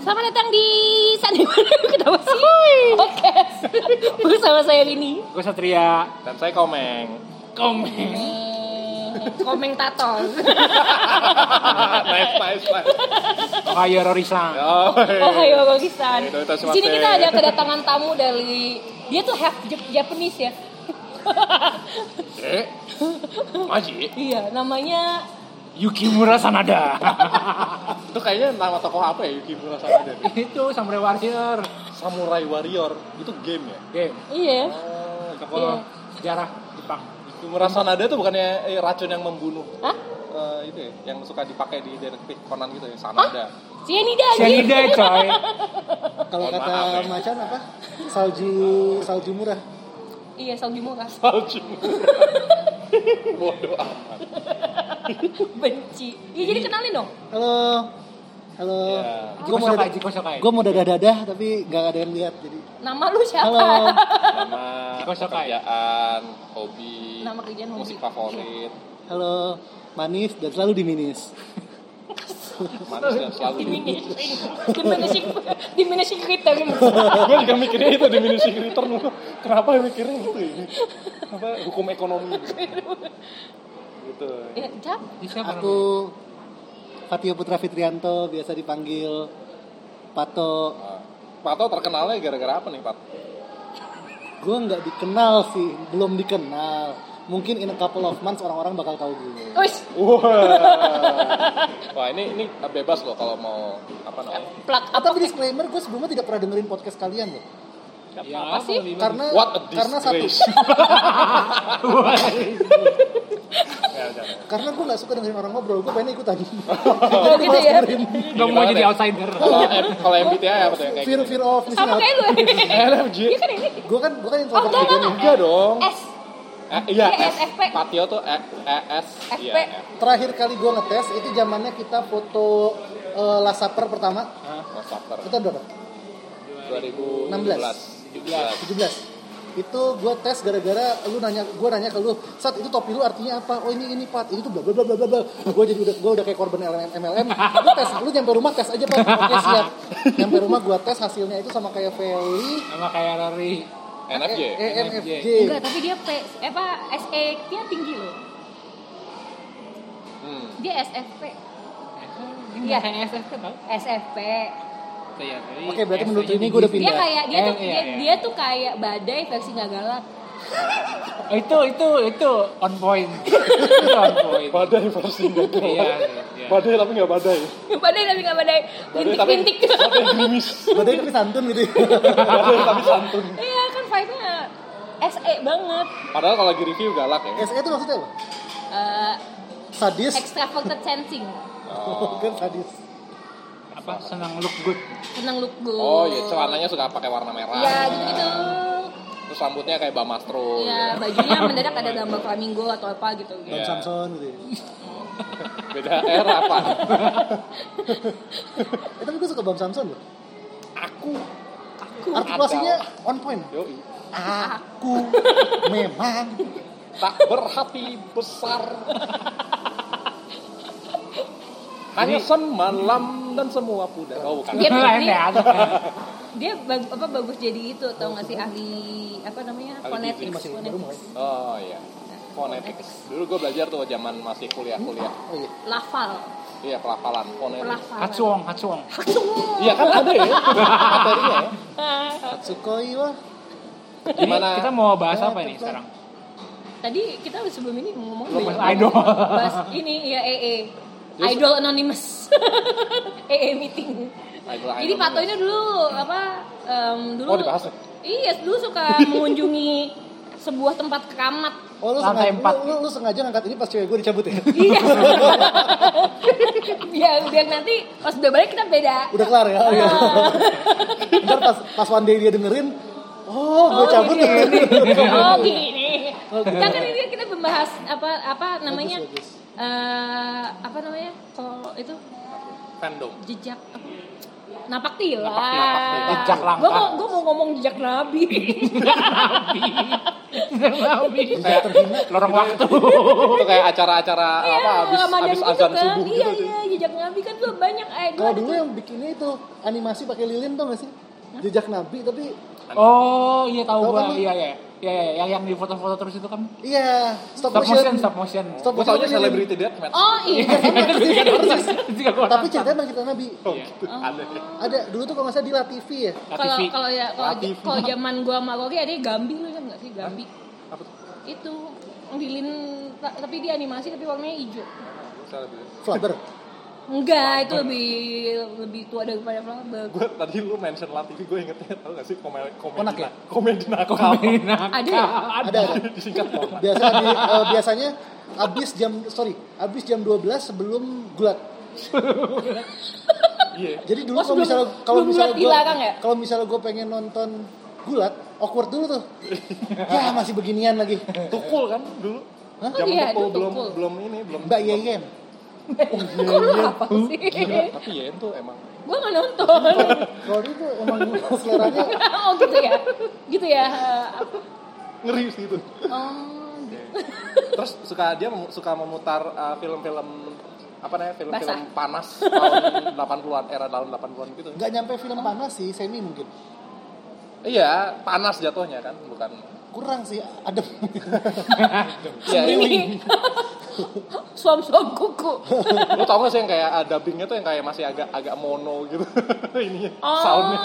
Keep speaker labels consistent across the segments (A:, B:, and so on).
A: Selamat datang di Sandiwara Ketawa sih? Podcast Bersama saya Rini
B: Gue Satria
C: Dan saya Komeng.
B: Komen
A: Komeng Tato
C: nice, nice, nice.
B: Ohio Rorisang
C: Oh,
A: Oh ayo Pakistan
C: Ayo,
A: Di
C: terima
A: sini
C: kasih.
A: kita ada kedatangan tamu dari Dia tuh half Jap- Japanese ya
C: eh, Maji?
A: Iya namanya
B: Yukimura Sanada
C: Itu kayaknya nama tokoh apa ya Yuki Murasaki dari
B: Itu Samurai Warrior
C: Samurai Warrior itu game ya?
B: Game
A: Iya
C: Oh,
A: Iya.
C: tokoh
B: Sejarah Jepang
C: Yuki Murasanada itu bukannya eh, racun yang membunuh
A: Hah?
C: eh, itu ya, yang suka dipakai di detektif Conan gitu ya, Sanada.
A: Cianida
B: Cyanida coy
D: Oh, Kalau
C: Mohon
D: kata
C: maaf, ya.
D: macan apa? Salju salju murah.
A: Iya salju murah
C: Salju. Bodoh amat.
A: Benci Iya jadi kenalin dong
D: Halo. Halo.
C: Ya.
D: Gue
B: Jiko
D: mau
B: Shokai
D: dadah,
B: Jiko Shokai
D: gua mau dadah-dadah tapi gak ada yang lihat jadi.
A: Nama lu siapa?
D: Halo.
C: Nama
B: Jiko Shokai.
C: pekerjaan, hobi,
A: Nama kerjaan, hobi.
C: musik favorit,
D: Halo. Manis dan selalu diminis.
C: manis dan selalu
A: Diminishing Diminishing Diminishing return
C: gue juga mikirnya itu diminishing return mulu. kenapa mikirnya gitu ya apa hukum ekonomi gitu
A: Ya Jap
B: Ini siapa namanya?
D: Aku Fatio Putra Fitrianto biasa dipanggil Pato.
C: Nah, Pato terkenalnya gara-gara apa nih Pat?
D: Gue nggak dikenal sih, belum dikenal. Mungkin in a couple of months orang-orang bakal tahu gue.
A: Uish
C: Wah ini ini bebas loh kalau mau apa namanya?
A: Plak up
D: Tapi disclaimer, gue sebelumnya tidak pernah dengerin podcast kalian loh.
B: Ya,
A: apa sih?
B: lebih bagus.
D: Karena
C: What a
D: karena satu
C: disgrace. Ya, udah, udah.
D: karena gue nggak suka dengerin orang ngobrol, gue pengen ikutan.
A: Oh gitu ya
B: Gak mau jadi outsider
C: Kalau M- kalau MBTI apa tuh yang kayak
D: Fear
C: gitu?
D: fear of missing
A: Sama
D: out.
A: kayak lu
C: LFG.
A: Iya kan ini
D: Gue kan gue kan yang
A: Oh, enggak,
D: terlalu
A: enggak.
C: Enggak dong.
A: S
C: Eh, Iya.
A: Iya,
C: S.
A: SFP.
C: Patio tuh E- ES. Iya.
A: FP.
C: F.
D: Terakhir kali gue ngetes itu zamannya kita foto eh, last supper pertama.
C: Mas Sapter.
D: Kita berapa?
C: 2016. 17.
D: 17. Itu gue tes gara-gara lu nanya gue nanya ke lu, "Sat, itu topi lu artinya apa?" "Oh, ini ini, Pat. Ini tuh bla bla bla bla bla." bla." Gue jadi udah gue udah kayak korban LLM MLM. Lu tes, lu nyampe rumah tes aja, Pat. Oke, siap. Nyampe rumah gue tes hasilnya itu sama kayak Feli,
B: Sama kayak Rory
C: NFJ.
D: E- ENFJ.
A: Enggak, tapi dia P eh, apa SE dia tinggi loh.
C: Hmm.
A: Dia SFP.
B: Ini
A: Iya.
B: bukan SFP tau
A: SFP.
B: Iya, jadi
D: Oke, berarti
B: S-
D: menurut
B: jadi
D: ini gua udah
B: gizi.
A: Dia
D: Pindah.
A: kayak dia
B: Eh,
A: tuh
B: iya,
A: dia,
B: iya.
A: dia tuh kayak badai versi nggak galak.
B: Oh, Itu, itu, itu on point Itu on point
C: Badai versi nggak
B: Iya,
C: kelihatan.
B: iya.
C: Badai tapi nggak badai.
A: badai tapi nggak badai.
C: Badai tapi
A: Bintik-bintik.
C: badai gerimis.
D: Badannya tapi santun gitu.
C: Badai tapi santun.
A: Iya kan vibe-nya SE banget.
C: Padahal kalau lagi review galak ya.
D: SE E itu maksudnya apa?
A: Eh,
D: Sadis.
A: extroverted sensing.
C: Oh,
D: Kan sadis.
B: Apa, senang look good
A: Senang look good.
C: oh iya celananya suka pakai warna merah.
A: Iya, gitu-gitu.
C: Terus rambutnya kayak Bamastro.
A: Iya,
C: Mastro.
A: bajunya mendadak ada gambar flamingo atau apa gitu.
C: Iya.
D: Don Samson gitu. ya.
C: ya. Beda era pak.
D: Eh tapi gue suka Bam Samson loh.
C: Aku.
D: Artikulasinya on point.
C: Yoi.
D: Aku memang
C: Tak berhati besar. Hanya semalam dan semua pudar. Oh bukan.
A: Dia
B: Lain
A: dia-
B: ya
A: dia bag- apa bagus jadi itu atau nggak sih ahli apa namanya
C: Ahli
A: phonetics
C: gizi.
D: masih baru mulai.
A: phonetics
C: Oh iya. Phonetics. Dulu gue belajar tuh zaman masih kuliah-kuliah.
D: Oh iya.
A: lafal
C: Iya pelafalan phonetics.
A: pelafalan
B: Hatsuong, Hatsuong
C: Iya kan ada ya materinya ya.
D: Sukoi wah.
B: Jadi
C: Gimana?
B: kita mau bahas apa ini
D: Gimana?
B: sekarang?
A: tadi kita udah sebelum ini ngomong
B: Ngomong
A: banyak
B: idol.
A: banget. bahas ini ya EE idol anonymous EE meeting
C: Idol
A: jadi
C: Idol.
A: Pato ini dulu apa em, dulu
C: Oh, dibahas ya?
A: iya dulu suka mengunjungi sebuah tempat keramat
D: Oh lu
B: Lantai
D: sengaja,
B: empat.
D: lu, lu, lu sengaja ngangkat ini pas cewek gue dicabut ya?
A: iya biar biar nanti pas udah balik kita beda
D: Udah kelar ya? Oh, iya. Ntar pas, pas one day dia dengerin, oh gue cabut.
A: iya, oh gini. Kita kan ini kita membahas apa apa namanya?
D: Bagus, bagus.
A: eh, apa namanya? Kalau itu
C: Fandom.
A: jejak apa? napak tilas.
B: Napak- napak tilas. Jejak langkah.
A: Gua mau gua mau ngomong jejak nabi.
B: Nabi sedang mami.
D: Kayak terhina.
B: Lorong waktu.
C: itu kayak acara-acara
A: Iya,
C: apa habis
A: Ramadan
C: habis
A: gitu
C: azan
A: kan.
C: subuh
A: Iya,
C: gitu.
A: iya, jejak nabi kan tuh banyak. Eh,
D: Kalau
A: ada
D: dulu
A: tuh.
D: yang bikinnya itu animasi pakai lilin tau gak sih? Jejak Nabi tapi
B: Oh, iya tahu
D: Tahu kan
B: gua.
D: lu?
B: Iya, iya. Iya, iya, yang yang di foto-foto terus itu kan
D: iya stop,
B: stop motion, stop motion.
D: Stop
C: Gue gitu.
A: Iya.
C: taunya
D: motion lilin.
C: selebriti deathmatch.
A: Oh iya.
D: Iya, persis.
B: Tiga kotak.
D: Tapi ceritanya emang cerita Nabi.
C: Oh, gitu. Ada.
D: Ada dulu tuh kalau nggak salah di La TV ya.
A: Kalau
B: TV.
A: kalau ya kalau
C: Latif.
A: kalau zaman gua sama Rocky ada Gambi lu kan enggak sih Gambi?
C: Apa tuh?
A: Itu lilin ta- tapi dia animasi tapi warnanya hijau.
C: Selebriti.
D: Flubber.
A: Enggak, itu lebih lebih tua daripada Flubber.
C: Gue tadi lu mention Latifi, gue ingetnya tau gak sih komedi komedi
D: Konak ya?
C: na- komedi nakal.
A: Ada
B: Ada.
A: ya?
D: Ada ada.
C: Disingkat konak.
D: Biasa di, eh, biasanya abis jam sorry abis jam 12 sebelum gulat.
C: Iya.
D: Jadi dulu
A: Oh,
D: kalau
A: sebelum-
D: misalnya kalau
A: sebelum
D: misalnya
A: gulat
D: gua
A: dilarang ya?
D: kalau misalnya gue pengen nonton gulat awkward dulu tuh. ya masih beginian lagi.
C: Tukul kan dulu.
D: Hah?
C: Zaman
A: Iya,
C: tukul
A: dulu
C: belum
A: tukul.
C: belum ini belum.
D: Mbak Yeyen.
C: Oh,
A: Kok lu
C: iya,
A: apa sih?
C: Gila, tapi Yen tuh emang
A: Gua nggak nonton.
D: Kalau itu emang seleranya
A: oh gitu ya. Gitu ya.
C: ngeri sih itu.
A: Oh.
C: Terus suka dia mem- suka memutar uh, film-film apa namanya film-film
A: Basah.
C: panas tahun 80-an era tahun 80-an gitu.
D: nggak nyampe film panas sih semi mungkin
C: Iya, panas jatuhnya kan, bukan.
D: kurang sih adem.
C: Iya, iya.
A: Ini. Suam-suam kuku.
C: Lu tau gak sih yang kayak uh, dubbingnya tuh yang kayak masih agak agak mono gitu. Ininya,
A: Oh.
C: soundnya.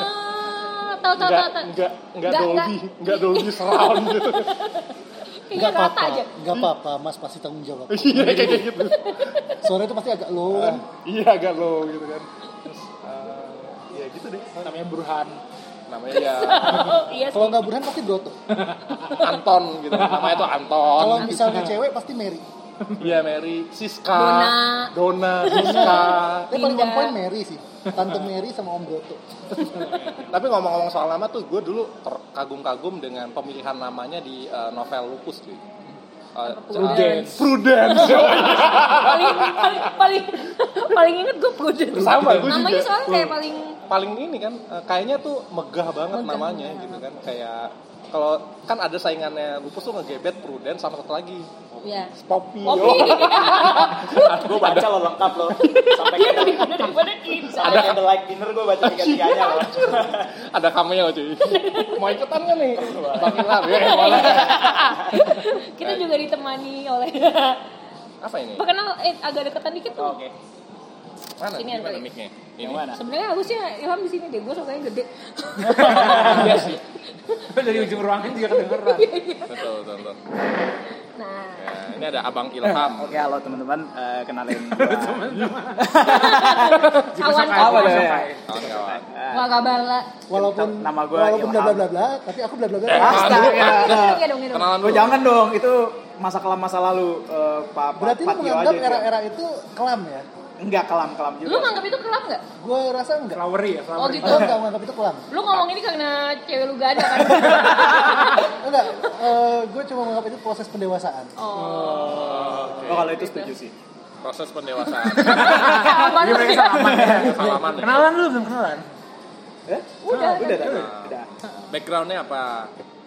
A: Tahu tahu
C: Enggak,
A: tahu tahu.
C: enggak, enggak
A: Nggak,
C: Dolby, enggak Dolby surround gitu.
A: Kayaknya
D: Nggak
A: rata
D: apa-apa,
A: aja.
D: nggak apa-apa, Mas pasti tanggung jawab.
C: Iya, kayak gitu.
D: Suaranya itu pasti agak low kan.
C: Iya, agak low gitu kan. Terus, eh, ya gitu deh.
B: Namanya Burhan.
C: Namanya ya
A: Iya sih.
D: Kalau nggak Burhan pasti Broto.
C: Anton gitu. Namanya tuh Anton.
D: Kalau misalnya cewek pasti Mary.
C: Iya, Mary, Siska,
A: Dona.
C: Dona, Siska.
D: Tapi paling
A: Linda.
D: one point Mary sih. Tante Mary sama Om Broto.
C: Tapi ngomong-ngomong soal nama tuh, gue dulu terkagum-kagum dengan pemilihan namanya di eh, novel Lupus cuy. Eh,
B: Prudence.
C: eh, Prudence.
A: paling paling paling paling inget gue prudent.
C: Sama, gue juga.
A: Namanya soalnya kayak paling
C: paling ini kan eh, kayaknya tuh megah banget
A: Megah,
C: namanya
A: megah.
C: gitu kan kayak kalau kan ada saingannya lupus tuh ngegebet prudent sama satu lagi
A: ya.
C: Poppy.
A: Kopi.
E: gue baca lo lengkap lo sampai
A: Dia
E: candle
A: lebih gede daripada kita.
E: sampai gitu. candlelight dinner gue baca tiga tiganya lo
C: ada cameo cuy. Mau ikutan gak nih? Bang Ilham ya, ya, boleh.
A: Kita juga ditemani oleh
C: Apa ini?
A: Perkenal eh, agak deketan dikit tuh.
E: oke
C: Mana?
A: Sini,
C: Gimana
A: Andre.
C: mic-nya? Ini.
E: yang mana
A: Sebenarnya harusnya Ilham di sini deh, gue sukanya gede.
B: Iya sih. Dari ujung ruangan juga kedengeran.
C: Betul, betul, betul.
A: Nah,
C: Ya, ini ada Abang Ilham.
E: oke halo teman-teman Eh, kenalin gue
A: kawan
E: apa
A: kawan.
E: ya
C: Kawan-kawan.
A: Wah kabar lah.
D: Walaupun
E: Nama gua Eh,
D: walaupun bla
E: Ilham.
D: bla bla bla, tapi aku bla bla bla.
E: astaga
A: Iya dong, iya dong.
C: Kenalan dulu.
E: lo Oh, jangan dong itu masa kelam masa lalu Eh, pak Pak-
D: Berarti lu
E: patio
D: menganggap
E: aja.
D: era-era itu kelam ya?
E: enggak kelam kelam
A: Lu
E: juga
A: nganggap itu kelam nggak?
D: Gue rasa enggak.
B: Flowery ya,
A: Oh
B: flowery.
A: gitu.
D: Gue enggak menganggap itu kelam.
A: Lu ngomong ini karena cewek lu gak ada kan?
D: Enggak, gue cuma menganggap itu proses pendewasaan.
A: Oh.
E: oh kalau itu setuju sih
C: Proses pendewasaan.
A: Apaan
B: Dia mereka
A: sih?
B: salaman ya.
C: Salaman. ya.
B: Kenalan lu belum kenalan?
E: Eh?
A: Udah,
E: udah, udah, udah, udah.
C: Backgroundnya apa?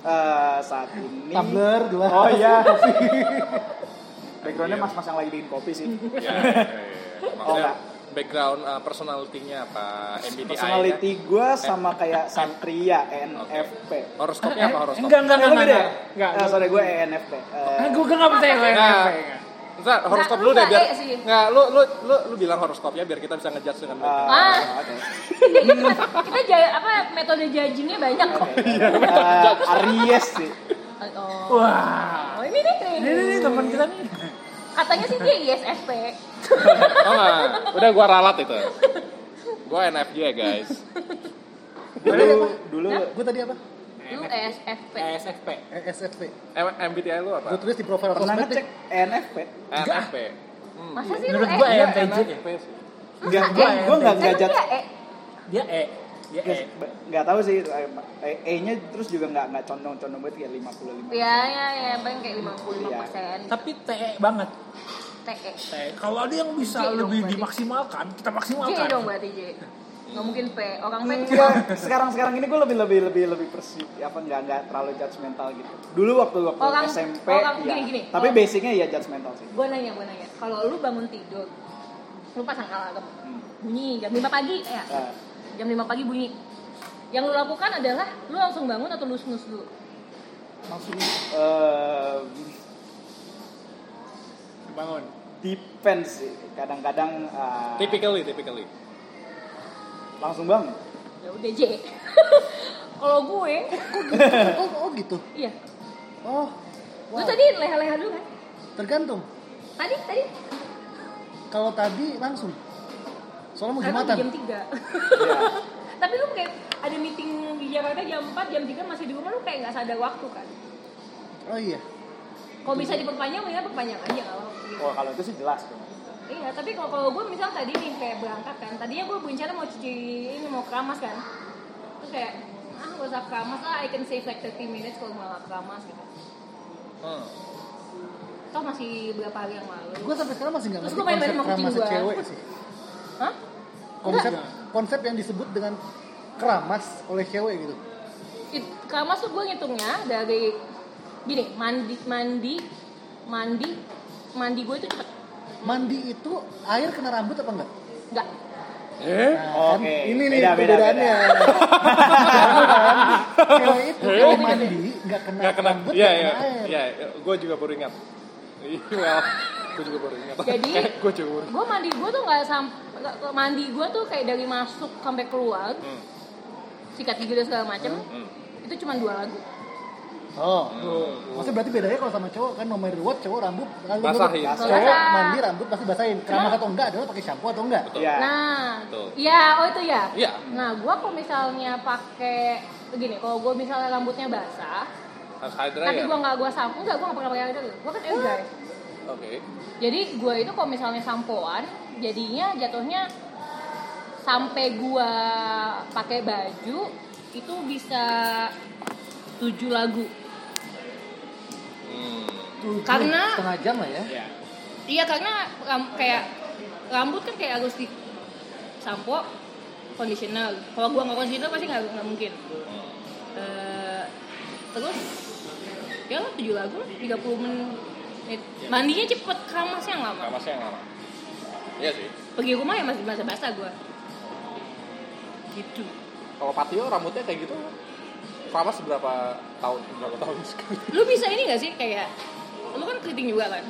E: Eh, saat ini
D: Tumbler, gelas.
E: oh iya backgroundnya mas-mas yang lagi bikin kopi sih
C: Ya, ya, ya. Maksudnya
E: enggak.
C: background uh, personality-nya apa? MBTI?
E: Personality gue sama kayak Satria ENFP.
C: Horoskopnya apa horoskop?
B: Enggak, enggak,
E: Eh,
B: enggak.
E: lu beda?
B: Enggak. Iya.
E: Eh, sorry gue ENFP. Eh,
B: Gue enggak percaya gue.
C: Enggak. Entar, horoskop lu deh
A: enggak,
C: biar
A: eh, sih.
C: Enggak, lu lu lu lu bilang horoskopnya biar kita bisa ngejudge dengan baik.
A: Ah.
E: oke.
A: Kita jaya, apa metode judgingnya banyak kok.
E: Eh, Aries sih.
A: Oh.
B: Wah.
A: Oh, ini nih,
B: Ini nih, nih teman kita nih.
A: E. Katanya sih dia ISFP.
C: Oh, enggak. Udah gua ralat itu. Gua NFJ, guys.
E: Dulu dulu
D: Gue tadi apa? E
A: Lu E ESFP.
B: ESFP.
D: ESFP.
C: M- MBTI lu
D: Gue
C: apa?
D: tulis di profil
E: pernah
D: sosmed
E: ngecek E
D: deh.
E: ENFP.
C: NFP.
A: Masa sih lu
B: Menurut gue
A: E?
B: ENTJ ya.
C: sih.
E: Enggak, gue gue nggak
A: Eh, lu
E: ngajak.
A: nggak E?
B: Dia E. Dia E.
E: Enggak tahu sih itu
F: eh,
E: E-nya terus juga enggak enggak condong-condong banget kayak 55.
A: Ya, ya, ya. Paling kayak 55 persen. E.
B: Tapi TE banget.
A: TE.
B: TE. Kalau ada yang bisa
A: J E dong
B: lebih
A: berarti.
B: dimaksimalkan, kita
A: J E
B: maksimalkan.
A: dong berarti J. nggak mungkin P orang P
B: Iya.
F: Enggak, sekarang sekarang ini gue lebih lebih lebih lebih persi apa nggak nggak terlalu judgmental gitu. Dulu waktu waktu
A: Orang-
F: SMP,
A: orang
F: iya.
A: gini-gini.
F: tapi
A: Orang-
F: basicnya ya judgmental sih.
A: gue nanya gue nanya kalau lu bangun tidur lu pasang alarm
F: Hmm.
A: bunyi jam 5 pagi ya
F: Nah,
A: jam 5 pagi bunyi yang lu lakukan adalah lu langsung bangun atau lu snus dulu
F: eh,
E: bangun
F: depends sih. Kadang-kadang eh,
C: Typically, typically.
F: langsung bangun.
A: ya udah J kalau gue
D: oh, oh gitu.
A: iya
D: Oh,
A: lu
D: wow.
A: tadi leha-leha dulu kan
D: tergantung.
A: tadi tadi
D: Kalau tadi langsung. Soalnya mau
A: karena
D: jumatan.
A: jam 3
F: Iya.
A: tapi lu kayak ada meeting di Jakarta jam 4, jam 3 masih di rumah lu kayak nggak sadar waktu kan
D: Oh iya.
A: kalau bisa diperpanjang mendingan perpanjang aja kalau gitu.
F: Wah kalau itu sih jelas. tuh.
A: Iya, tapi kalau kalau gue misal tadi nih kayak berangkat kan, tadinya gue berencana mau cuci ini mau keramas kan, terus kayak ah gak usah keramas lah, I can save like 30 minutes kalau malah keramas gitu.
C: Hmm.
A: Toh masih berapa hari yang lalu?
D: Gue sampai sekarang masih nggak
A: Terus
D: ngerti
A: gua main-main sama
D: konsep
A: kucing
D: keramas
A: gua.
D: cewek sih.
A: Hah?
D: Konsep konsep yang disebut dengan keramas oleh cewek gitu.
A: It, keramas tuh gue ngitungnya dari gini mandi mandi mandi mandi gue itu cepet
D: Mandi itu air kena rambut apa enggak?
A: nggak
C: Eh?
D: Nah, kan
F: Oke,
D: Ini nih
F: beda, beda,
D: perbedaannya. Cewek itu kalau mandi nggak kena,
C: Nggak kena.
D: rambut,
C: Iya,
D: nggak
C: iya.
D: kena air.
C: Iya, gue juga baru ingat. Iya, gue juga baru ingat.
A: Jadi-
C: gue juga baru.
A: gue mandi gue tuh nggak sampai mandi gue tuh kayak dari masuk sampai keluar
C: Hmm.
A: sikat gigi dan segala macem
C: Hmm.
A: itu cuma dua lagu
D: Oh.
C: Hmm.
D: Maksudnya berarti bedanya kalau sama cowok kan no matter what cowok rambut rambut-
C: Basahin.
D: rambut-
A: Basah.
D: Cowok
A: Basah.
D: mandi rambut pasti basahin. Keramas atau enggak adalah pakai shampoo atau enggak.
C: Betul.
F: Iya.
A: Nah,
C: Ya. Betul.
A: iya, oh itu ya.
C: Iya.
A: Nah, gua kalau misalnya pakai gini, kalau gua misalnya rambutnya basah,
C: Harus ya? hair dryer.
A: tapi gua nggak gua sampo, nggak gua nggak pernah pakai air dulu. Gua kan air dry.
C: Oke.
A: Jadi gua itu kalau misalnya sampoan, jadinya jatuhnya sampai gua pakai baju itu bisa tujuh lagu.
C: Hmm.
D: Tujuh
A: Karena-
D: setengah jam lah ya.
F: Iya.
A: Iya karena ram- kayak rambut kan kayak harus di sampo, conditioner. Kalau gua nggak conditioner pasti nggak nggak mungkin.
C: Hmm.
A: Eh, terus ya lah tujuh lagu lah, 30 menit mandinya cepet keramasnya yang lama
C: Kamasnya yang lama. Iya sih.
A: pergi rumah ya masih basah basah gua gitu
C: Kalau Patio rambutnya kayak gitu keramas berapa tahun berapa tahun sekali?
A: lu bisa ini gak sih kayak lu kan keriting juga kan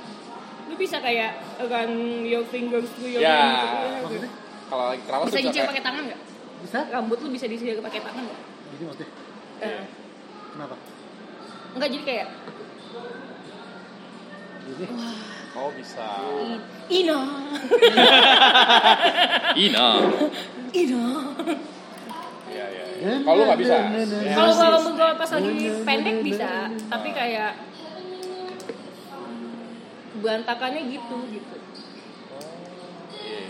A: lu bisa kayak run your fingers through your
C: Ya.
A: hair gitu.
D: Maksudnya
C: Kalau lagi keramas
A: bisa
C: tuh
A: dicil
C: kayak-
A: pakai tangan nggak
D: bisa?
A: rambut lu bisa dicil pakai tangan nggak
D: Jadi maksudnya
C: Iya.
A: Eh,
D: kenapa?
A: enggak jadi kayak
D: Jadi
C: Oh bisa.
A: "I- ina
C: Ina.
A: ina
C: Iya iya. Kalau lu nggak bisa.
D: Iya.
A: kalau gua rambut gua pas lagi pendek bisa tapi kayak berantakannya gitu gitu
C: Iya.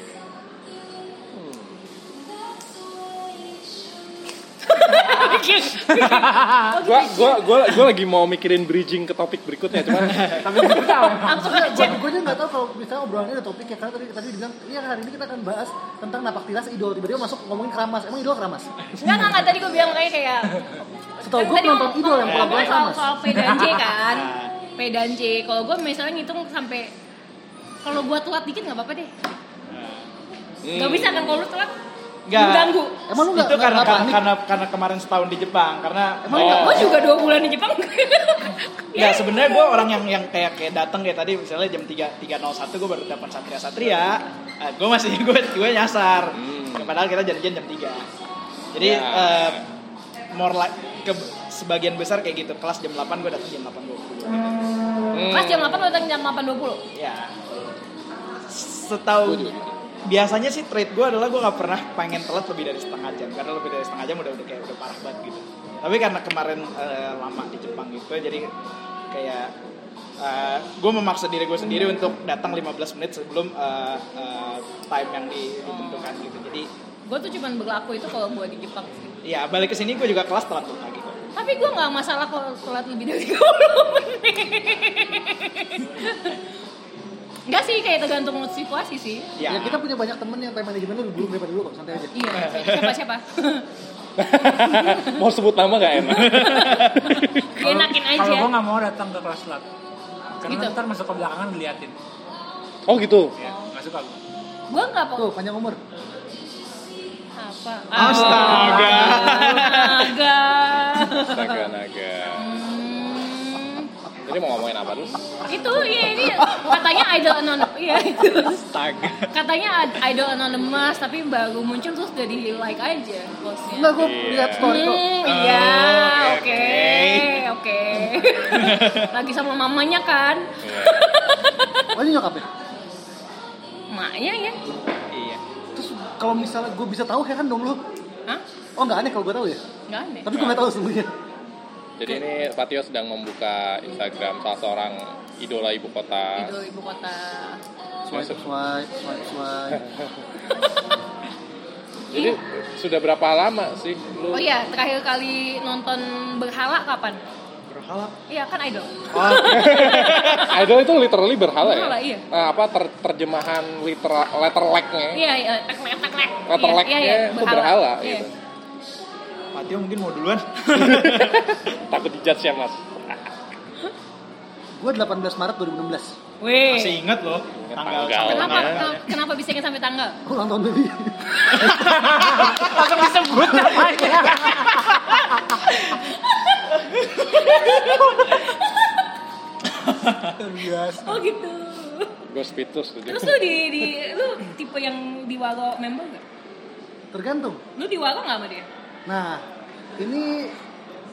D: Hmm.
C: Gua gua gua gua lagi mau mikirin bridging ke topik berikutnya cuman
A: langsung aja
D: Gue juga nggak tahu kalau misalnya obrolannya ada topiknya karena tadi tadi bilang iya hari ini kita akan bahas tentang napak tilas idol tiba-tiba masuk ngomongin keramas emang idol keramas
A: Enggak, enggak, enggak. Tadi gue bilang kayak kayak
D: setahu
A: kan
D: gue
A: tadi
D: nonton
A: ngomong-
D: idol yang
A: ngomong-
D: pelabuhan
A: ngomong soal,
D: keramas
A: soal P dan J kan P dan J Kalau gue misalnya ngitung sampai kalau gue telat dikit nggak apa-apa deh
D: Hmm.
A: Nggak bisa kan kalau lu telat
E: Nggak.
A: Mengganggu
D: emang lu nggak
E: itu karena
D: nggak
E: karena,
D: panik?
E: karena karena kemarin setahun di Jepang karena
D: Emang
E: kayak-
D: nggak-
B: Oh.
A: Gue juga dua bulan di Jepang
E: Ya sebenarnya gue orang yang yang kayak kayak datang kayak tadi misalnya jam 3 3.01 gue baru dapat Satria Satria. gue masih gue gue nyasar.
C: Hmm.
E: Padahal kita janjian jam 3. Jadi
C: Ya.
E: eh, more like ke sebagian besar kayak gitu. Kelas jam 8 gue datang jam
D: Hmm.
E: 8.20.
A: Pas jam 8 lu datang jam 8.20
E: Ya.
C: Gua
E: Setahu
C: juga gitu.
E: biasanya sih trade gue adalah gue gak pernah pengen telat lebih dari setengah jam karena lebih dari setengah jam udah udah kayak udah parah banget gitu tapi karena kemarin eh, lama di Jepang gitu jadi kayak gue memaksa diri gue sendiri untuk datang 15 menit sebelum eh, eh, time yang di- ditentukan gitu jadi
A: Gue tuh cuman berlaku itu kalau gue di Jepang sih
E: ya balik ke sini gue juga kelas telat tuh pagi kok
A: Tapi gue nggak masalah kalau telat lebih dari 20 menit Enggak sih kayak tergantung situasi sih.
E: Ya.
D: Ya, kita punya banyak temen yang time manajemennya lebih buruk daripada lu kok, santai aja.
A: Iya, siapa siapa.
C: Mau sebut nama gak enak?
A: Enakin aja.
B: Kalau gue nggak mau datang ke kelas lab, karena
A: Gitu.
B: ntar masuk ke belakangan diliatin.
C: Oh gitu.
B: Ya, nggak suka gue.
A: Gue nggak apa.
D: Tuh, panjang umur.
A: Apa?
E: Astaga.
A: Astaga.
C: Naga, naga.
A: Hmm,
C: Jadi mau ngomongin apa dulu?
A: itu ya ini katanya idol anonymous iya itu
C: Astaga.
A: katanya ad- idol anonymous tapi baru muncul terus udah di like aja
D: Enggak,
A: postnya
D: gue
C: Iya.
D: lihat story kok.
A: hmm iya oke oke lagi sama mamanya kan
D: Oh, ini nyokapnya?
A: maknya ya
E: Iya.
D: Terus kalau misalnya gue bisa tahu heran dong lu.
A: Hah?
D: Oh, nggak aneh kalau gue tahu ya.
A: Nggak aneh.
D: Tapi gue nggak tahu sesungguhnya.
C: Jadi ini Patio sedang membuka Instagram salah seorang idola ibu kota.
A: Idol ibu kota.
D: Swipe,
C: Maksud-
D: swipe, swipe, swipe.
C: Jadi sudah berapa lama sih lu?
A: Oh iya, terakhir kali nonton Berhala kapan? Berhala? Iya, kan idol.
C: Idol itu literally berhala ya?
A: Berhala, iya.
C: Nah, apa ter- terjemahan litera, letter lag-nya?
A: Iya, iya, teklek, teklek.
C: Letter lag-nya itu
A: Iya.
C: berhala, gitu.
E: Patio mungkin mau duluan.
C: Takut dijudge ya mas?
D: Gue 18 Maret 2016.
A: Weh.
E: Masih ingat loh
C: Tanggal.
E: tanggal, sampai
A: Kenapa,
E: tanggal.
A: kenapa- kenapa bisa ingat sampai tanggal?
D: Gue ulang tahun baby.
B: Langsung disebut namanya.
A: Oh gitu.
C: Gue speechless tuh.
A: Terus lu di, di lu tipe yang di Wago member gak?
D: Tergantung.
A: Lu di Wago gak sama dia?
D: Nah, ini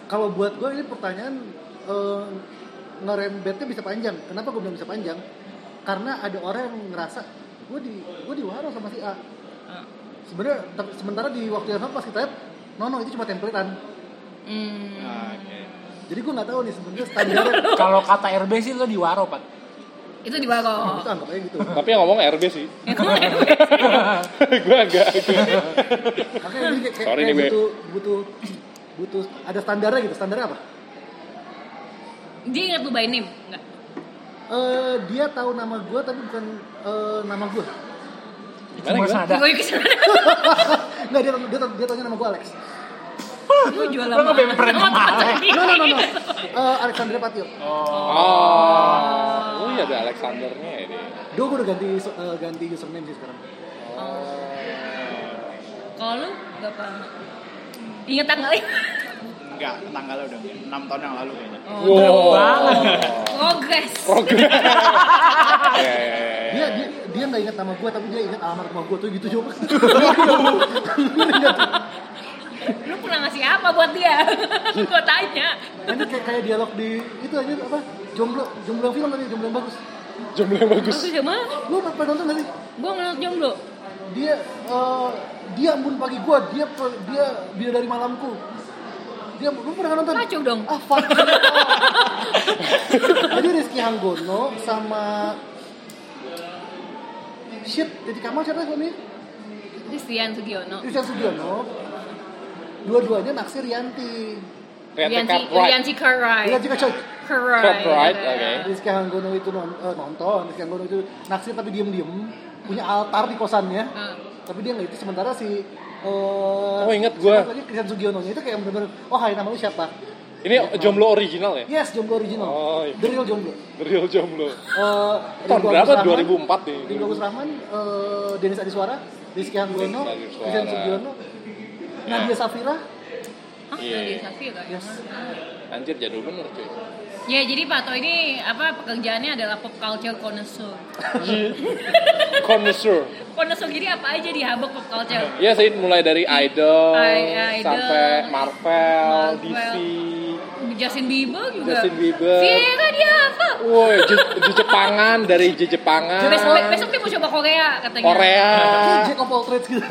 D: kalau buat gue ini pertanyaan eh, ngerembetnya bisa panjang. Kenapa gue bilang bisa panjang? Karena ada orang yang ngerasa gue di gue diwaro sama si A. Sebenarnya ter- sementara di waktu yang sama pas kita lihat, no no itu cuma templatean.
A: Hmm.
E: Ah, oke.
D: Jadi gue nggak tahu nih sebenarnya standarnya.
B: Kalau kata RB sih lo di Waro, Pat.
A: Itu di Wago.
D: Itu anggap aja gitu.
C: Tapi yang ngomong RB sih. gue agak, agak.
D: Makanya ini kayak, kayak-
C: Sorry
D: kayak
C: nih, Be.
D: butuh butuh butuh ada standarnya gitu. Standarnya apa?
A: Dia ingat lu by name? Enggak.
D: Eh, dia tahu nama gue tapi bukan eh, nama gue.
C: Gimana,
B: Cuma
C: gimana?
B: ada.
A: Gue kesana.
D: Nggak dia dia dia tanya nama gue Alex.
A: Lu jualan
B: Lu ngebemperin sama
D: No no no no. Eh, Alexandria Patio.
C: Oh, oh iya ada Alexandernya ini.
D: Do gue udah ganti user- eh, ganti username sih sekarang.
C: Eh.
A: Kalau lu gak pernah Ingat tanggalnya?
E: Enggak, tanggalnya udah 6 tahun yang lalu kayaknya.
A: Oh,
C: Wow. Oh,
A: progress.
C: Iya, iya, iya, iya.
D: Dia dia dia nggak ingat nama gue tapi dia ingat alamat rumah gue tuh gitu coba.
A: Lu pernah ngasih apa buat dia? Gua tanya.
D: Ini kayak kayak dialog di itu aja apa? Jomblo jomblo yang film tadi jomblo yang bagus.
C: Jumlah yang bagus.
A: Aku cuma
D: Lu pernah pernah nonton nggak sih?
A: gua ngeliat jomblo.
D: Dia eh, dia embun pagi gue dia pe- dia dia dari malamku. Dia lu pernah nonton?
A: Kacau dong.
D: Ah, fuck. Jadi Rizky Hanggono sama shit jadi Kamal siapa suami?
A: Christian Sugiono.
D: Christian Sugiono. Dua-duanya naksir Rianti.
C: Rianti
A: Rianti
C: Cartwright.
A: Rianti Karai.
D: Rianti Kacau.
C: Cartwright,
A: ya.
C: oke.
D: Rizky Hanggono itu non- eh, nonton, Rizky Hanggono itu naksir tapi diem-diem punya altar di kosannya. Tapi dia nggak itu sementara si eh,
C: Hmm. Oh, ingat gua.
D: siapa lagi Christian Sugiono itu kayak bener-bener oh hai nama lu siapa?
C: Ini jomblo original ya?
D: Yes, jomblo original.
C: Oh, iya.
D: The real jomblo.
C: The real jomblo.
D: Eh,
C: Tahun
D: Ringo
C: berapa?
D: Agus Rahman.
C: 2004 nih.
D: Ringo Agus Rahman, eh, Denis Adiswara, Rizky
C: Denis
D: Hanggono,
C: Adiswara.
D: Christian Sugiono, Nadia Safira,
A: Hah,
C: Iya.
A: dari Safir kan?
D: Yes.
C: Anjir jadul bener cuy.
A: Ya jadi Pak To ini apa pekerjaannya adalah pop culture connoisseur.
C: Connoisseur.
A: Connoisseur jadi apa aja dihabek pop culture.
C: Iya sih mulai dari idol,
A: I- idol.
C: sampai
A: Marvel.
C: Marvel, DC.
A: Justin Bieber juga.
C: Justin Bieber.
A: Vira dia apa?
C: Woi, Je- Jejepangan dari Jejepangan.
A: Besok, besok dia mau coba Korea katanya.
C: Korea.
D: kayak Jack of all trades gitu.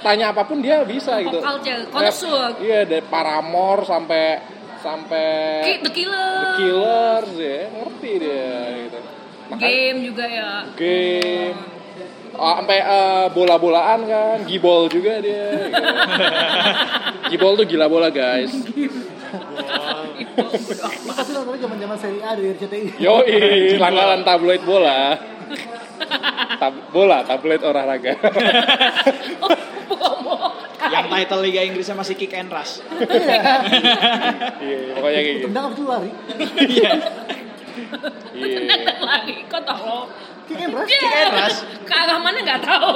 C: Tanya apapun dia bisa
A: Pop
C: gitu.
A: culture, connoisseur.
C: Iya, dari Paramore sampai sampai
A: Ki- The Killer.
C: The Killers ya, ngerti dia gitu. Makanya
A: Game juga ya.
C: game Oh, sampai eh, bola-bolaan kan, gibol juga dia. Gitu. gibol tuh gila bola guys.
D: Lu pasti nontonnya zaman-zaman seri A dari RCTI.
C: Yoi, langgalan tabloid bola. Tab- bola, tabloid olahraga.
A: Oh,
G: Yang title Liga Inggrisnya masih kick and rush.
C: Iya, pokoknya kayak gitu.
D: Tendang apa itu lari?
C: Iya.
A: Tenang lagi, kok tolong.
D: Kick and rush.
A: Iya.
G: Keras.
A: Ke arah mana nggak tahu.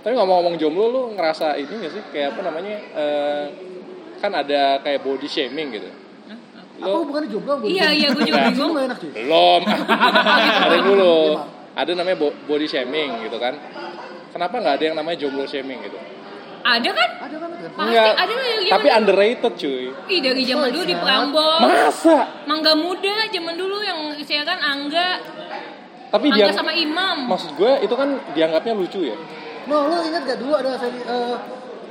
C: Tapi ngomong-ngomong jomblo, lu ngerasa ini nggak sih? Kayak apa namanya? eh, kan ada kayak body shaming gitu.
D: Apa
C: Lu
D: hubungannya jomblo? sama
A: Iya,
D: bodybuilding?
A: iya, gue juga
C: Nah.
A: bingung.
D: Jomblo enak sih.
C: belum. Dengerin dulu.
D: Iya, Mak.
C: Ada namanya bo- body shaming gitu kan. Kenapa nggak ada yang namanya jomblo shaming gitu?
A: Ada kan?
D: Ada kan? ada.
A: Pasti ada lah yang gitu.
C: Tapi underrated cuy.
A: Ih, dari zaman dulu di
D: Nah.
A: Prambors.
C: Masa?
A: Mangga muda zaman dulu yang saya kan Angga,
C: Tapi dia
A: Angga sama Imam.
C: maksud gue itu kan dianggapnya lucu ya.
D: Mau lu ingat gak dulu ada seri eh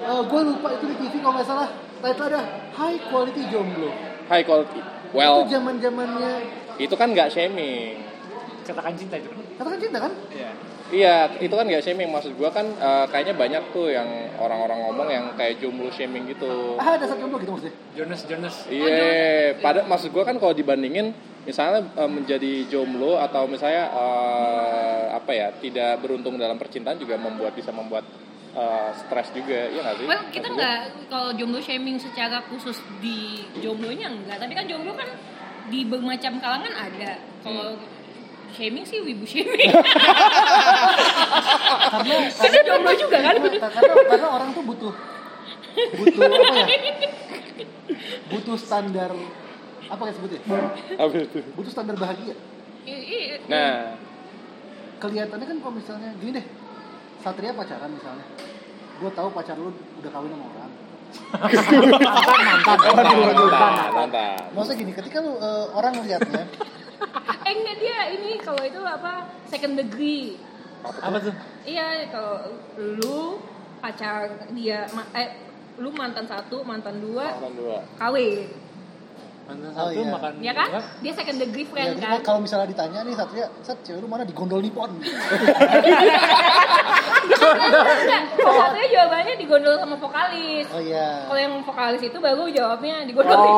D: eh, gue lupa itu di TV kalau nggak salah. Title ada High Quality Jomblo.
C: High quality.
D: Itu
C: Well,
D: zaman-zamannya
C: itu kan nggak shaming.
B: Katakan cinta itu kan.
D: katakan cinta kan?
G: Iya.
C: Iya, itu kan nggak shaming. Maksud gue kan eh, kayaknya banyak tuh yang orang-orang ngomong yang kayak jomblo shaming gitu.
D: Ah, ada satu jomblo gitu maksudnya.
B: Jonas Jonas.
C: Iya, pada maksud gue kan kalau dibandingin misalnya eh, menjadi jomblo atau misalnya eh, apa ya tidak beruntung dalam percintaan juga membuat bisa membuat eh, stres juga, ya nggak sih?
A: Well, kita
C: Maksud gua-
A: nggak kalau jomblo shaming secara khusus di jomblonya enggak, tapi kan jomblo kan di bermacam kalangan ada. Kalau shaming sih wibu shaming.
D: Karena
A: Karena jomblo juga kan?
D: Karena, karena- karena orang tuh butuh butuh apa ya? Butuh standar apa yang sebutnya?
C: Apa itu?
D: Butuh standar bahagia.
A: I- i-
C: Nah,
D: Kelihatannya kan kalau misalnya gini deh. Satria pacaran misalnya. Gue tahu pacar lu udah kawin sama orang.
C: nonton, nonton, nonton.
D: Maksudnya gini, ketika lu eh, orang ngeliatnya
A: eh enggak dia ini kalau itu apa second degree
B: Apa tuh?
A: iya kalau lu pacar dia ma- eh lu mantan satu mantan dua
C: Nonton dua.
A: kawin
B: Mantan
D: Oh,
B: satu
D: iya.
B: makan.
A: ya kan dia second degree
D: Ya,
A: friend
D: jadi
A: kan
D: kalau misalnya ditanya nih Satria, Sat, cewek lu mana di gondol Nippon?
A: enggak satunya jawabannya digondol sama vokalis
D: Oh iya.
A: kalau yang vokalis itu baru jawabnya digondol oh.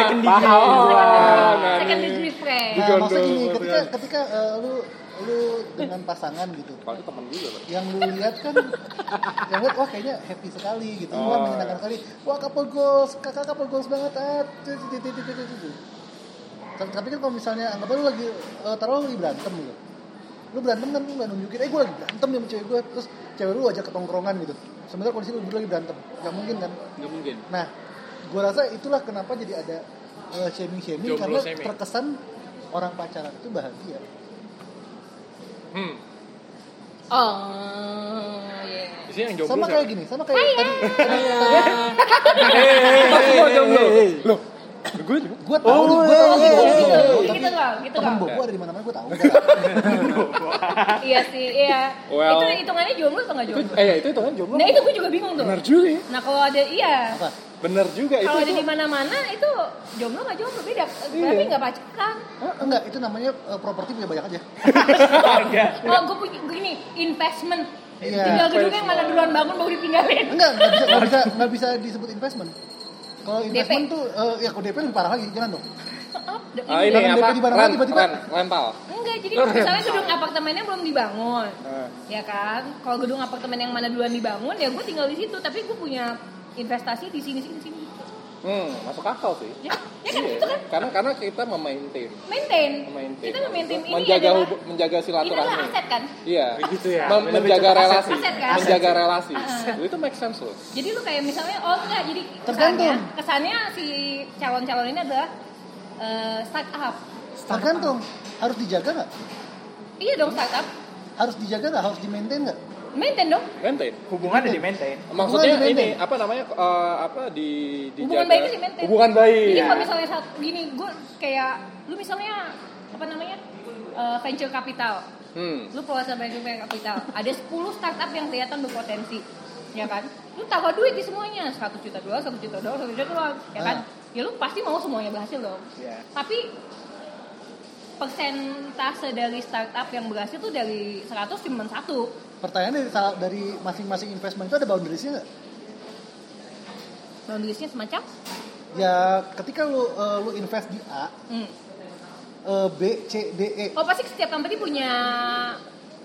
E: Second degree.
A: second degree friend
D: Nah, maksudnya gini, ketika ketika eh, lu lu dengan pasangan gitu,
C: Kalau itu temen juga, Pak.
D: yang lu lihat kan, yang lihat wah kayaknya happy sekali gitu, wah menyenangkan sekali, wah couple goals, kakak couple goals banget, ah, tu- tu- tu- tu- tu- tu- tu- tu. Tapi tapi kan kalau misalnya anggap aja lu lagi eh, taruh lu lagi berantem gitu, lu berantem kan lu nggak nunjukin, eh gue lagi berantem nih sama cewek gue, terus cewek lu ajak ke tongkrongan gitu, sementara kondisi lu berdua lagi berantem, nggak mungkin kan?
B: Nggak mungkin.
D: Nah, gue rasa itulah kenapa jadi ada shaming shaming
B: Jomblo
D: karena
B: shaming.
D: terkesan orang pacaran itu bahagia.
B: Hmm.
A: oh iya
B: Isinya yang jomblo
D: sama
B: siapa?
D: kayak gini, sama kayak tadi. tadi,
C: Eh,
D: gue
A: iya,
D: tahu, nih, gue tahu, gue tahu.
A: gitu gitu loh gitu
D: Temen
A: loh
D: bobo ada di mana-mana gue tahu.
A: iya sih iya
C: Well.
A: itu hitungannya jomblo atau nggak
C: Itu,
A: jomblo
C: eh ya, itu itu kan jomblo.
A: nah itu gue juga bingung tuh
C: Bener juga ya.
A: Nah kalau ada iya,
D: Apa?
C: Bener juga itu. Iya.
A: kalau ada di mana-mana itu jomblo nggak jomblo beda, berarti nggak pacaran.
D: Eh, Enggak, itu namanya eh, properti punya banyak aja.
A: Oh gue punya gini investment.
D: Iya.
A: Tinggal gedungnya yang mana duluan bangun baru dipinggalin.
D: Enggak, nggak bisa, nggak bisa, nggak bisa disebut investment. Kalau
A: DP.
D: investment tuh, eh, ya kalau DP lebih parah lagi, jangan dong.
C: Ah, ini apa?
D: Jangan tiba-tiba
C: Ren-
D: tiba-tiba.
C: ren- rental.
A: Enggak, jadi misalnya gedung apartemennya belum dibangun,
D: Nah.
A: ya kan? Kalau gedung apartemen yang mana duluan dibangun, ya gue tinggal di situ. Tapi gue punya investasi di sini sini sini.
C: Hmm, masuk akal sih.
A: Ya, ya kan
C: Iya.
A: itu kan
C: Karena karena kita memaintain,
A: maintain.
C: memaintain.
A: Kita memaintain ini
C: menjaga
A: adalah
C: hubu- menjaga
A: ini adalah
C: silaturahmi.
A: aset kan.
C: Iya.
B: Begitu ya.
C: Mem- menjaga relasi,
A: Aset kan?
C: menjaga relasi.
A: Aset.
C: Itu make sense loh.
A: Jadi lu kayak misalnya oh enggak jadi kesannya
D: Tergantung.
A: kesannya si calon-calon ini adalah eh, startup.
D: Tergantung, harus dijaga nggak?
A: Iya dong startup.
D: Harus dijaga nggak? Harus di-maintain nggak?
A: Maintain dong.
C: Maintain.
G: Hubungan udah di maintain.
A: Oh,
C: Maksudnya
D: Hubungan
C: ini
D: di-maintain.
C: apa namanya? eh, apa di dijaga.
A: Hubungan baik itu di-maintain.
C: Hubungan baik. Iya.
A: Jadi kalau misalnya saat gini gue kayak lu misalnya apa namanya? eh, venture capital.
C: Hmm.
A: Lu penguasa venture capital. Ada 10 startup yang kelihatan berpotensi. Ya kan? Lu taruh duit di semuanya, 100 juta dolar, 1 juta dolar, 1 juta dolar, ya kan?
D: Ah.
A: Ya lu pasti mau semuanya berhasil dong.
G: Iya.
A: Tapi persentase dari startup yang berhasil tuh dari 100 cuma satu.
D: Pertanyaan dari, salah- dari masing-masing investment itu ada boundariesnya nggak?
A: Boundariesnya semacam
D: ya ketika lu eh, lu invest di A
A: Hmm.
D: eh, B C D E
A: Oh pasti setiap company punya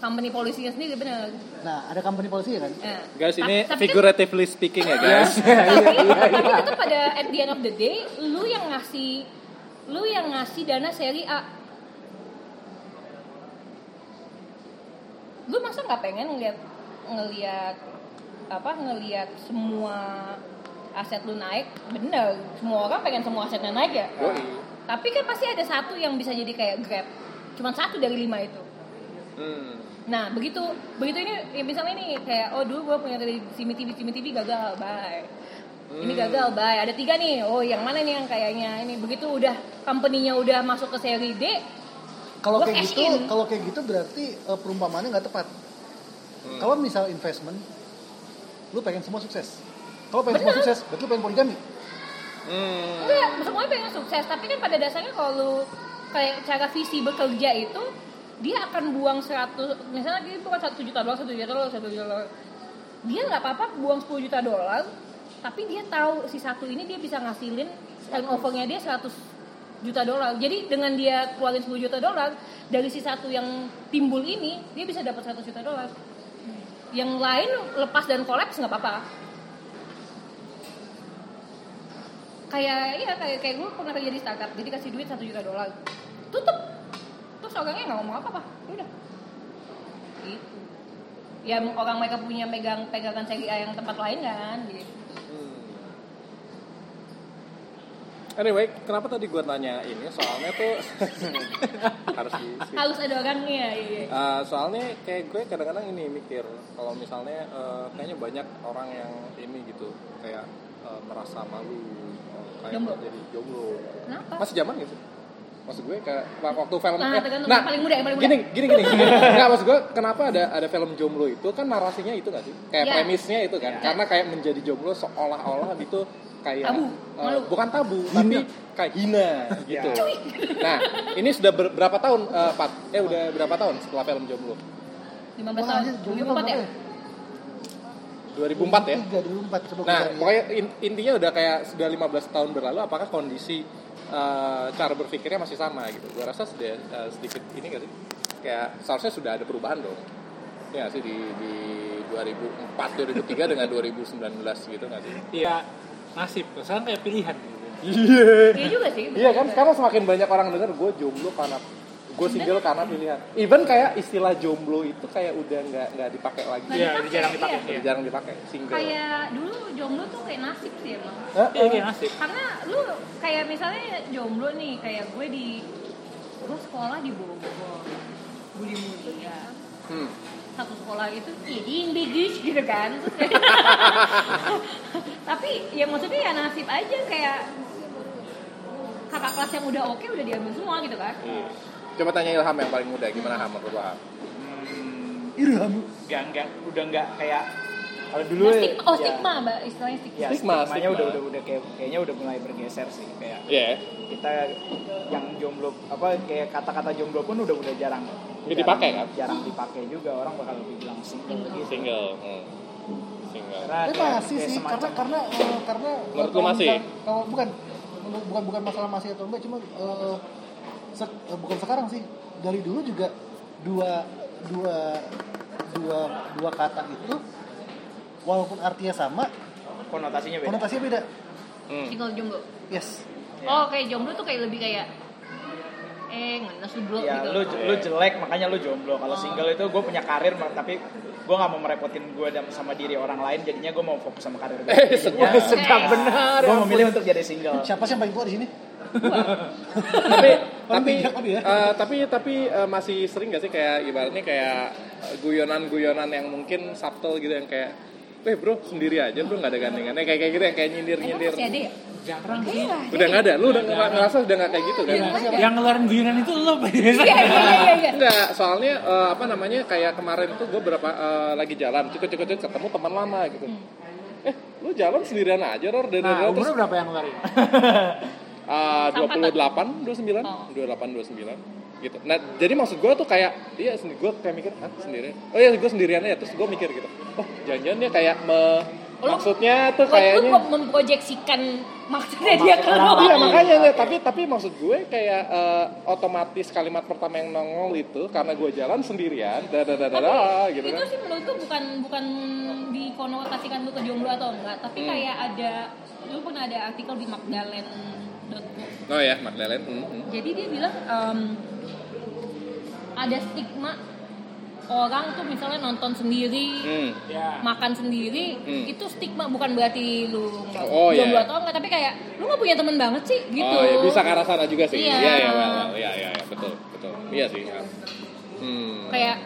A: company polisinya sendiri bener.
D: nah ada company policy ya kan
A: Eh.
C: Guys,
A: Ta- tapi
C: ini
A: kan- Iya.
C: figuratively speaking ya, guys.
A: tapi, tapi tetap pada at the end of the day lu yang ngasih lu yang ngasih dana seri A lu masa nggak pengen ngeliat ngeliat apa ngeliat semua aset lu naik bener semua orang pengen semua asetnya naik ya
C: Oh.
A: tapi kan pasti ada satu yang bisa jadi kayak grab cuman satu dari lima itu
C: Hmm,
A: Nah, begitu begitu ini ya misalnya ini kayak oh dulu gue punya dari Simi TV, Simi TV gagal, bye. Ini gagal, bye. Ada tiga nih. Oh, yang mana nih yang kayaknya ini begitu udah company-nya udah masuk ke seri D,
D: kalau
A: Gua
D: kayak
A: cash
D: gitu
A: in.
D: kalau kayak gitu berarti eh, perumpamaannya nggak tepat
C: Hmm.
D: kalau misal investment lu pengen semua sukses kalau pengen semua sukses berarti lu pengen poligami
A: enggak, semuanya pengen sukses. Tapi kan pada dasarnya kalau lu kayak cara visi bekerja itu dia akan buang 100 misalnya dia bukan 1 juta dolar, 1 juta dolar, 1 juta dolar. Dia nggak apa-apa buang 10 juta dolar, tapi dia tahu si satu ini dia bisa ngasilin turnover-nya dia 100 juta dolar. Jadi dengan dia keluarin 10 juta dolar dari si satu yang timbul ini, dia bisa dapat 100 juta dolar. Yang lain lepas dan kolaps nggak apa-apa. kayak iya kayak kayak gue pernah kerja di startup jadi kasih duit satu juta dolar tutup terus orangnya nggak ngomong apa apa udah gitu ya orang mereka punya megang pegangan segi A yang tempat lain kan gitu
C: hmm. Anyway, kenapa tadi gua nanya ini? Soalnya tuh harus di
A: harus ada orangnya iya
C: Eh, soalnya kayak gue kadang-kadang ini mikir kalau misalnya eh, kayaknya banyak orang yang ini gitu kayak eh, merasa malu eh, kayak
A: Jomblo.
C: jadi jomblo
A: kenapa
C: masih zaman gitu maksud gue kayak waktu film
A: Nah,
C: eh,
A: tergantung yang paling muda, yang paling muda.
C: gini gini gini, gini. nggak maksud gue kenapa ada ada film jomblo itu kan narasinya itu nggak sih kayak
A: Ya.
C: premisnya itu kan karena kayak menjadi jomblo seolah-olah gitu kayak
A: Tabu,
C: eh,
A: malu.
C: bukan tabu tapi kayak hina gitu nah ini sudah ber- berapa tahun eh, Pat eh udah berapa tahun setelah film jomblo
A: lima belas
C: Oh,
D: Wah,
A: tahun
D: anjir, jomblo
A: dua empat ya
D: berapa
C: 2004 ya
D: tiga dulu empat coba gua
C: Nah,
D: cari.
C: pokoknya in- intinya udah kayak sudah 15 tahun berlalu, apakah kondisi eh, cara berpikirnya masih sama gitu? Gua rasa sudah eh, sedikit ini gak sih? Kayak seharusnya sudah ada perubahan dong. Ya sih di, di 2004, 2003 dengan 2019 gitu nggak sih?
B: Iya, nasib. Sekarang kayak pilihan gitu.
A: iya juga sih
C: Iya kan,
A: bener.
C: sekarang semakin banyak orang dengar gue jomblo karena gue single karena pilihan. Even kayak istilah jomblo itu kayak udah nggak nggak dipakai lagi,
A: Nah,
B: Iya,
A: dipakai,
B: jarang dipakai.
A: iya.
B: Iya.
C: jarang dipakai single.
A: kayak dulu jomblo tuh kayak nasib sih emang
C: Oh,
B: Iya, kayak nasib.
A: karena lu kayak misalnya jomblo nih kayak gue di gue sekolah di Bogor Budi Mulia
C: Hmm.
A: satu sekolah itu jadi bigish gitu kan Terus kayak- tapi ya maksudnya ya nasib aja kayak kakak kelas yang udah oke udah diambil semua gitu kan
C: Iya. Coba tanya Ilham yang paling muda, gimana Ham menurut lo, Ham?
G: Irham nggak nggak udah nggak kayak kalau dulu
A: Nah, stigma, oh
G: ya,
A: stigma mbak istilahnya stigma
G: ya,
C: Stigma,
G: stigmanya
C: stigma.
G: udah udah udah kayak kayaknya udah mulai bergeser sih kayak
C: Iya.
G: kita yang jomblo apa kayak kata-kata jomblo pun udah udah jarang
C: Nggak dipakai, kan?
G: jarang dipakai juga orang bakal lebih bilang single gitu
C: Single. Hmm. Single.
G: karena
D: Tapi
G: kayak-
D: masih
G: kayak
D: sih karena
G: semacam-
D: karena eh, karena
C: Menurut lu
D: kalau
C: masih?
D: bukan- kalau bukan menurut- bukan bukan masalah masih atau enggak cuma eh, se- eh, bukan sekarang sih dari dulu juga dua dua dua dua kata itu walaupun artinya sama
G: konotasinya beda
D: konotasinya beda
C: Hmm.
A: single jomblo
G: Ya.
D: yes
A: oh kayak jomblo tuh kayak lebih kayak eh ngenes lu bro
G: ya
A: gitu
G: lu lu jelek makanya lu jomblo kalau single itu gue punya karir mak- tapi gue nggak mau merepotin gue dan sama diri orang lain jadinya gue mau fokus sama karir gue
C: Eh,
A: sedap
G: benar gue memilih untuk jadi single
C: Ah.
D: siapa sih yang paling tua di sini
C: tapi
D: Orang
C: tapi
D: bijak kali ya.
C: eh, tapi tapi eh, masih sering gak sih kayak ibaratnya kayak eh, guyonan-guyonan yang mungkin subtle gitu yang kayak eh bro sendiri aja bro nggak ada gandengannya kayak kayak gitu yang kayak nyindir
A: emang
C: nyindir
A: masih ada ya
B: Jarang sih.
A: iya
C: udah nggak ada lu udah nggak ngerasa udah nggak kayak gitu kan
B: Yang ngeluarin guyonan itu lo biasa.
A: iya iya iya iya
C: Enggak, soalnya eh, apa namanya kayak kemarin tuh gue berapa eh, lagi jalan cukup cukup cukup ketemu teman lama gitu eh lu jalan sendirian aja Ror dan
B: Nah,
C: Iya, terus
B: umur berapa yang ngeluarin?
C: dua puluh delapan dua sembilan
A: Oh.
C: dua delapan dua sembilan gitu nah jadi maksud gue tuh kayak iya gue ya, kayak mikir ah sendiri oh iya gue sendirian aja terus gue mikir gitu oh jangan-jangan dia kayak me- Maksudnya tuh
A: Kayaknya...
C: kayaknya
A: Lu memproyeksikan maksudnya dia ke lu.
C: Iya makanya Nek. tapi tapi maksud gue kayak eh, otomatis kalimat pertama yang nongol itu karena gue jalan sendirian dadadadada gitu
A: itu
C: kan.
A: sih menurutku bukan bukan dikonotasikan lu ke jomblo atau enggak tapi
C: Hmm.
A: kayak ada lu pernah ada artikel di magdalen.com
C: Oh ya Magdalen. hmm, hmm.
A: jadi dia bilang em, ada stigma orang tuh misalnya nonton sendiri
C: Hmm.
A: makan sendiri
C: Hmm.
A: itu stigma bukan berarti lu nggak-
C: Oh, iya.
A: jomblo atau enggak tapi kayak lu nggak punya temen banget sih gitu
C: Oh ya bisa ke arah sana juga sih.
A: Iya.
C: Iya iya well, well, iya iya iya, betul betul. Iya sih. ya. Hmm.
A: kayak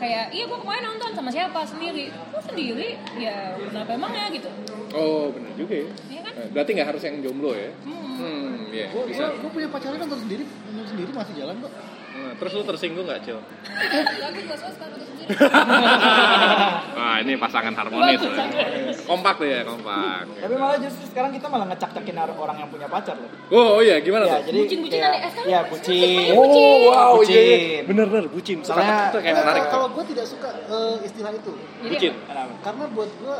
A: kayak iya gua kemarin nonton sama siapa sendiri gua sendiri ya kenapa emangnya gitu
C: Oh benar juga ya.
A: Iya kan?
C: Eh, Berarti nggak harus yang jomblo ya?
A: Hmm.
C: Hmm, iya
D: Gue
C: bisa.
D: punya pacarnya nonton sendiri, nonton sendiri masih jalan kok.
C: Nah, terus lu tersinggung nggak Cil?
A: Lagu gua suka nonton sendiri.
C: Wah ini pasangan harmonis. ya. kompak tuh ya kompak.
E: Tapi malah justru sekarang kita malah ngecak-cakin orang yang punya pacar loh.
C: Oh, oh iya gimana
E: Ya,
C: tuh?
E: jadi
A: Bucin-bucinan
E: kayak-
A: nih, eh, sekarang
E: ya
A: sekarang
E: bucin.
A: sekarang bucin. Oh,
E: wow, bucin.
G: iya, iya.
C: bener bener bucin
E: Soalnya-
C: soalnya itu kayak menarik
D: Kalau gue tidak suka eh, istilah itu,
A: Jadi
C: bucin
E: Kenapa?
D: karena buat gue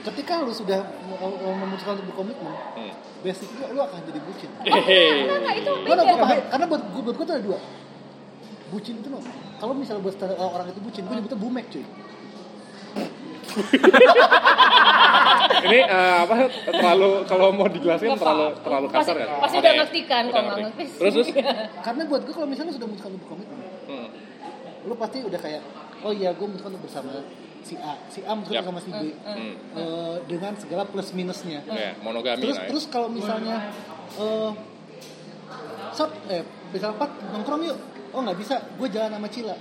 D: ketika lu sudah mau- mau memutuskan untuk berkomitmen,
C: Hmm.
D: basic lu, lu akan jadi bucin.
C: Hehehe.
A: Enggak, enggak, itu
D: Karena gue
A: beda.
D: paham, karena buat gue buat gue tuh ada dua. Bucin itu loh. Kalau misalnya buat standar orang itu bucin, gue nyebutnya bumek cuy.
C: ini eh, apa terlalu kalau mau dijelasin
A: Nggak
C: terlalu
A: apa-apa.
C: terlalu kasar ya
A: Pasti- pasti
C: Oke.
A: udah ngerti kan,
C: Udah
A: kalau nggak
C: ngerti.
A: ngerti.
C: terus terus
D: Karena buat gue kalau misalnya lu sudah memutuskan untuk berkomitmen,
C: Hmm.
D: lu pasti udah kayak, oh iya gue memutuskan untuk bersama si A, si A memutuskan
C: Yap.
D: sama si B,
C: Hmm.
D: Eh, dengan segala plus minusnya.
C: ya monogami
D: terus
C: lah ya.
D: terus kalau misalnya eh sat eh misal pat nongkrong yuk oh nggak bisa gue jalan sama Cila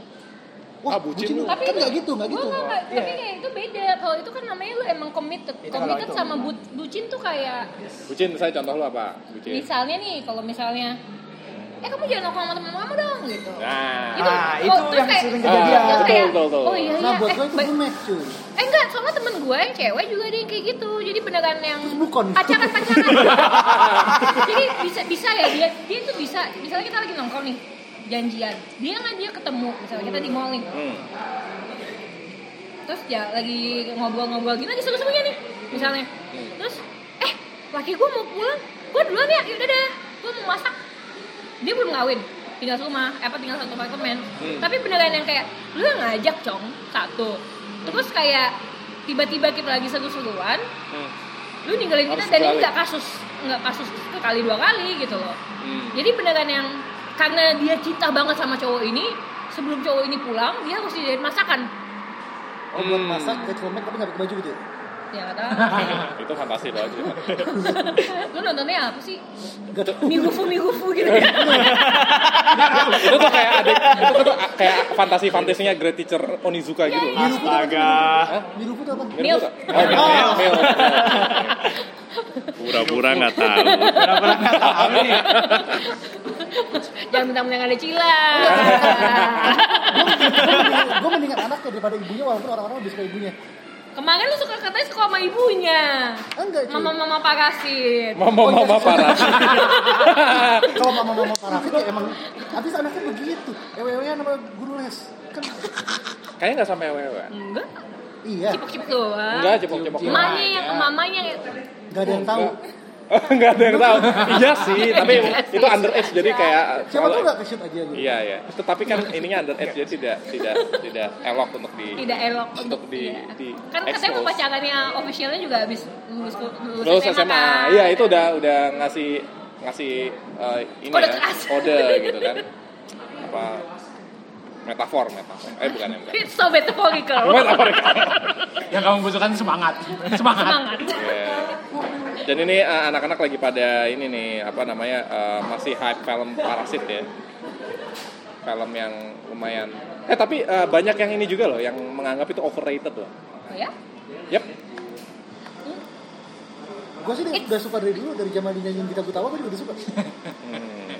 D: wah
C: Ah, bucin
D: bucin,
C: lu.
D: lu kan nggak gitu nggak gitu
A: Gua nggak- nggak- tapi kayak itu beda. Kalau itu kan namanya lu emang committed.
E: Iya. Itu kalau
A: committed
E: itu.
A: sama bu- bucin tuh kayak
C: bucin saya contoh lu apa bucin
A: misalnya nih kalau misalnya eh kamu jangan nongkrong sama teman kamu dong gitu.
C: nah
E: Ah, itu
A: oh, terus
E: yang
A: kayak-
E: sering
C: ah,
E: kejadian.
A: Terus kayak,
C: betul, betul,
A: Oh iya iya.
D: nah buat
A: eh,
D: gue itu
A: ba-
D: bumek cuy
A: eh, enggak, soalnya temen gue yang cewek juga ada yang kayak gitu. Jadi beneran yang
D: Terus bukan.
A: Ah, pacaran-pacaran. Jadi bisa bisa ya dia dia tuh bisa misalnya kita lagi nongkrong nih janjian dia nggak dia ketemu misalnya kita di mall nih
C: Hmm.
A: terus ya lagi ngobrol-ngobrol gini lagi seru-serunya nih misalnya terus eh laki gue mau pulang gue duluan ya yaudah deh gue mau masak dia belum ngawin tinggal rumah eh, apa tinggal satu apartemen
C: Hmm.
A: tapi beneran yang kayak lu yang ngajak cong satu terus kayak tiba-tiba kita lagi seru-seruan
C: Hmm.
A: lu ninggalin kita
C: Harus
A: dan ini
C: balik.
A: nggak kasus nggak kasus sekali dua kali gitu loh
C: Hmm.
A: jadi beneran yang karena dia cinta banget sama cowok ini sebelum cowok ini pulang dia harus dijadiin masakan
D: oh buat
C: Hmm.
D: masak ke cuma tapi nggak pakai baju gitu ya
A: ya nggak tahu
C: itu fantasi lo aja
A: lu nontonnya apa sih?
D: nggak tahu
A: Mirufu mirufu gitu ya.
C: itu tuh kayak ada itu tuh kayak fantasi fantasinya great teacher Onizuka gitu loh.
D: Mirupu tuh apa sih?
C: Hah?
D: Mirupu tuh apa
C: Mirip
A: Milf.
C: tuh. Oh, mirip, mirip, mirip. Pura-pura nggak tahu.
A: Jangan mentang-mentang ada cila.
D: gue mendingan anaknya daripada ibunya walaupun orang-orang lebih suka ibunya
A: Kemarin lu suka katanya suka sama ibunya.
D: enggak cuy
A: Mama-mama parasit.
C: Mama mama parah.
D: kalau mama mama parafit ya emang habis anaknya begitu ewe-ewean sama guru les kan
C: Kayaknya nggak sampai wewe.
A: Enggak.
D: iya
A: Cipok-cipok doang.
C: Ya. Enggak, iya. cepok-cepok.
A: Mamanya yang mamanya yang
D: nggak ada yang tahu
C: Enggak Oh, ada yang tahu. Iya sih, tapi itu underage jadi kayak
D: siapa tuh nggak ke shoot aja gitu
C: Iya, iya. Tetapi kan ininya underage jadi tidak tidak tidak elok untuk di
A: tidak elok
C: untuk di
A: iya.
C: di
A: kan katanya
C: expose.
A: mau pacarannya officialnya juga habis lulus lulus,
C: Terus SMA.
A: kan?
C: Iya, itu udah udah ngasih ngasih eh, ini
A: Kode
C: ya,
A: keras.
C: kode gitu kan. Apa metafor, metafor. Eh bukan, bukan.
A: It's so metaphorical.
C: Metafor.
B: Yang kamu butuhkan semangat. Semangat.
A: Semangat.
C: Iya. Dan ini eh, anak-anak lagi pada ini nih apa namanya eh, masih hype film Parasit ya. Film yang lumayan. Eh tapi eh, banyak yang ini juga loh yang menganggap itu overrated loh.
A: Oh ya?
C: Yep.
D: Gue sih udah udah suka dari dulu dari zaman dinyanyiin kita buta gue juga udah suka.
C: Hmm.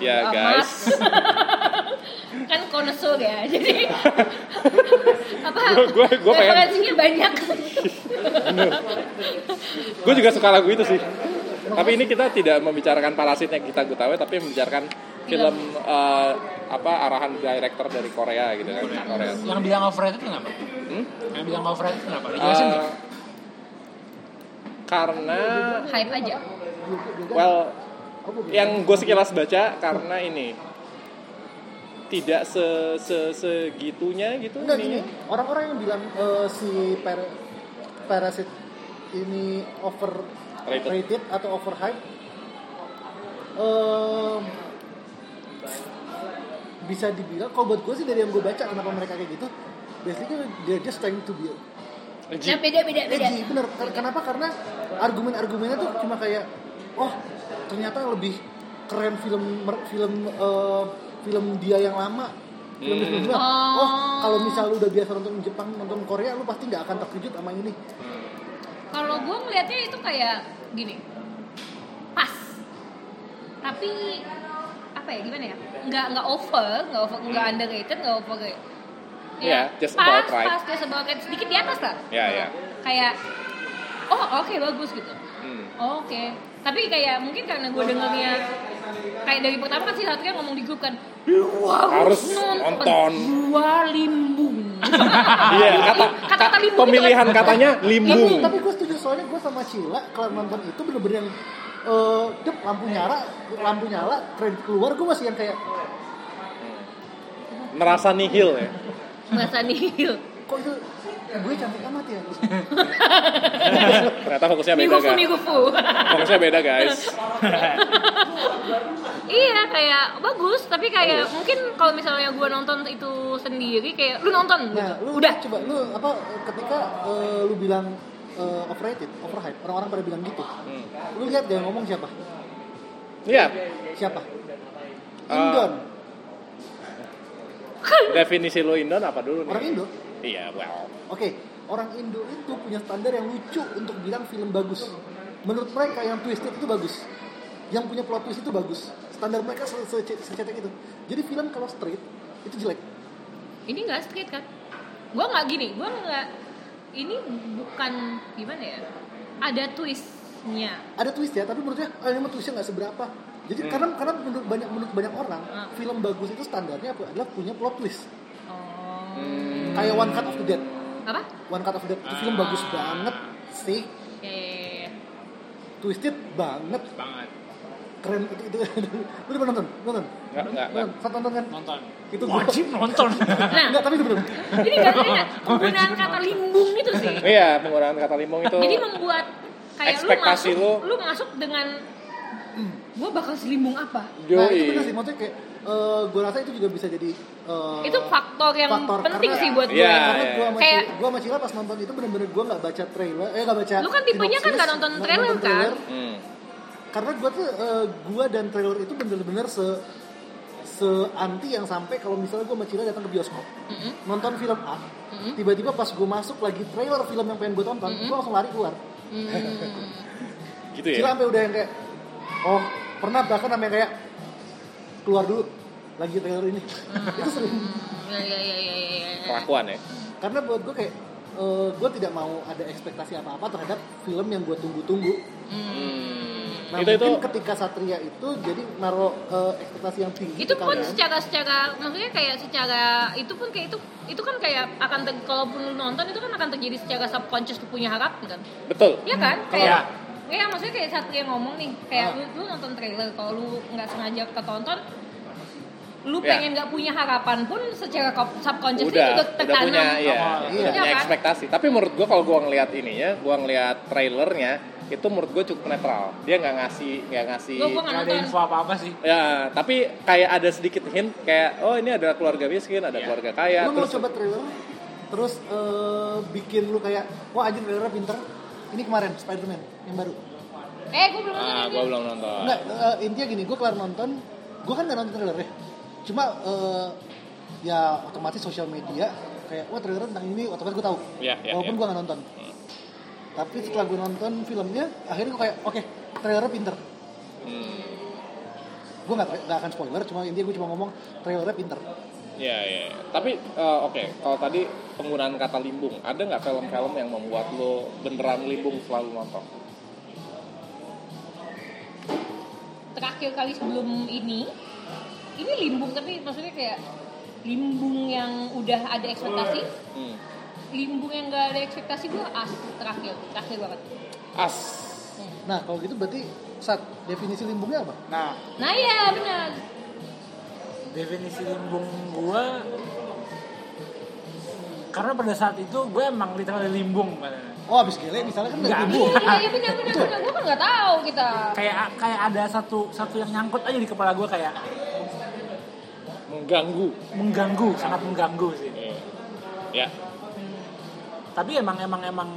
C: Ya
A: Oh,
C: guys.
A: maaf. kan konesor ya, jadi apa?
C: Gua- gua- gua pengen-
A: referensinya banyak.
C: Gue juga suka lagu itu sih. Tapi ini kita tidak membicarakan parasitnya kita Gutawe tapi membicarakan film eh, apa arahan director dari Korea gitu kan Korea
B: Yang bilang overrated kenapa?
C: Hmm?
B: Yang bilang overrated kenapa? Dijelasin
C: Eh,
B: nggak?
C: karena
A: hype aja
C: well yang gue sekilas baca karena ini tidak se, se segitunya gitu
D: Enggak
C: ininya.
D: gini, orang-orang yang bilang eh, si per parasit ini overrated atau overhype eh bisa dibilang kalau buat gue sih dari yang gue baca kenapa mereka kayak gitu basically they're just trying to be
A: nah beda beda beda
D: edgy bener Ken- kenapa karena argumen-argumennya tuh cuma kayak oh ternyata lebih keren film mer- film eh, film dia yang lama film film dia. oh kalau misal lu udah biasa nonton Jepang nonton Korea lu pasti nggak akan terkejut sama ini
A: kalau gue ngelihatnya itu kayak gini pas tapi apa ya gimana ya nggak nggak over nggak over nggak underrated nggak over kayak ya,
C: Yeah, Hmm. Iya, just about
A: pas,
C: right.
A: pas just about right sedikit di atas lah
C: Ya, ya.
A: kayak oh oke bagus gitu
C: Hmm.
A: Oh, Oke, tapi kayak mungkin karena gue dengernya kayak dari pertama kan si satu kan ngomong di grup kan
C: harus nonton.
A: dua limbung.
C: Iya, kata,
A: Kata-kata
C: ka-
A: limbung
C: pemilihan
A: itu kan-
C: katanya limbung.
D: tapi gue setuju soalnya gue sama Cila kalau nonton itu bener-bener yang eh, dep lampu nyala lampu nyala keren keluar gue masih yang kayak
C: Merasa nihil ya.
A: Masa nihil.
D: kok itu gue cantik amat ya
C: Ternyata fokusnya beda
A: Nihufu
C: guys.
A: nihufu.
C: Fokusnya beda guys.
A: iya kayak bagus, tapi kayak mungkin kalau misalnya gue nonton itu sendiri kayak lu nonton gitu.
D: Nah, lu
A: Udah.
D: coba lu apa ketika eh, lu bilang eh, overrated, overhype, orang-orang pada bilang gitu. Lu lihat dia ngomong siapa?
C: Iya,
D: Siapa?
C: Eh,
D: Indon.
C: definisi lo Indon apa dulu
D: orang
C: nih?
D: Indo.
C: Iya, well.
D: Oke, orang Indo itu punya standar yang lucu untuk bilang film bagus. Menurut mereka yang twisted itu bagus. Yang punya plot twist itu bagus. Standar mereka se- se- secetek itu. Jadi film kalau straight itu jelek.
A: Ini nggak straight kan? Gue nggak gini, gue nggak. Ini bukan gimana ya? Ada twistnya.
D: ada twist ya tapi menurutnya ah, ini mah twistnya nggak seberapa jadi karena karena menurut banyak menurut banyak orang
A: Hmm.
D: film bagus itu standarnya apa adalah punya plot twist
A: Oh.
D: kayak One Cut of the Dead
A: Apa?
D: One Cut of the Dead itu film bagus banget sih
A: Eh,
D: twisted banget
B: Banget.
D: keren itu itu lu udah pernah nonton nonton
C: Enggak, enggak, enggak.
D: nonton Sat nonton kan
B: Nonton.
D: itu gua
B: Wajib nonton.
A: Nah,
D: enggak tapi itu belum
A: Jadi gak ada penggunaan kata limbung itu sih.
D: Gitu.
C: Iya, penggunaan kata limbung itu
A: Jadi membuat kayak lu
C: Ekspektasi
A: masuk, lu.
C: lu-
A: masuk dengan gue bakal selimbung apa?
D: nah itu benar
C: Yoi.
D: sih maksudnya kayak eh, gua rasa itu juga bisa jadi eh,
A: itu faktor yang
D: faktor
A: penting
D: karena-
A: sih buat gue.
B: Ya,
C: Iya,
D: karena
C: iya.
D: gua sama
A: Kayak-
D: Cila- gua sama Cila pas nonton itu bener-bener gua nggak baca trailer eh nggak baca
A: Lu kan tipenya kan
D: sinopsis,
A: nggak nonton
D: nggak
A: trailer, kan?
C: Hmm.
D: karena gue tuh eh, gua dan trailer itu bener-bener se se anti yang sampai kalau misalnya gue sama Cila datang ke bioskop
A: Mm-mm.
D: nonton film A tiba-tiba pas gue masuk lagi trailer film yang pengen gue tonton gue langsung lari keluar
C: Gitu
D: Cila
C: ya.
D: sampai udah yang kayak oh pernah bahkan sampai kayak keluar dulu lagi trailer ini itu sering
A: Ya, ya, ya, ya, ya, ya.
C: Kelakuan ya.
D: karena buat gue kayak gue tidak mau ada ekspektasi apa-apa terhadap film yang gue tunggu-tunggu nah
C: Itu- itu-
D: mungkin ketika Satria itu jadi naruh eh, ekspektasi yang tinggi
A: Itu
D: ke
A: pun
D: kalian.
A: secara secara maksudnya kayak secara itu pun kayak itu itu kan kayak akan ter, kalaupun lu nonton itu kan akan terjadi secara subconscious lu punya harapan kan?
C: Betul.
A: Iya kan?
B: Iya.
A: Kayak Iya maksudnya kayak Satria ngomong nih, kayak lu, lu nonton trailer kalau lu nggak sengaja ketonton lu
C: Iya.
A: pengen nggak punya harapan pun secara kop- subconscious ini
C: udah
A: udah
C: udah
A: tertanam.
C: punya ya
D: Awal,
C: udah
D: iya.
C: punya
A: Iya kan?
C: ekspektasi tapi menurut gua kalau gua ngelihat ininya gua ngelihat trailernya itu menurut gua cukup netral dia nggak ngasih nggak ngasih
A: Gua- gua nggak
B: Gak Iya, ada
A: nonton.
B: info apa-apa sih.
C: ya tapi kayak ada sedikit hint kayak oh ini ada keluarga miskin
D: Iya.
C: ada keluarga kaya
D: lu mau
C: Iya, terus
D: coba trailer terus eh, bikin lu kayak wah anjir trailernya pinter ini kemarin Spider-Man yang baru
A: Eh, gue belum nonton.
C: ah
A: ini.
C: gua belum nonton
D: enggak eh, intinya gini gue kelar nonton gue kan nggak nonton trailer ya cuma eh, ya otomatis sosial media kayak wah trailer tentang ini otomatis gue tahu
C: Iya, iya,
D: walaupun
C: iya.
D: gue nggak nonton tapi setelah gue nonton filmnya akhirnya gue kayak oke trailernya pinter
C: Hmm.
D: gue nggak nggak akan spoiler cuma intinya gue cuma ngomong trailernya pinter
C: ya ya tapi eh, oke kalau tadi penggunaan kata limbung ada nggak film-film yang membuat lo beneran limbung selalu nonton
A: Terakhir kali sebelum ini ini limbung tapi maksudnya kayak limbung yang udah ada ekspektasi
C: Hmm.
A: limbung yang gak ada ekspektasi gue as terakhir terakhir banget
C: As.
D: Nah, kalau gitu berarti saat definisi limbungnya apa?
G: Nah,
A: nah ya benar
B: Definisi limbung gua karena pada saat itu gue emang literally limbung padahal.
D: Oh, habis gele misalnya kan
B: Nggak.
D: dari limbu.
A: iya iya benar benar benar gue kan nggak tahu kita
B: kayak kayak ada satu satu yang nyangkut aja di kepala gue kayak
C: Mengganggu.
B: mengganggu sangat mengganggu sih
C: Eh. Ya.
B: tapi emang emang emang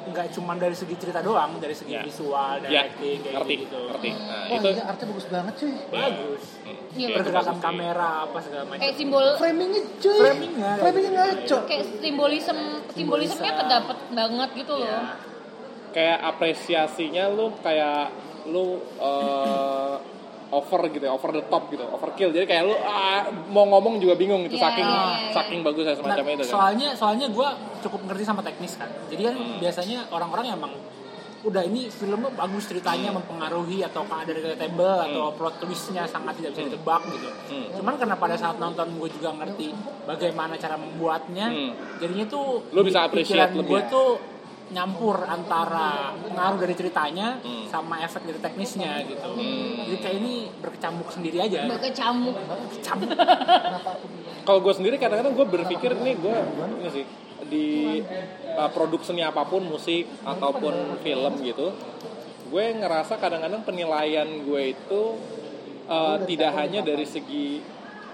B: nggak cuma dari segi cerita doang dari segi
C: Ya.
B: visual
C: Ya.
B: directing kayak
C: Ngerti.
B: gitu
C: Ngerti. Nah,
D: Wah,
C: itu.
D: ini artnya bagus banget cuy.
B: bagus
A: Iya,
C: itu
B: pergerakan
C: bagus sih.
B: kamera apa segala macam
A: kayak simbol
D: Framingnya cuy.
B: Framingnya.
D: Framingnya ngaco.
A: kayak simbolism simbolismenya kedapet banget gitu loh
C: Iya.
B: Ya.
C: Kayak apresiasinya lu kayak lu eh, over gitu ya, over the top gitu, overkill. Jadi kayak lu ah, mau ngomong juga bingung gitu,
A: Ya,
C: saking
A: ya, ya.
C: saking bagusnya
B: Nah,
C: semacam itu kan.
B: soalnya soalnya gue cukup ngerti sama teknis kan jadi kan
C: Hmm.
B: biasanya orang-orang emang udah ini filmnya bagus
C: Hmm.
B: ceritanya mempengaruhi atau kan ada relatable atau plot twistnya sangat tidak bisa ditebak gitu
C: Hmm.
B: cuman karena pada saat nonton gue juga ngerti bagaimana cara membuatnya
C: Hmm.
B: jadinya tuh
C: Lu bisa
B: pikiran
C: appreciate lebih. ya?
B: gue tuh nyampur antara pengaruh dari ceritanya
C: Hmm.
B: sama efek dari teknisnya gitu jadi kayak ini berkecambuk sendiri aja
A: berkecamuk
B: berkecambuk
C: Kalau gue sendiri kadang-kadang gue berpikir nih gue ini sih di uh, produk seni apapun musik ataupun film gitu, gue ngerasa kadang-kadang penilaian gue itu uh, tidak hanya dari segi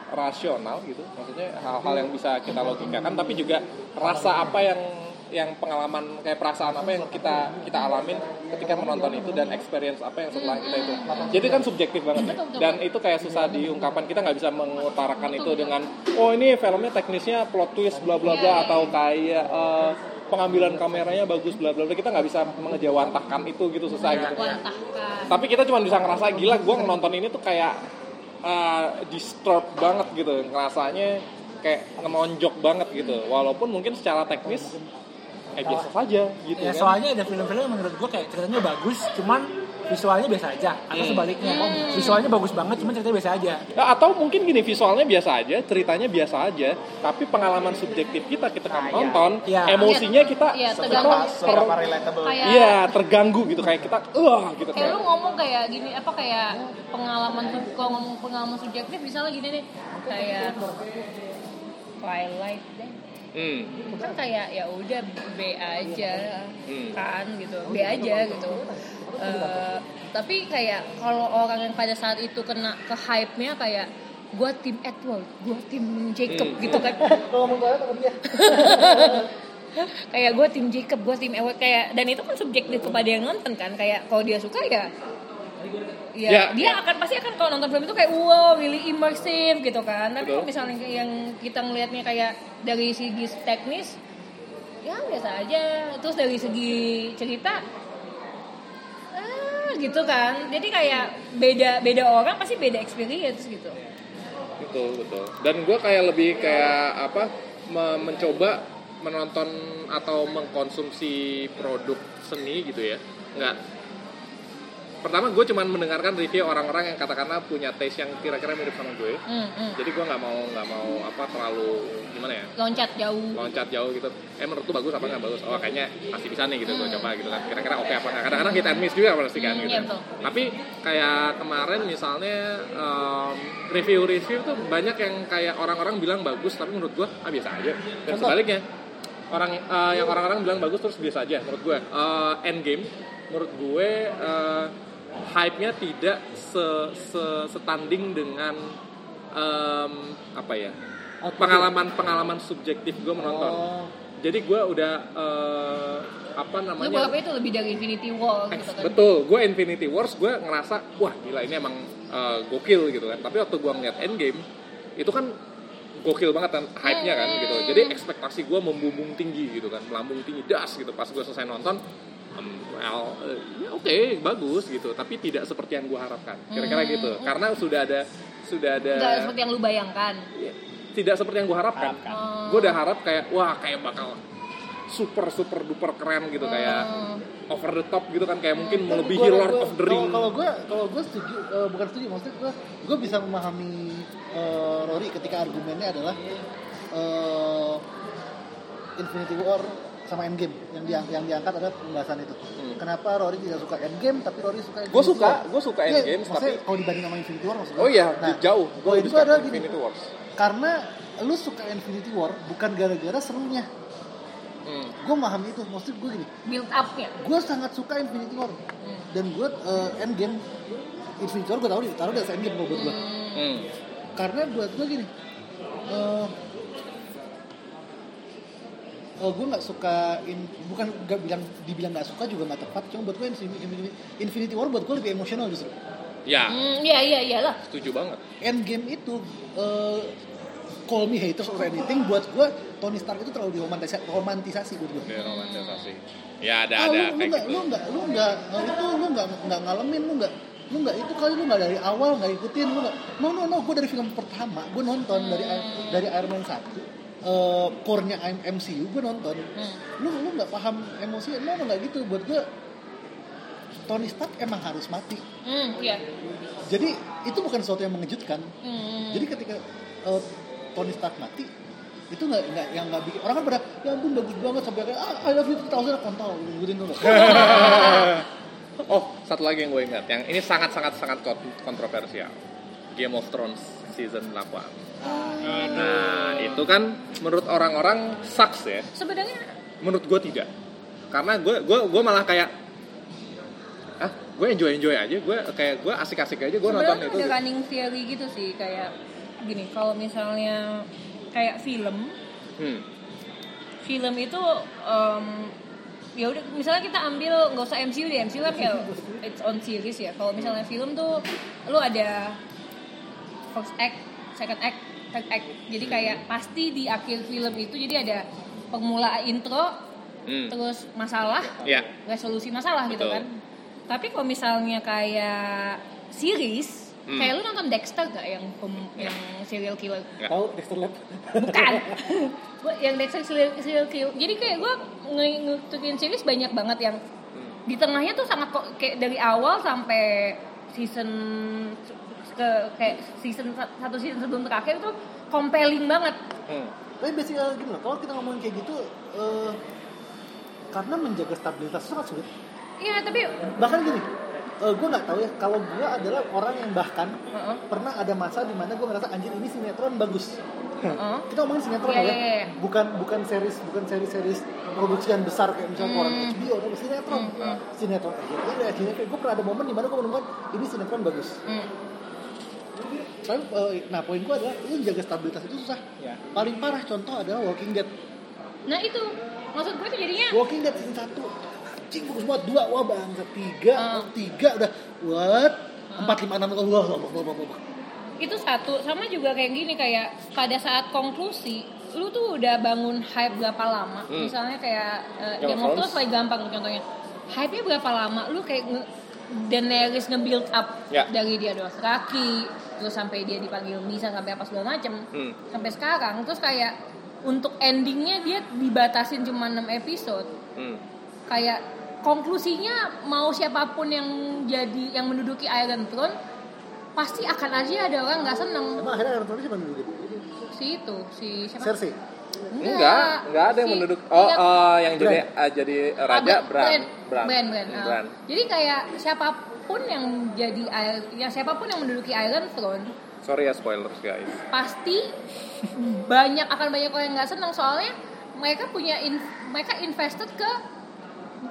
C: rasional gitu, maksudnya hal-hal yang bisa kita logikakan, tapi juga rasa apa yang yang pengalaman kayak perasaan apa yang kita kita alamin ketika menonton itu dan experience apa yang setelah kita itu jadi kan subjektif banget ya. dan itu kayak susah diungkapkan kita nggak bisa mengutarakan itu dengan oh ini filmnya teknisnya plot twist bla bla bla atau kayak eh, pengambilan kameranya bagus bla bla bla kita nggak bisa mengejawantahkan itu gitu susah gitu
A: Iya. wartahkan
C: tapi kita cuma bisa ngerasa gila gue nonton ini tuh kayak uh, disturbed banget gitu ngerasanya kayak nonjok banget gitu walaupun mungkin secara teknis eh biasa saja gitu
B: Ya,
C: kan
B: soalnya ada film-film yang menurut gue kayak ceritanya bagus, cuman visualnya biasa aja. Atau
C: Hmm.
B: sebaliknya, visualnya bagus banget, cuman ceritanya biasa aja.
C: Nah, atau mungkin gini visualnya biasa aja ceritanya biasa aja tapi pengalaman subjektif kita ketika
E: Nah, iya.
C: nonton
B: Iya.
C: emosinya kita
A: Iya,
C: kita-
A: terganggu.
E: Seberapa relatable.
A: kayak
C: iya terganggu gitu kayak kita wah gitu
A: kayak lu
C: kayak
A: ngomong kayak gini apa kayak pengalaman sub- kalau ngomong pengalaman subjektif misalnya gini nih kayak Twilight deh
C: hmm,
A: kan kayak ya udah B aja
C: Hmm.
A: kan gitu B aja gitu Eh, tapi kayak kalau orang yang pada saat itu kena ke hype nya kayak gua tim Edward gua tim Jacob
C: Hmm.
A: gitu kan
D: Kalau ngomong banget sama dia.
A: kayak gue tim Jacob gue tim Edward kayak dan itu kan subjektif kepada yang nonton kan kayak kalau dia suka ya ya
C: Ya,
A: dia akan pasti akan kalau nonton film itu kayak wow really immersive gitu kan tapi kalau
C: Betul.
A: misalnya yang kita ngelihatnya kayak dari segi teknis ya biasa aja terus dari segi cerita ah, gitu kan jadi kayak beda beda orang pasti beda experience gitu
C: betul betul dan gue kayak lebih kayak apa me- mencoba menonton atau mengkonsumsi produk seni gitu ya nggak pertama gue cuman mendengarkan review orang-orang yang katakanlah punya taste yang kira-kira mirip sama gue
A: Hmm, hmm.
C: jadi gue nggak mau nggak mau apa terlalu gimana ya
A: loncat jauh
C: loncat jauh gitu eh menurut lu bagus apa nggak bagus oh kayaknya pasti bisa nih gitu gue coba gitu kan kira-kira oke apa nggak kadang-kadang hit and miss juga pasti kan
A: Hmm,
C: gitu
A: iya, betul.
C: tapi kayak kemarin misalnya em, review-review tuh banyak yang kayak orang-orang bilang bagus tapi menurut gue ah biasa aja dan sebaliknya orang eh, yang orang-orang bilang bagus terus biasa aja menurut gue Eh, endgame menurut gue eh, hype-nya tidak se- se- setanding dengan em, apa ya pengalaman pengalaman subjektif gue menonton
A: Oh.
C: jadi gue udah eh, apa
A: lu
C: namanya
A: berapa itu lebih dari Infinity War gitu kan
C: betul gue Infinity Wars gue ngerasa wah gila ini emang eh, gokil gitu kan tapi waktu gue ngeliat Endgame itu kan gokil banget kan hype nya kan gitu jadi ekspektasi gue membumbung tinggi gitu kan melambung tinggi das gitu pas gue selesai nonton em, well eh, ya oke bagus gitu tapi tidak seperti yang gue harapkan kira-kira gitu karena sudah ada sudah ada ya,
A: nggak seperti yang lu bayangkan
C: Nah, tidak seperti yang gue harapkan. Gue udah harap kayak wah kayak bakal super super duper keren
A: Hmm.
C: gitu kayak over the top gitu kan kayak mungkin
D: Tapi
C: melebihi
D: Hmm. gua-
C: Lord
D: gua-
C: of the Ring.
D: kalau- Kalau gue kalau gue setuju eh, bukan setuju maksudnya gue gue bisa memahami eh, Rory ketika argumennya adalah eh, Infinity War sama Endgame yang dia yang diangkat adalah pembahasan itu. Kenapa Rory tidak suka Endgame tapi Rory suka Infinity
C: Hmm. Gua suka,
D: War?
C: gua suka
D: Iya,
C: Endgame,
D: maksudnya
C: tapi-
D: kalau dibanding sama Infinity War maksudnya.
C: Oh iya,
D: Nah,
C: jauh.
D: poin
C: Gue lebih
D: itu adalah
C: suka
D: gini.
C: Infinity Wars.
D: Karena lu suka Infinity War bukan gara-gara serunya.
C: Hmm.
D: Gue memahami itu, maksud gue gini
A: build ya? upnya
D: gue sangat suka Infinity War dan gue eh, Endgame Infinity War gue tahu ditaruh dari Endgame kalau buat gue
C: Hmm.
D: karena buat gue gini eh eh, gue nggak suka in- bukan nggak bilang dibilang nggak suka juga nggak tepat cuma buat gue Infinity, Infinity War buat gue lebih emosional justru
C: Ya,
A: hmm, iya iya iyalah
C: setuju banget.
D: Endgame itu eh call me haters or anything buat gue Tony Stark itu terlalu diromantisasi romantisasi buat gue
C: Dia romantisasi. Ya ada
D: Ah,
C: ada
D: lu, lu
C: kayak
D: nggak
C: gitu.
D: lu nggak lu nggak eh, itu lu nggak nggak ngalamin lu nggak lu nggak itu kali lu nggak dari awal nggak ikutin lu nggak no no no gue dari film pertama gue nonton dari dari Iron Man satu eh core-nya I'm- MCU gue nonton lu lu nggak paham emosi no no, nggak gitu buat gue Tony Stark emang harus mati
A: hmm iya
D: jadi itu bukan sesuatu yang mengejutkan
A: hmm.
D: jadi ketika eh, Tony Stark mati itu nggak nggak yang nggak bikin orang kan pada ya ampun bagus banget sampai kayak ah I love you 2000 kontol ngikutin tuh nggak?
C: Oh, satu lagi yang gue ingat, yang ini sangat sangat sangat kont- kontroversial. Game of Thrones season 8. Nah, itu kan menurut orang-orang sucks ya.
A: sebenarnya
C: Menurut gue tidak. Karena gue gue gue malah kayak ah, gue enjoy enjoy aja, gue kayak gue asik-asik aja gue nonton
A: sebenarnya
C: itu.
A: ada running theory gitu sih kayak gini kalau misalnya kayak film
C: Hmm.
A: film itu em, ya udah misalnya kita ambil nggak usah MCU deh MCU kan kayak it's on series ya kalau misalnya film tuh lu ada first act second act third act jadi
C: Hmm.
A: kayak pasti di akhir film itu jadi ada pemula intro
C: Hmm.
A: terus masalah
C: Ya.
A: resolusi masalah gitu
C: Betul.
A: kan tapi kalau misalnya kayak series
C: Hmm. Ya.
A: kayak lu nonton Dexter gak yang pem- yang serial killer
D: Tahu Dexter Lab.
A: bukan Gua yang Dexter serial, serial killer jadi kayak gue ngikutin series banyak banget yang di tengahnya tuh sangat kok kayak dari awal sampai season ke kayak season satu season sebelum terakhir tuh compelling banget
C: Hmm.
D: Tapi basic eh, gini loh, kalau kita ngomongin kayak gitu eh, karena menjaga stabilitas itu sangat sulit.
A: iya tapi
D: Bahkan gini, gue nggak tahu ya kalau gue adalah orang yang bahkan
A: Heeh.
D: pernah ada masa di mana gue ngerasa anjir ini sinetron bagus.
A: heeh.
D: Kita ngomongin sinetron
A: Iya,
D: ya,
A: iya, iya.
D: bukan bukan series bukan series-series produksi yang besar kayak misalnya
A: Hmm.
D: orang HBO tapi sinetron. Sinetron. Jadi ya, akhirnya gue pernah ada momen di mana gue menemukan ini sinetron bagus.
A: Hmm.
D: Tapi, eh, nah poin gue adalah lu jaga stabilitas itu susah.
A: Iya.
D: Paling parah contoh adalah Walking Dead.
A: nah itu maksud gue tuh jadinya
D: Walking Dead season 1 Cing bagus banget Dua wah bangsa Tiga oh,
A: Ah.
D: Tiga udah What Empat lima enam Allah Allah Allah Allah Allah.
A: itu satu sama juga kayak gini kayak pada saat konklusi lu tuh udah bangun hype berapa lama misalnya kayak uh,
C: Hmm. Game
A: Game
C: of
A: of Thrones paling gampang tuh contohnya hype-nya berapa lama lu kayak nge Daenerys nge-build up
C: Ya.
A: dari dia doang kaki terus sampai dia dipanggil Misa sampai apa segala macem
C: Hmm.
A: sampai sekarang terus kayak untuk endingnya dia dibatasin cuma 6 episode
C: Hmm.
A: kayak konklusinya mau siapapun yang jadi yang menduduki Iron Throne pasti akan aja ada orang nggak seneng
D: Emang akhirnya Iron Throne siapa dulu
A: si itu si siapa
D: Cersei
C: Enggak, enggak ada yang
A: Si-
C: menduduk. Oh,
A: enggak.
C: eh, yang jadi eh, jadi raja
A: Ah,
C: Bran.
A: Bran Bran, Bran,
C: Hmm,
A: ah.
C: Bran.
A: jadi kayak siapapun yang jadi Iron- yang siapapun yang menduduki Iron Throne
C: Sorry ya spoilers guys.
A: pasti banyak akan banyak orang yang nggak seneng soalnya mereka punya in- mereka invested ke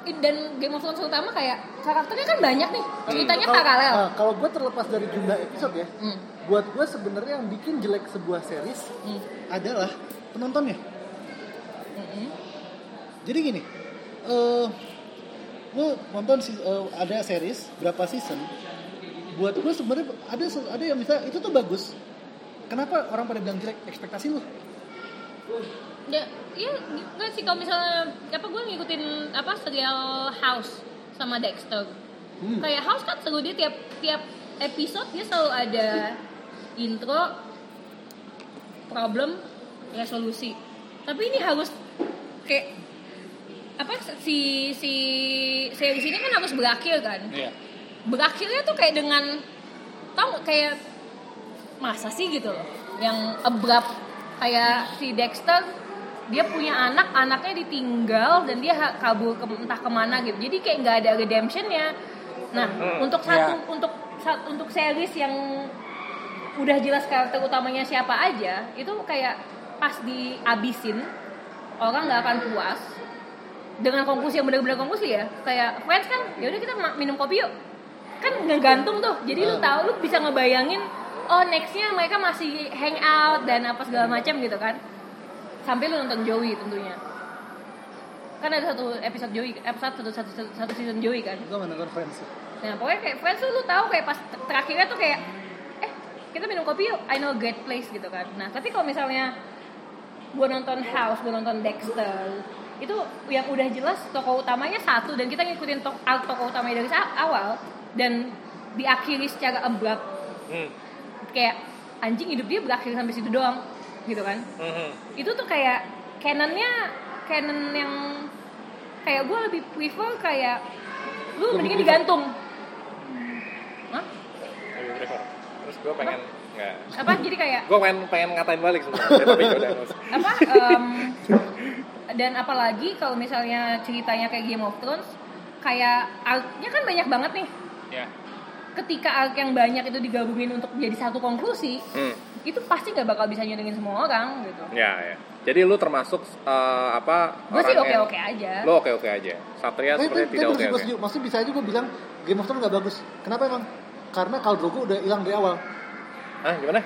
A: in- dan Game of Thrones terutama kayak karakternya kan banyak nih
C: Hmm,
A: ceritanya
D: Kalau-
A: paralel
D: ah, Kalau gue terlepas dari jumlah episode ya
A: Hmm.
D: Buat gue sebenarnya yang bikin jelek sebuah series
A: Hmm.
D: Adalah penontonnya
A: Mm-mm.
D: Jadi gini eh Lu nonton si- eh, ada series Berapa season Buat gue sebenarnya ada se- ada yang bisa Itu tuh bagus Kenapa orang pada bilang jelek ekspektasi lu?
A: Ya, iya gue sih kalau misalnya apa gue ngikutin apa serial House sama Dexter. Kayak House kan seru dia tiap tiap episode dia selalu ada intro, problem, resolusi. Tapi ini harus kayak apa si si series ini kan harus berakhir kan
C: Iya.
A: berakhirnya tuh kayak dengan tau nggak, kayak masa sih gitu loh yang abrupt kayak si Dexter dia punya anak anaknya ditinggal dan dia ha- kabur ke, entah kemana gitu jadi kayak nggak ada redemptionnya nah untuk satu untuk sa- untuk series yang udah jelas karakter utamanya siapa aja itu kayak pas diabisin orang nggak akan puas dengan konklusi yang benar-benar konklusi ya kayak friends kan ya udah kita ma- minum kopi yuk kan ngegantung tuh jadi lu tahu lu bisa ngebayangin oh nextnya mereka masih hang out dan apa segala macam gitu kan sampai lu nonton Joey tentunya kan ada satu episode Joey episode satu satu satu, satu season Joey kan
D: Gue nggak nonton Friends.
A: nah pokoknya kayak friends tuh lu tahu kayak pas ter- terakhirnya tuh kayak eh kita minum kopi yuk I know a great place gitu kan nah tapi kalau misalnya gue nonton House gue nonton Dexter itu yang udah jelas tokoh utamanya satu dan kita ngikutin tok arc tokoh utamanya dari sa- awal dan diakhiri secara abrupt
D: Hmm,
A: kayak anjing hidup dia berakhir sampai situ doang gitu kan
D: hmm,
A: itu tuh kayak canonnya canon yang kayak gue lebih prefer kayak lu mendingan digantung Hah?
C: Lebih prefer. Terus gue pengen nggak.
A: apa jadi kayak
C: Gue pengen pengen ngatain balik sebenarnya. Tapi udah nggak usah.
A: apa em, dan apalagi kalau misalnya ceritanya kayak Game of Thrones kayak arc-nya kan banyak banget nih
C: Ya.
A: ketika arc yang banyak itu digabungin untuk jadi satu konklusi
C: Hmm.
A: itu pasti nggak bakal bisa nyenengin semua orang gitu
C: Ya ya. Jadi lu termasuk eh, apa?
A: gue sih
C: orang
A: oke
C: yang-
A: oke aja
C: Lu oke oke aja. Satria
D: Tapi, tapi,
C: sepertinya tidak
D: tapi
C: oke
D: gue setuju, gue
C: oke.
D: setuju. Maksudnya bisa aja gue bilang Game of Thrones nggak bagus. Kenapa emang? Karena Khal Drogo udah hilang dari awal.
C: Hah gimana?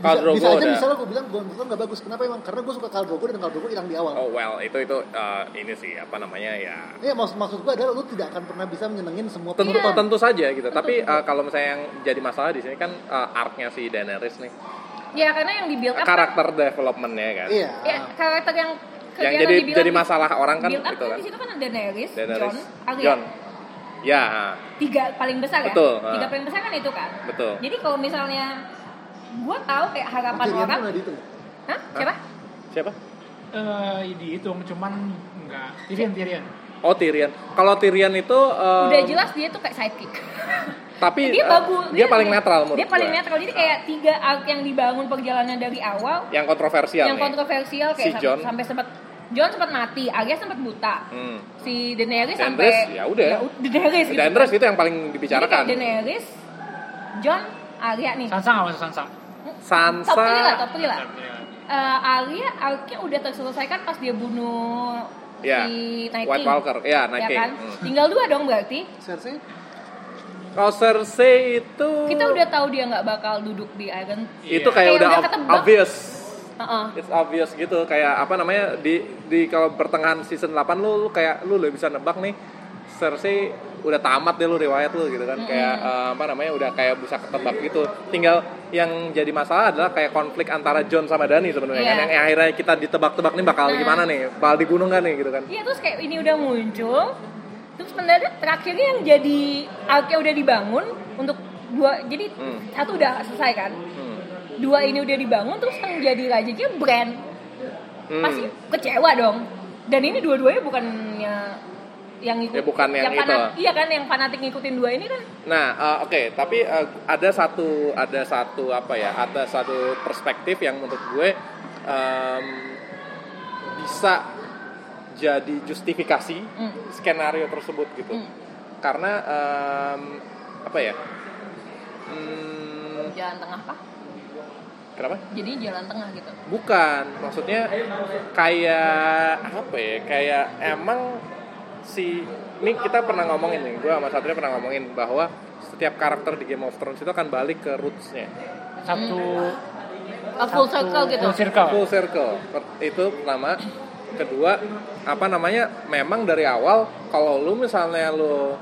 C: Khal
D: Bisa,
C: Drogo
D: bisa aja
C: udah-
D: misalnya gue bilang Game of Thrones nggak bagus. Kenapa emang? Karena gue suka Khal Drogo dan Khal Drogo hilang di awal.
C: Oh well itu itu eh, ini sih apa namanya ya
D: Iya maksud maksud gue adalah lu tidak akan pernah bisa menyenengin semua
C: tentu
A: Iya.
D: penonton.
C: tentu saja gitu tapi eh, kalau misalnya yang jadi masalah di sini kan eh, arc-nya si Daenerys nih
A: ya karena yang dibuild up kan-
C: karakter development-nya kan
D: Iya.
A: ya karakter yang
C: yang
A: yang
C: jadi
A: dibilang
C: jadi
A: di-
C: masalah orang kan
A: build up
C: gitu
A: kan
C: kan
A: di situ kan ada Daenerys,
C: Daenerys
A: Jon, Arya.
C: John ya
A: Tiga paling besar ya.
C: Betul,
A: Tiga
C: ah.
A: paling besar kan itu kan.
C: betul
A: Jadi kalau misalnya gue tahu kayak harapan
D: Tyrion
A: orang,
D: tuh nggak dihitung.
A: hah? Siapa?
C: siapa
B: Eh, dihitung cuman enggak. Tirian Tirian.
C: oh Tyrion kalau Tyrion itu eh,
A: Udah jelas dia tuh kayak sidekick.
C: tapi
A: dia
C: eh,
A: bagus.
C: dia, paling netral menurut
A: Dia paling
C: gua.
A: netral. Jadi kayak tiga arc yang dibangun perjalanan dari awal,
C: yang kontroversial
A: yang
C: nih.
A: kontroversial kayak
C: Iya, Si
A: sampai-
C: Jon.
A: sampai sempat John sempat mati, Arya sempat buta.
C: hmm.
A: Si Daenerys,
C: Daenerys,
A: sampai
C: ya udah.
A: ud- Daenerys gitu.
C: Daenerys itu yang paling
A: Jadi kayak
C: dibicarakan
A: Daenerys, John, Arya nih.
B: Sansa nggak masuk Sansa.
A: Top three lah,
C: Sansa
A: top three lah. Eh, Arya, Arya udah terselesaikan pas dia bunuh
C: Ya,
A: si Night
C: White
A: King.
C: Walker ya
A: Ya
C: Night King
A: kan?
C: Hmm.
A: Tinggal dua dong berarti.
D: Cersei
C: kalau Cersei itu
A: Kita udah tahu dia nggak bakal duduk di Iron.
C: itu
B: Iya.
C: kayak
A: Kayak
C: udah,
A: udah
C: ob-
A: ketebak.
C: obvious
A: Heeh.
C: it's obvious gitu kayak apa namanya di di kalau pertengahan season 8 lu, lu kayak lu udah bisa nebak nih Cersei udah tamat deh lu riwayat lu gitu kan kayak eh, apa namanya udah kayak bisa ketebak gitu tinggal yang jadi masalah adalah kayak konflik antara John sama Dani sebenarnya kan
A: Iya.
C: yang, yang akhirnya kita ditebak-tebak nih bakal
A: Nah.
C: gimana nih bakal di gunung gak nih gitu kan
A: Iya terus kayak ini udah muncul. Terus mendadak terakhirnya yang jadi arc udah dibangun untuk dua jadi
C: Hmm.
A: satu udah selesai kan.
C: Hmm.
A: Dua ini udah dibangun terus yang jadi rajanya brand.
C: Hmm.
A: Pasti kecewa dong. Dan ini dua-duanya bukannya yang ngikut,
C: Ya, bukan yang itu.
A: fana- iya kan yang fanatik ngikutin dua ini kan
C: Nah, eh, oke, tapi eh, ada satu ada satu apa ya? Ada satu perspektif yang menurut gue em, bisa jadi justifikasi
A: Hmm.
C: skenario tersebut gitu.
A: Hmm.
C: Karena em, apa ya? Hmm,
A: jalan tengah pak
C: kenapa?
A: jadi jalan tengah gitu
C: Bukan, maksudnya kayak apa ya? Kayak emang si ini kita pernah ngomongin nih, gue sama Satria pernah ngomongin bahwa setiap karakter di Game of Thrones itu akan balik ke rootsnya,
B: Satu
A: A full circle gitu
B: Full circle.
C: full circle. Per- Itu pertama, kedua apa namanya? Memang dari awal kalau lu misalnya lu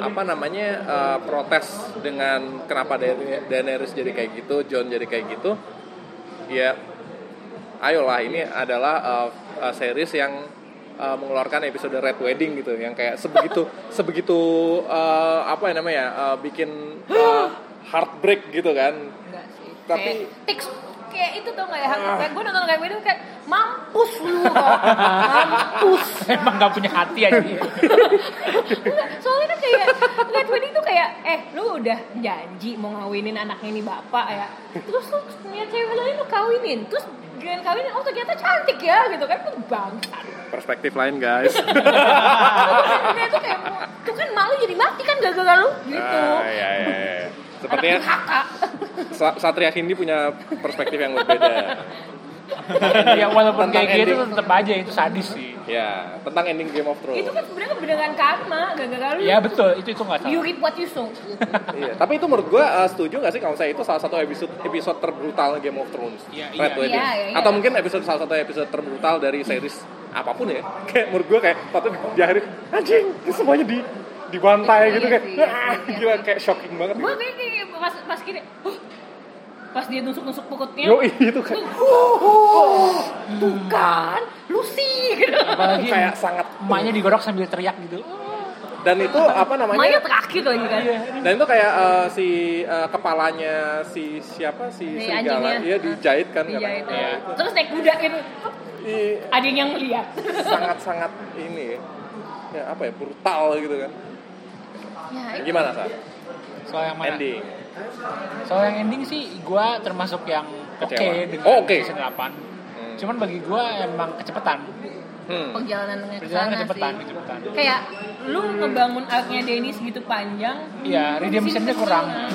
C: apa namanya eh, protes dengan kenapa Da- Daenerys jadi kayak gitu, John jadi kayak gitu, ya ayolah ini adalah uh, uh, series yang uh, mengeluarkan episode Red Wedding gitu yang kayak sebegitu sebegitu uh, apa ya namanya uh, bikin uh, eh, heartbreak gitu kan
A: enggak sih
C: Tapi- Ah.
A: Kayak tiks kayak itu tuh kayak kayak gue nonton kayak itu kayak mampus lu kok mampus
B: Emang gak punya hati aja.
A: Enggak, soalnya kan kayak lihat wedding tuh kayak eh lu udah janji mau ngawinin anaknya ini bapak ya terus lu niat cewek lain lu kawinin terus giliran kawinin oh ternyata cantik ya gitu kan tuh bangsat
C: Perspektif lain guys.
A: Nah, itu kayak mau- tuh kan malu jadi mati kan gara-gara lu gitu
C: Ah, iya, iya, iya. Sepertinya
A: anak durhaka
C: Sa- Satria Hindi punya perspektif yang berbeda.
B: ya walaupun
C: Tentang
B: kayak gitu
C: ending.
B: tetap aja itu sadis sih.
C: Ya, tentang ending Game of Thrones.
A: itu kan sebenarnya kebenaran karma gara-gara lu
B: Ya betul, itu itu nggak
A: you
B: salah.
A: reap what you sow
C: Iya, tapi itu menurut gua eh, setuju gak sih kalau saya itu salah satu episode episode terbrutal Game of Thrones.
B: Iya,
C: Red
B: iya.
C: Wedding.
A: Iya, iya, iya.
C: Atau mungkin episode salah satu episode terbrutal dari series apapun ya. Kayak menurut gua kayak waktu di akhir anjing semuanya di dibantai
A: Iya
C: gitu
A: sih,
C: kayak.
A: iya sih,
C: "Ah,"
A: iya
C: gila
A: sih.
C: kayak shocking banget. gitu.
A: gue kayak kayak pas pas gini "Huh?" pas dia nusuk-nusuk perutnya
C: Yo itu kayak
A: tuh kan lu sih gitu
B: Apalagi
C: kayak sangat
B: emaknya digorok sambil teriak gitu.
C: dan itu apa
A: Maya
C: namanya?
A: terakhir lagi kan
B: Iya.
C: Dan itu kayak eh, si eh, kepalanya si siapa si
A: Si
C: serigala
A: anjingnya.
C: iya dijahit kan
A: dijahit
C: katanya.
A: ya. terus naik kuda gitu
C: Iya.
A: ada yang lihat
C: sangat-sangat ini ya, ya apa ya brutal gitu kan
A: ya itu
C: gimana sih
B: Soal yang mana?
C: ending
B: Soal yang ending sih gue termasuk yang oke
C: Kecewa.
B: dengan
C: Oh, oke.
B: season 8. Cuman bagi gue emang kecepatan.
C: hmm.
A: perjalanannya ke
B: Perjalanan
A: sana
B: kecepatan,
A: sih
B: kecepatan.
A: kayak lu ngebangun arknya Denny segitu panjang
B: Iya,
A: lu
B: redemption-nya
A: kesini
B: kurang.
A: kesana.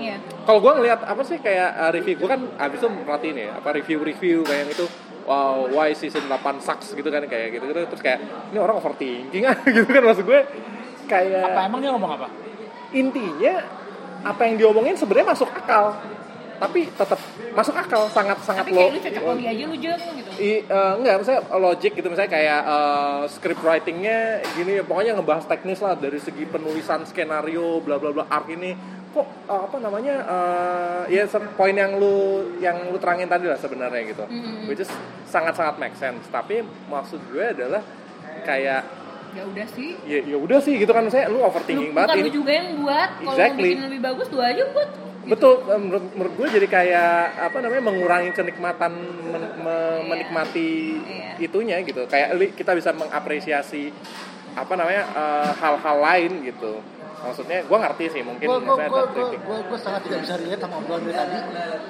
A: iya
C: kalau gue ngeliat apa sih kayak uh, review gue kan abis itu merhatiin ya apa review-review kayak yang itu wow why season 8 sucks gitu kan kayak gitu gitu terus kayak ini orang overthinking ah gitu kan maksud gue kayak
B: Apa emang dia ngomong apa?
C: intinya apa yang diomongin sebenarnya masuk akal tapi tetap masuk akal sangat sangat
A: tapi kayak lu
C: lo-
A: cocok lagi aja lu jeng gitu
C: I, eh, enggak, misalnya logic gitu, misalnya kayak eh, script writingnya gini, pokoknya ngebahas teknis lah dari segi penulisan skenario, bla bla bla, arc ini kok eh, apa namanya eh, ya se- poin yang lu yang lu terangin tadi lah sebenarnya gitu,
A: Mm-hmm.
C: which is sangat sangat make sense. Tapi maksud gue adalah kayak
A: ya udah sih
C: ya ya udah sih gitu kan, misalnya lu
A: lu
C: overthinking
A: bukan
C: banget.
A: lu
C: ini-
A: juga yang buat kalau mau
C: Exactly.
A: bikin lebih bagus lu aja buat
C: Betul, eh, menurut, menurut gue jadi kayak apa namanya mengurangi kenikmatan men-
A: Iya.
C: me- menikmati
A: Iya.
C: itunya gitu. Kayak li- kita bisa mengapresiasi apa namanya eh, hal-hal lain gitu. Maksudnya gue ngerti sih mungkin
D: gue gue
C: misalnya
D: gue
C: ada kritik
D: gue gue sangat tidak bisa relate sama obrolan dari tadi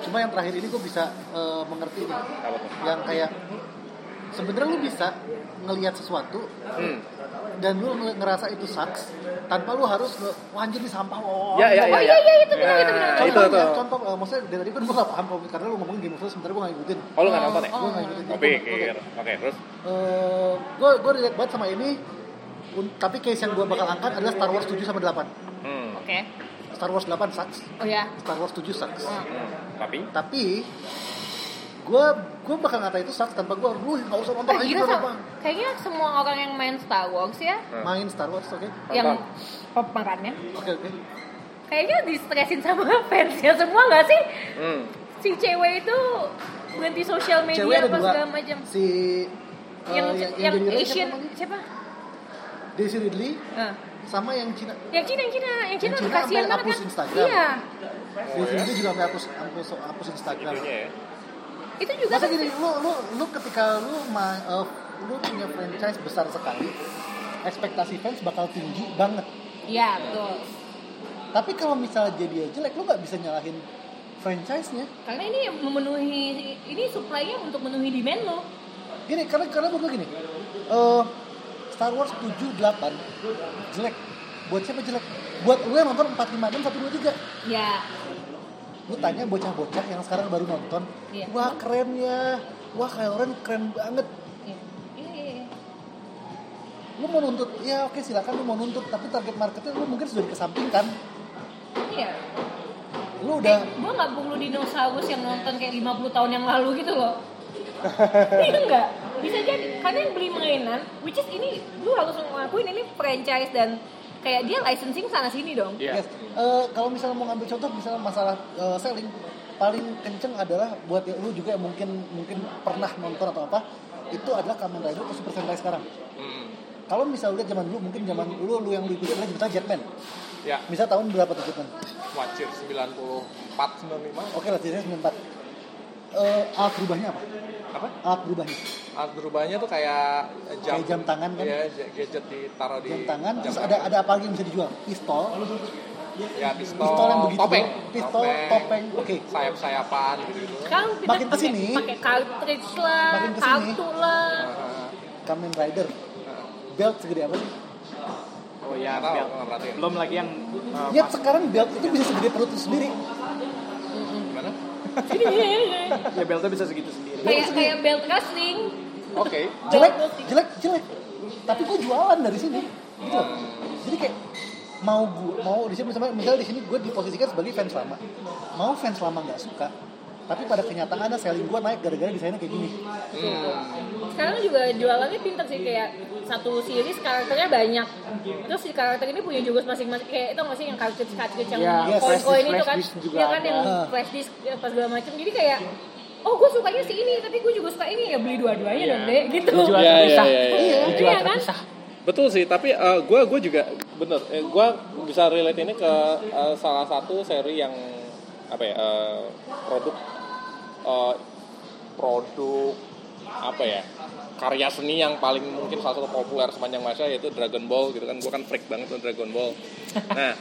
D: cuma yang terakhir ini gue bisa eh, mengerti nih.
C: apa tuh.
D: yang kayak sebenarnya lu bisa ngelihat sesuatu
C: Hmm.
D: dan lu ngel- ngerasa itu sucks tanpa lu harus nge- wah anjir nih sampah oh
C: Ya, ya,
A: oh iya iya itu benar itu benar
C: Nah, itu
D: contoh, ya,
C: tuh.
D: contoh eh, maksudnya dari tadi kan gue gak paham kalau- karena lu ngomongin game of Thrones sebenarnya gue gak ngikutin
C: Oh lu nggak nonton ya?
D: gue gak ngikutin
A: oh.
C: Gue pikir. Oke terus.
D: gue gue relate banget sama ini Un- tapi case yang gue bakal angkat adalah Star Wars 7 sama 8
C: Hmm.
A: oke
D: Star Wars 8 sucks
A: oh ya Ah.
D: Star Wars 7 sucks
C: Hmm. Tapi
D: tapi gue gue bakal ngatain itu sucks tanpa gue lu nggak usah
A: Eh,
D: nonton aja
A: gila,
D: nonton
A: sama- kayaknya semua orang yang main Star Wars ya,
D: apa." main Star Wars oke
A: yang
C: Nonton.
A: pemakannya,
D: oke oke
A: kayaknya di stresin sama fansnya semua nggak sih?
C: hmm.
A: Si cewek itu berhenti sosial media
D: cewek ada
A: apa
D: dua
A: segala macam.
D: si eh,
A: Yang yang,
D: jadi Ray
A: Asian
D: siapa namanya?
A: siapa?
D: Daisy Ridley
A: Ah.
D: sama yang Cina
A: Yang Cina, yang Cina, yang Cina,
D: Cina
A: kasihan
D: sampai
A: banget
D: hapus
A: kan?
D: Instagram.
A: Iya,
D: Daisy Ridley juga sampai hapus hapus hapus Instagram
C: Itunya ya.
A: itu juga
D: masa
A: kan-
D: gini lu lu lu ketika lu ma, eh, lu punya franchise besar sekali ekspektasi fans bakal tinggi banget
A: Iya betul.
D: tapi kalau misalnya jadi jelek lu nggak bisa nyalahin franchise-nya
A: Karena ini memenuhi ini supply-nya untuk memenuhi demand lo.
D: gini karena karena menurut gue gini eh, Star Wars 7, 8 jelek buat siapa jelek buat lu yang nonton 4, 5, 6, 1, 2, 3
A: Ya,
D: lu tanya bocah-bocah yang sekarang baru nonton
A: Iya.
D: wah keren ya wah Kylo Ren keren banget
A: iya, iya, iya, iya.
D: lu mau nuntut ya oke silakan lu mau nuntut tapi target marketnya lu mungkin sudah dikesampingkan Kan?
A: iya.
D: lu udah
A: gue nggak perlu dinosaurus yang nonton kayak 50 tahun yang lalu gitu loh iya enggak bisa jadi karena yang beli mainan which is ini lu harus ngakuin ini franchise dan kayak dia licensing sana sini dong
C: Iya.
D: Yes. Eh, kalau misalnya mau ngambil contoh misalnya masalah eh, selling paling kenceng adalah buat ya, lu juga yang mungkin mungkin pernah nonton atau apa itu adalah Kamen Rider atau Super Sentai sekarang.
A: Hmm.
D: Kalau misalnya lihat zaman dulu mungkin zaman dulu lu yang lu ikuti adalah misalnya Jetman.
C: Ya.
D: Misal tahun berapa tuh Jetman?
C: Wajib 94 95.
D: Oke lah, jadi 94. eh, alat berubahnya apa?
C: Apa?
D: Alat berubahnya.
C: Alat berubahnya Ah, tuh kayak jam,
D: Kayak jam tangan kan?
C: Iya, ja- gadget ditaruh di
D: Jam tangan, terus
C: tangan.
D: ada ada apa lagi yang bisa dijual? Pistol,
C: ya pistol,
D: pistol yang begitu.
C: topeng,
D: Pistol, Oh, topeng. Oke.
C: sayap-sayapan gitu-gitu.
A: Sekarang kita
D: Makin
A: pakai-
D: kesini.
A: pakai cartridge lah,
D: Makin kesini.
A: kartu lah.
D: Kamen Rider. Belt segede apa sih?
C: Oh iya, tahu nggak perhatiin.
G: belum lagi yang uh,
D: Lihat sekarang belt itu bisa segede perut itu sendiri.
C: Gimana?
E: ya beltnya bisa segitu sendiri
A: Iya, kayak kayak belt wrestling.
C: Oke.
D: jelek jelek jelek tapi gue jualan dari sini gitu loh. jadi kayak mau gue mau di sini misalnya, misalnya di sini gue diposisikan sebagai fans lama mau fans lama nggak suka tapi pada kenyataannya selling gue naik gara-gara desainnya kayak gini
A: Sekarang juga jualannya pintar sih kayak satu series karakternya banyak. Terus si karakter ini punya jurus masing-masing kayak itu nggak sih yang cartridge cartridge yang
B: Iya,
D: yes.
A: koin-koin
B: flash
A: itu kan,
B: disk- flash disk juga
A: ya kan
B: ada.
A: yang flash disk apa segala macam. Jadi kayak Oh, gue sukanya si ini, tapi gue juga suka ini ya beli dua-duanya dong deh, gitu.
B: Dijual
C: Iya,
B: terpisah.
C: iya, iya, iya.
B: Dijual
A: Iya kan?
B: terpisah.
C: Betul sih, tapi gue gue juga bener. Eh, gue bisa relate ini ke eh, salah satu seri yang apa ya eh, produk eh, produk apa ya karya seni yang paling mungkin salah satu populer sepanjang masa yaitu Dragon Ball gitu kan gue kan freak banget tuh Dragon Ball. Nah,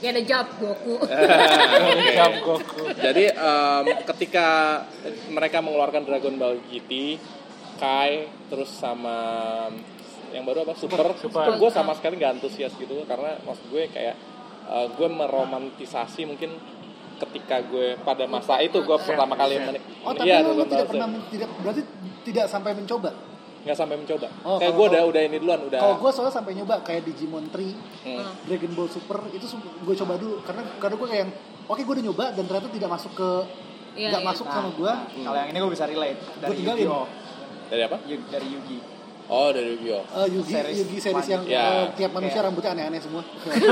A: Ya ada jawab Goku.
C: oke.
B: Jam Goku.
C: Jadi em, ketika mereka mengeluarkan Dragon Ball GT, Kai, terus sama yang baru apa Super,
B: Super.
C: Super. gue sama sekali nggak antusias gitu karena maksud gue kayak eh, gue meromantisasi mungkin ketika gue pada masa itu gue pertama kali menik
D: oh tapi
C: iya
D: lo,
C: Dragon
D: lo
C: Ball
D: tidak pernah
C: Z.
D: men- tidak berarti tidak sampai mencoba
C: nggak sampai mencoba
D: Oh,
C: kayak
D: kalau-
C: gue udah udah ini duluan udah
D: kalau gue soalnya sampai nyoba kayak Digimon 3
C: Hmm.
D: Dragon Ball Super itu gue coba dulu karena karena gue kayak yang, oke gue udah nyoba dan ternyata tidak masuk ke
A: Iya,
D: nggak
A: iya.
D: masuk sama gue
E: kalau yang ini gue bisa relate dari
D: tinggalin.
E: Yu-Gi-Oh
C: dari apa
E: Yu- dari Yugi
C: oh dari Yu-Gi-Oh
D: Eh, Yugi,
E: Series
D: Yugi series
E: one.
D: yang
C: Ya.
D: eh, tiap manusia rambutnya aneh-aneh semua.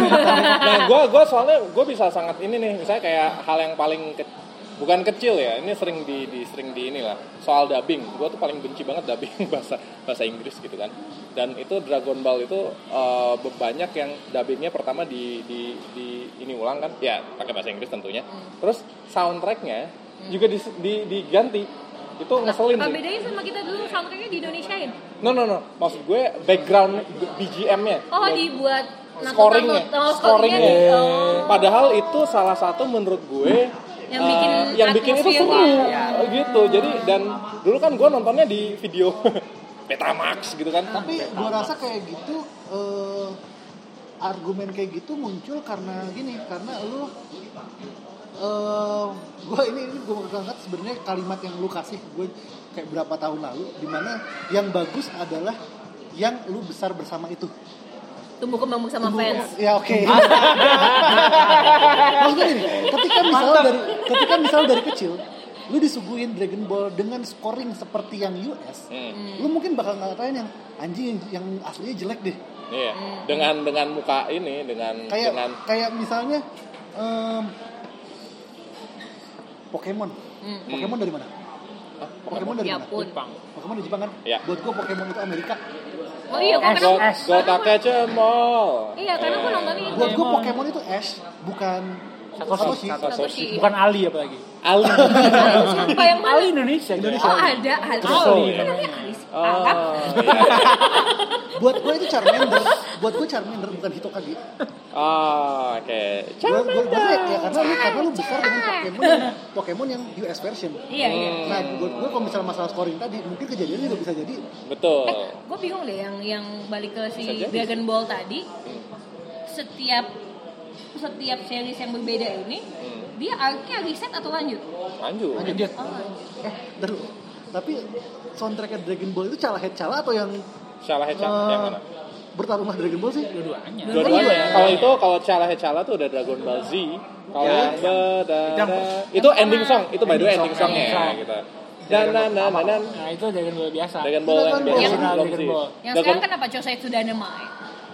C: nah gue gua soalnya gue bisa sangat ini nih misalnya kayak hal yang paling ke- bukan kecil ya ini sering di, di sering di inilah soal dubbing gue tuh paling benci banget dubbing bahasa bahasa Inggris gitu kan dan itu Dragon Ball itu eh, banyak yang dubbingnya pertama di, di di ini ulang kan ya pakai bahasa Inggris tentunya terus soundtracknya juga di, di- diganti itu ngeselin
A: Nah, Apa
C: sih
A: bedanya sama kita dulu soundtracknya di ya? Indonesiain?
C: no no no maksud gue background BGM-nya
A: Oh,
B: Iya.
A: dibuat
C: scoringnya,
A: nakut-nakut. Oh, scoringnya
C: scoringnya.
A: di- oh.
C: Iya. Padahal itu salah satu menurut gue
A: Yang
C: eh,
A: bikin
C: yang bikin itu
A: atmosfer
C: seru
A: ya.
C: gitu. Jadi dan dulu kan gue nontonnya di video Betamax gitu kan.
D: Tapi gue rasa kayak gitu eh, argumen kayak gitu muncul karena gini, karena lu eh gue ini ini gue angkat sebenarnya kalimat yang lu kasih gue kayak berapa tahun lalu dimana yang bagus adalah yang lu besar bersama itu
A: Tumbuh kembang sama fans.
D: Ya oke. Maksudnya gini, ketika misal dari ketika misal dari kecil lu disuguhin Dragon Ball dengan scoring seperti yang US,
C: hmm,
D: lu mungkin bakal ngatain yang anjing yang, yang aslinya jelek deh.
C: Iya. Dengan dengan muka ini dengan
D: Kayak
C: dengan
D: kayak misalnya em, Pokemon. Pokemon dari mana? Hmm. Pokemon dari mana?
A: Japun.
D: Pokemon dari Jepang kan?
C: Ya.
D: Buat gua Pokemon itu Amerika.
A: Oh iya, kok
B: S,
C: Eh, Go,
A: karena
B: S.
C: go Takechemol.
A: Iya, karena gue nontonnya itu.
D: Buat gua Pokemon itu Ash, bukan
B: Satoshi.
D: Satoshi.
A: Satoshi.
B: Bukan Ali apalagi.
C: Ali.
A: Iya. Siapa yang
B: Ali
A: mana?
B: Indonesia.
A: Oh, ada Ali.
B: Kesel,
A: Ali.
B: ya.
A: Namanya Ali sih.
C: Oh,
A: Arab.
C: iya.
D: buat gue itu Charmander buat gue Charmander bukan Hitokage
C: Oh, oke.
D: gue gue gue ya karena lu karena lu besar dengan Pokemon yang, Pokemon yang US version
A: Iya, iya.
C: Hmm.
D: nah buat gue kalau misalnya masalah scoring tadi mungkin kejadiannya juga bisa jadi
C: Betul.
A: Gue Eh, bingung deh yang yang balik ke si
C: Bisa jadi.
A: Dragon Ball tadi. Setiap setiap series yang berbeda ini
C: Hmm.
A: dia arc-nya reset atau lanjut?
C: Lanjut.
B: Lanjut.
D: eh ntar dulu. tapi soundtracknya Dragon Ball itu cala head cala atau yang eh,
C: Salah Hecha Eh, yang mana? Iya.
D: bertarung sama Dragon Ball sih
B: Dua-duanya.
C: Dua-duanya. ya. Kalau itu kalau Chala He Chala tuh udah Dragon Ball Z. Kalau
B: Iya.
C: yang itu ending song, itu by the way ending songnya
B: Ending song. Iya,
C: gitu. Dan dan dan dan dan
B: Nah itu Dragon Ball biasa.
C: Dragon Ball yang kan-
D: Dragon
C: biasa
B: Ball.
C: belum
B: Dragon
C: sih.
B: Ball.
A: Yang
C: Dragon-
A: sekarang kenapa Chosei Tsudanemae?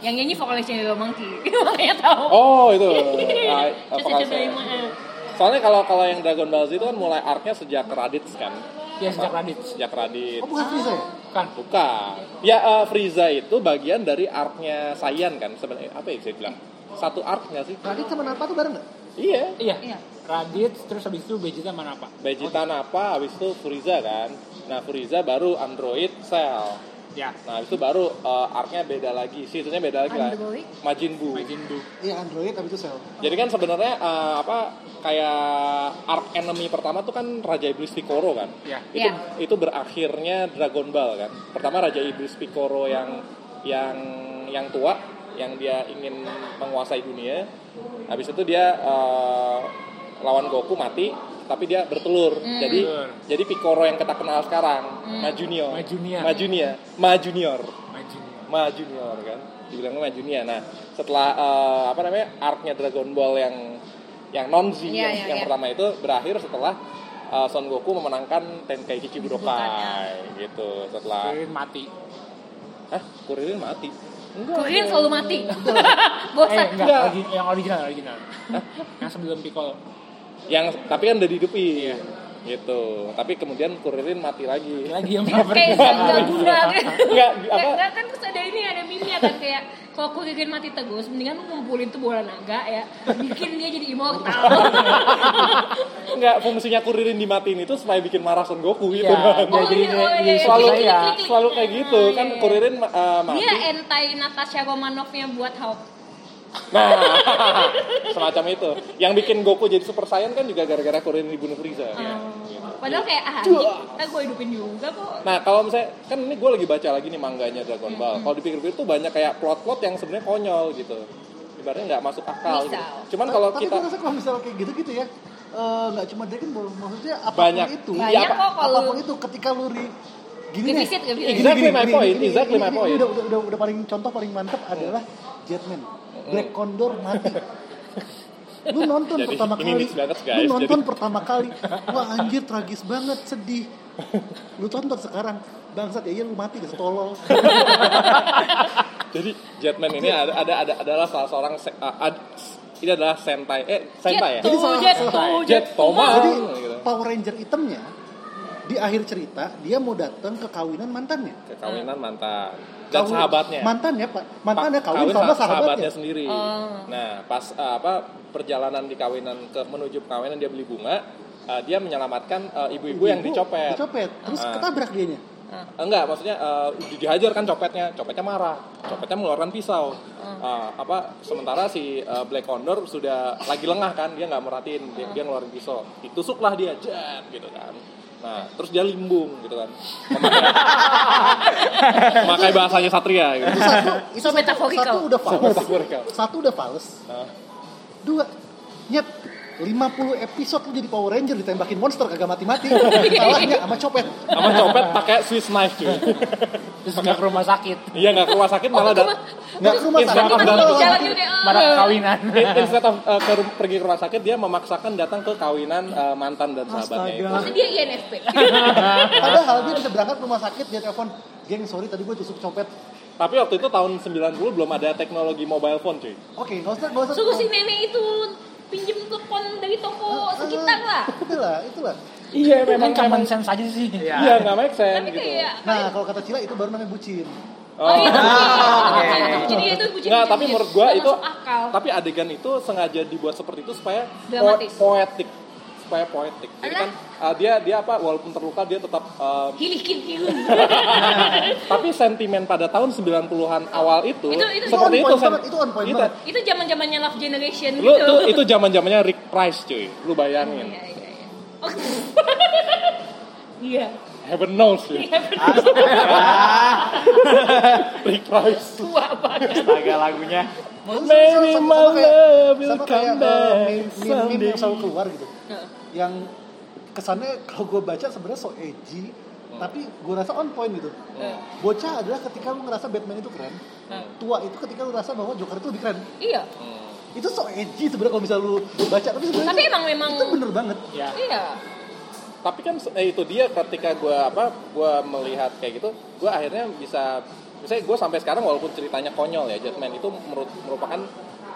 A: Yang nyanyi vokalisnya Yellow Monkey. Makanya tahu.
C: Oh itu. Ah,
A: Chosei
C: apakah saya-
A: Tsudanemae.
C: Soalnya kalau kalau yang Dragon Ball Z itu kan mulai arc-nya sejak Raditz kan,
B: Ya sejak Raditz. Kan?
C: sejak Raditz.
D: oh bukan Frieza ya
B: Bukan.
C: Bukan. Ya eh, Frieza itu bagian dari arc-nya Saiyan kan sebenarnya apa ya bisa bilang? Satu arc nggak sih?
D: Raditz sama Nappa tuh bareng gak?
C: Iya.
B: Iya.
A: Iya.
B: Radit terus habis itu Vegeta mana apa?
C: Vegetan apa, habis itu Furiza kan. Nah, Furiza baru Android Cell.
B: Ya.
C: Nah, habis itu baru uh, arc-nya beda lagi, seasonnya beda lagi lah.
A: Android?
C: Majin Bu.
B: Majin Bu.
D: Iya Android tapi itu sel.
C: Jadi kan sebenarnya uh, apa kayak arc enemy pertama tuh kan Raja Iblis Piccolo kan.
B: Ya.
C: Itu
A: Ya.
C: itu berakhirnya Dragon Ball kan. Pertama Raja Iblis Piccolo yang yang yang tua yang dia ingin menguasai dunia. Habis itu dia uh, lawan Goku mati tapi dia bertelur. Jadi
B: Betul.
C: jadi Piccolo yang kita kenal sekarang, Ma Junior.
B: Ma Junior.
C: Ma Junior. Ma Junior.
B: Majin Bu.
C: Ma Junior kan dibilangnya Ma Junior nah setelah eh, apa namanya arc-nya Dragon Ball yang yang nonzi
A: Iya,
C: yang,
A: iya,
C: yang
A: iya.
C: pertama itu berakhir setelah eh, Son Goku memenangkan Tenkaichi Budokai gitu setelah
B: Kuririn mati.
C: Hah? Kuririn mati enggak
A: Kuririn selalu mati. Bosan.
B: Eh, enggak,
C: Enggak.
B: origi- yang original, original. yang sebelum Piccolo.
C: yang tapi kan udah dihidupin
A: Iya.
C: gitu tapi kemudian Kuririn mati lagi
B: Lagi yang
A: kayak
B: pertama.
A: gak gak guna kan.
C: enggak di- apa
A: Enggak kan terus ada ini ada meme kan kayak kalau Kuririn mati tegus mendingan lu ngumpulin tuh bola naga ya bikin dia jadi immortal.
C: enggak fungsinya Kuririn dimatiin itu supaya bikin marah Son Goku gitu
B: Iya,
C: kan
B: dia
A: Oh,
B: jadi
A: iya, oh, iya, iya.
C: selalu
A: Klik, klik, klik, klik.
C: selalu kayak gitu
A: Ah, iya,
C: kan
A: iya.
C: Kuririn eh, mati
A: Dia anti Natasha Romanovnya buat Hulk.
C: Nah, semacam itu. Yang bikin Goku jadi Super Saiyan kan juga gara-gara Kuririn dibunuh Frieza.
D: Iya.
A: Padahal kayak ah anjing, ntar gue hidupin juga kok.
C: Nah, kalau misalnya kan ini gue lagi baca lagi nih mangganya Dragon Ball. Kalau dipikir-pikir tuh banyak kayak plot-plot yang sebenarnya konyol gitu. Ibaratnya nggak masuk akal. Gitu.
A: Misal.
C: Cuman kalau
D: Tapi
C: kita
D: gue rasa kalau misalnya kayak gitu-gitu ya, eh, nggak cuma Dragon Ball, maksudnya apapun
C: Banyak.
D: itu,
C: Iya,
A: Banyak
C: apa-
A: kok kalau
D: apapun itu ketika lu ri gini deh.
A: Defisit,
D: Gini,
A: defisit.
C: Exactly
D: gini,
C: my
D: gini,
C: point,
D: gini,
C: exactly
D: gini,
C: my
D: gini,
C: point. Hmm.
D: Udah, udah, udah, udah paling contoh paling mantep adalah Jetman, Black Condor mati. Lu nonton
C: Jadi,
D: pertama
C: ini
D: kali,
C: niche banget, guys.
D: lu nonton
C: Jadi-
D: pertama kali, wah anjir tragis banget, sedih. Lu tonton sekarang, bangsat ya iya lu mati deh, tolol.
C: jadi Jetman ini ada, ada ada adalah salah seorang se- uh, ad- ini adalah Sentai eh Sentai ya.
A: Jet tuh,
D: salah-
A: jet
D: salah.
A: tuh,
C: Jet Toma
D: Jadi
C: gitu.
D: Power Ranger itemnya di akhir cerita dia mau datang ke kawinan mantannya.
C: Kekawinan mantan dan
D: Nah. Kawin-
C: sahabatnya.
D: Mantannya pak, mantannya
C: Pa-
D: kawin, sama
C: sa-
D: sahabatnya.
C: sendiri.
A: Oh.
C: Nah, pas eh, apa perjalanan di kawinan ke menuju kawinan dia beli bunga, eh, dia menyelamatkan eh, ibu-ibu yang dicopet.
D: Dicopet, terus
C: Ah.
D: ketabrak dianya.
C: Eh, Enggak, maksudnya eh, di- dihajar kan copetnya, copetnya marah, copetnya mengeluarkan pisau. Eh, apa sementara si eh, Black Condor sudah lagi lengah kan, dia nggak merhatiin, dia, dia ngeluarin pisau, ditusuklah dia, jet gitu kan. Nah, terus dia limbung gitu kan. Memakai, memakai bahasanya satria gitu.
D: Itu satu, itu
A: So
D: satu,
A: metaphorical.
D: satu udah fals.
C: metaphorical.
D: Satu udah fals.
C: Ah.
D: Dua, nyet 50 episode lu jadi Power Ranger ditembakin monster kagak mati-mati. Salahnya sama copet.
C: Sama copet pakai Swiss knife cuy.
B: Terus nggak ke rumah sakit.
C: Iya nggak ke rumah sakit malah
A: Itu
C: dan
A: mah-
D: Nggak ke rumah
C: Iya,
D: sakit.
C: Jangan
A: Mati-mati di
C: dong.
A: kan jalan juga. ah.
B: Marah kawinan.
C: instead of uh, ke- pergi ke rumah sakit dia memaksakan datang ke kawinan uh, mantan dan sahabatnya itu.
D: Astaga.
A: Maksudnya dia INFP.
D: Padahal dia bisa berangkat ke rumah sakit dia telepon, geng sorry tadi gue tusuk copet.
C: Tapi waktu itu tahun 90 belum ada teknologi mobile phone cuy.
D: Oke, nggak usah, nggak usah.
A: Suruh si nenek itu pinjem telepon dari toko sekitar lah.
D: Itulah, itulah.
C: Iya
B: Memang kan common sense aja sih.
C: Iya nggak make sense
A: Tapi
C: gitu.
A: kayak ya,
D: Nah, kalau kata Cila itu baru namanya bucin.
A: Oh, iya. gitu.
G: oke.
A: Jadi ya itu bucin
C: Nggak, tapi menurut gua itu
A: gitu. akal.
C: tapi adegan itu sengaja dibuat seperti itu supaya po-
A: Dramatis.
C: poetik supaya poetik. Jadi kan uh, dia dia apa walaupun terluka dia tetap uh,
A: Hilikin hilun.
C: tapi sentimen pada tahun 90-an awal itu,
A: Itu- itu
C: seperti
D: on
C: itu
D: point
C: sen-
D: banget, itu on point
C: itu-
D: banget.
A: itu zaman-zamannya love generation
C: lu
A: gitu.
C: tuh itu zaman zamannya Rick Price cuy lu bayangin
A: Iya, iya, iya. Oh. Iya.
C: heaven knows ya Rick Price
A: Tua banget.
G: Astaga lagunya.
C: Maybe my love will
D: sama kayak
C: come back
D: eh, meme- meme- meme yang
C: someday.
D: selalu keluar gitu.
A: Heeh.
D: Yang kesannya kalau gue baca sebenarnya so edgy, tapi gue rasa on point gitu. Bocah adalah ketika lu ngerasa Batman itu keren, tua itu ketika lu ngerasa bahwa Joker itu lebih keren.
A: Iya.
D: Itu so edgy sebenarnya kalau misalnya lu baca, tapi sebenarnya
A: Tapi
D: itu-
A: emang memang
D: itu bener banget.
B: Iya.
A: Iya.
C: tapi kan se- eh, itu dia ketika gue apa gue melihat kayak gitu gue akhirnya bisa misalnya gue sampai sekarang walaupun ceritanya konyol ya Jetman itu meru- merupakan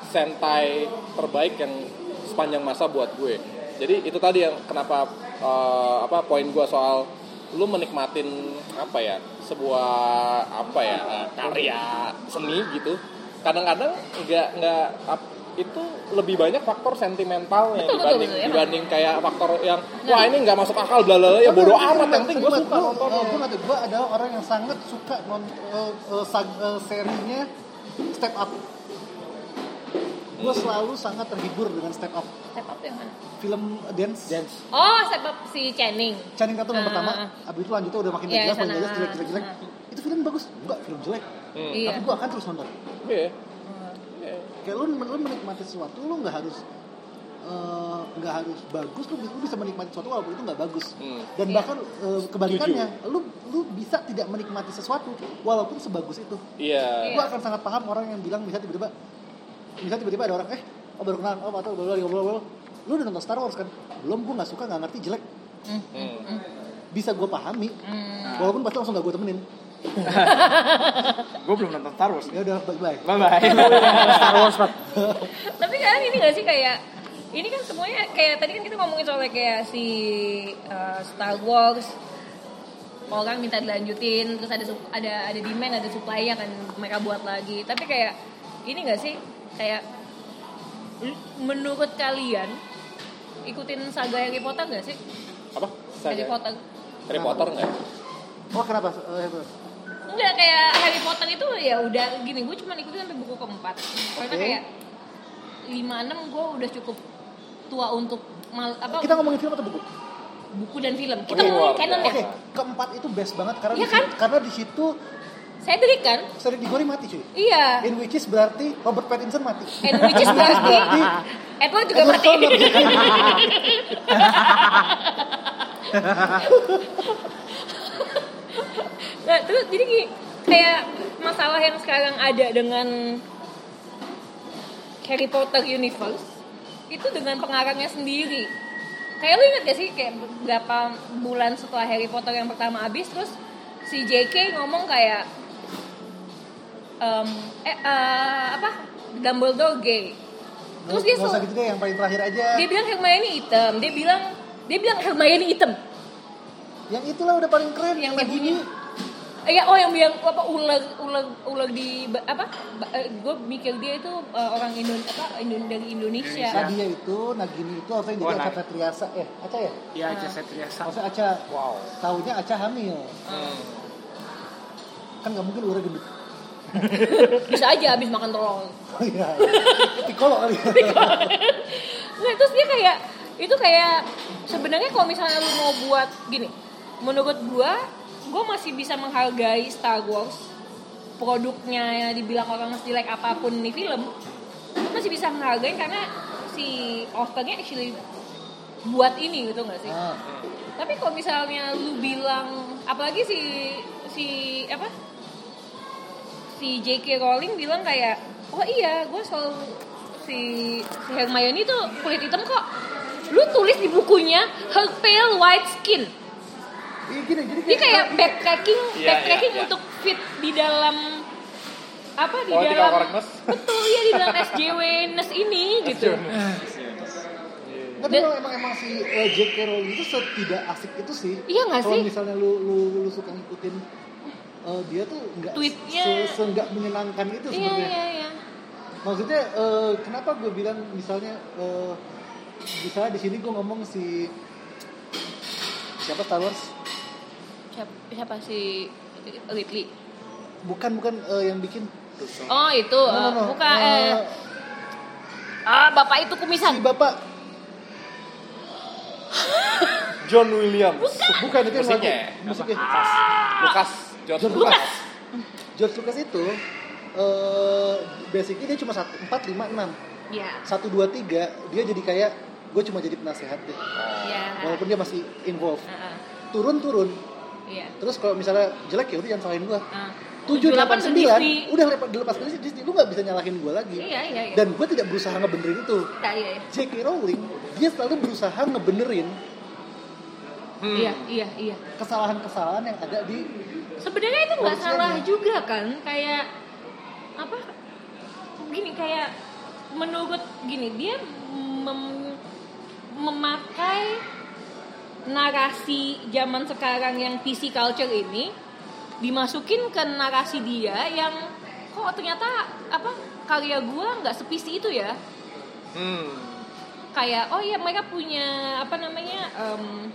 C: sentai terbaik yang sepanjang masa buat gue jadi itu tadi yang kenapa eh, apa poin gue soal lu menikmatin apa ya sebuah apa ya eh, karya seni gitu kadang-kadang nggak nggak ap- itu lebih banyak faktor sentimentalnya
A: Betul, ya, betul,
C: dibanding
A: betul, emang.
C: dibanding kayak faktor yang wah ini nggak masuk akal bla bla bla, ya bodo amat yang penting gue suka nonton
D: Gue kata gue adalah orang yang sangat suka nonton eh, eh, sag- eh, serinya Step Up. Gue selalu sangat terhibur dengan Step Up.
A: Step up yang mana?
D: Film dance,
A: Oh, step up si Channing.
D: Channing Tatum
A: Ah.
D: yang pertama, abis itu lanjutnya udah makin
A: Iya,
D: gak jelas, makin
A: sana.
D: gak jelas, jelek, jelek, jelek. Itu film bagus, enggak film jelek.
C: Hmm.
A: Iya.
D: Tapi gue akan terus nonton.
C: Iya.
D: Kayak lu, lu menikmati sesuatu, lu nggak harus eh, nggak harus bagus, lu, lu bisa menikmati sesuatu walaupun itu nggak bagus.
C: Hmm.
D: Dan bahkan eh, kebalikannya, lu lu bisa tidak menikmati sesuatu walaupun sebagus itu.
C: iya
D: Gue akan sangat paham orang yang bilang bisa tiba-tiba bisa tiba-tiba ada orang eh oh baru kenal oh atau baru ngobrol lu udah nonton Star Wars kan belum gue nggak suka nggak ngerti jelek
C: Hmm.
D: bisa gue pahami
A: Hmm.
D: walaupun pasti langsung gak gue temenin
G: Gue belum nonton Star Wars.
D: ya udah bye bye
G: Bye bye.
B: Star Wars Pat.
A: Tapi kadang ini gak sih kayak ini kan semuanya kayak tadi kan kita ngomongin soal kayak si uh, Star Wars orang minta dilanjutin terus ada sup- ada ada demand ada supply kan mereka buat lagi tapi kayak ini gak sih kayak l- menurut kalian ikutin saga Harry Potter gak sih
C: apa
A: Harry Potter
C: Harry Potter nggak ya?
D: oh kenapa Eh, eh,
A: Enggak kayak Harry Potter itu ya udah gini gue cuma ikutin sampai buku keempat karena
D: Oke.
A: kayak lima enam gue udah cukup tua untuk mal, apa
D: kita ngomongin film atau buku
A: buku dan film kita
C: Oke,
A: ngomongin
C: oke.
A: canon ya
D: Oh, iya. Oke, keempat itu best banget karena
A: Iya
D: di,
A: kan?
D: karena di situ
A: Cedric kan
D: Cedric Diggory mati cuy.
A: iya
D: In which is berarti Robert Pattinson mati.
A: and which is berarti Edward juga
D: Edward
A: mati
D: Cullen mati.
A: nah terus jadi gini, kayak masalah yang sekarang ada dengan Harry Potter universe itu dengan pengarangnya sendiri kayak lu inget gak sih kayak beberapa bulan setelah Harry Potter yang pertama habis terus si JK ngomong kayak em, eh, eh, apa Dumbledore gay terus dia
D: Nggak usah
A: sel-
D: gitu deh, yang paling terakhir aja.
A: dia bilang Hermione hitam dia bilang dia bilang Hermione hitam
D: Yang itulah udah paling keren.
A: Yang
D: lagi
A: lagunya.
D: ini
A: Eh, ya, oh yang bilang apa ular ular ular di ba- apa? gue mikir dia itu eh, orang Indon apa Indon dari Indonesia.
D: Tadi ya itu, Nagini itu harusnya jadi
G: Oh, nah.
D: Aca Petriasa. Eh, Aca ya?
B: Ya, Jasa Triasa.
D: Harusnya Aca. Wow. Tahunya Aca hamil. Kan nggak mungkin udah gendut.
A: Bisa aja habis makan telur.
D: Oh iya. Tikolo kali. ya.
A: Nah, terus dia kayak itu kayak sebenarnya kalau misalnya lu mau buat gini, menurut gua gue masih bisa menghargai Star Wars produknya yang dibilang orang jelek apapun nih film gua masih bisa menghargai karena si authornya actually buat ini gitu nggak sih?
D: Ah,
A: Tapi kalau misalnya lu bilang apalagi si si apa? Si JK Rowling bilang kayak, "Oh iya, gue selalu si si Hermione itu kulit hitam kok." Lu tulis di bukunya her pale white skin.
D: Iya gini, gini
A: Dia kayak backtracking,
C: Iya,
A: backtracking
C: iya, iya.
A: untuk fit di dalam apa di
C: Political
A: dalam
C: correctness.
A: betul ya di dalam SJW-ness ini gitu.
D: Tapi
A: Dan-
D: emang, emang, emang si eh, J.K. Rowling itu setidak asik itu sih.
A: Iya nggak
D: Kalau
A: sih?
D: misalnya lu, lu, lu suka ngikutin eh, dia tuh nggak
A: Tweetnya.
D: se, se- nggak menyenangkan itu
A: Iya
D: sebenarnya.
A: iya iya.
D: Maksudnya eh, kenapa gue bilang misalnya eh, misalnya di sini gue ngomong si siapa Star Wars
A: Siapa, siapa si Ridley?
D: bukan bukan eh, yang bikin
A: Oh itu eh,
D: No, no, no.
A: bukan
D: Eh, Iya.
A: eh, ah bapak itu kumisan.
D: si bapak
C: John Williams
D: bukan itu yang
C: Musiknya
D: lagi
C: ya?
D: musiknya
C: Lukas John Lucas
D: George Lucas. George Lucas itu eh basicnya dia cuma satu empat lima enam
A: Iya.
D: satu dua tiga dia jadi kayak gue cuma jadi penasehat deh
A: Iya.
D: walaupun dia masih involved
A: Heeh,
D: turun turun
A: Iya.
D: terus kalau misalnya jelek ya udah jangan salahin gue
A: Ah.
D: tujuh delapan
A: 78
D: sembilan
A: Disney.
D: udah lepas dilepas ke Disney lu nggak bisa nyalahin gue lagi
A: Iya iya iya.
D: dan gue tidak berusaha ngebenerin itu
A: Iya, iya iya.
D: J.K. Rowling dia selalu berusaha ngebenerin Hmm.
A: Iya iya iya.
D: kesalahan-kesalahan yang ada di
A: Sebenarnya itu nggak
D: Harusnya
A: salah
D: dia.
A: juga kan kayak apa? Gini kayak menurut gini dia mem- memakai narasi zaman sekarang yang PC culture ini dimasukin ke narasi dia yang kok ternyata apa karya gua nggak sepisi itu ya
G: Hmm.
A: kayak oh iya mereka punya apa namanya em,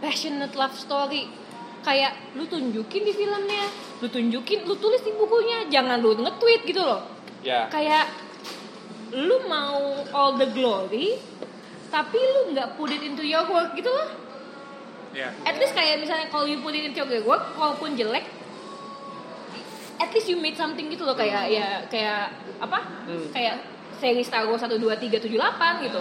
A: passionate love story kayak lu tunjukin di filmnya lu tunjukin lu tulis di bukunya jangan lu nge-tweet gitu loh
C: Ya.
A: kayak lu mau all the glory tapi lu nggak put it into your work gitu loh
B: Iya.
A: at least kayak misalnya kalau you put it into your work walaupun jelek at least you made something gitu loh kayak ya kayak apa kayak seri Star Wars 1, 2, 3, 7, 8 gitu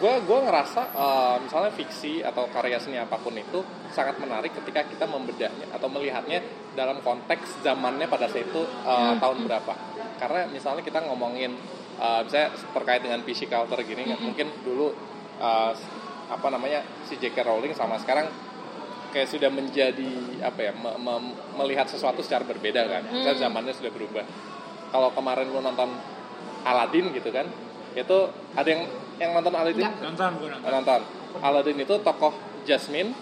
C: gue gua ngerasa eh, misalnya fiksi atau karya seni apapun itu sangat menarik ketika kita membedahnya atau melihatnya dalam konteks zamannya pada saat itu eh, tahun berapa karena misalnya kita ngomongin eh, misalnya terkait dengan PC culture gini kan mungkin dulu eh, apa namanya si J.K. Rowling sama sekarang kayak sudah menjadi apa ya me- me- melihat sesuatu secara berbeda kan Misalnya zamannya sudah berubah kalau kemarin lu nonton Aladdin gitu kan itu ada yang yang nonton Aladdin
B: Nonton gue nonton.
C: nonton Aladdin itu tokoh Jasmine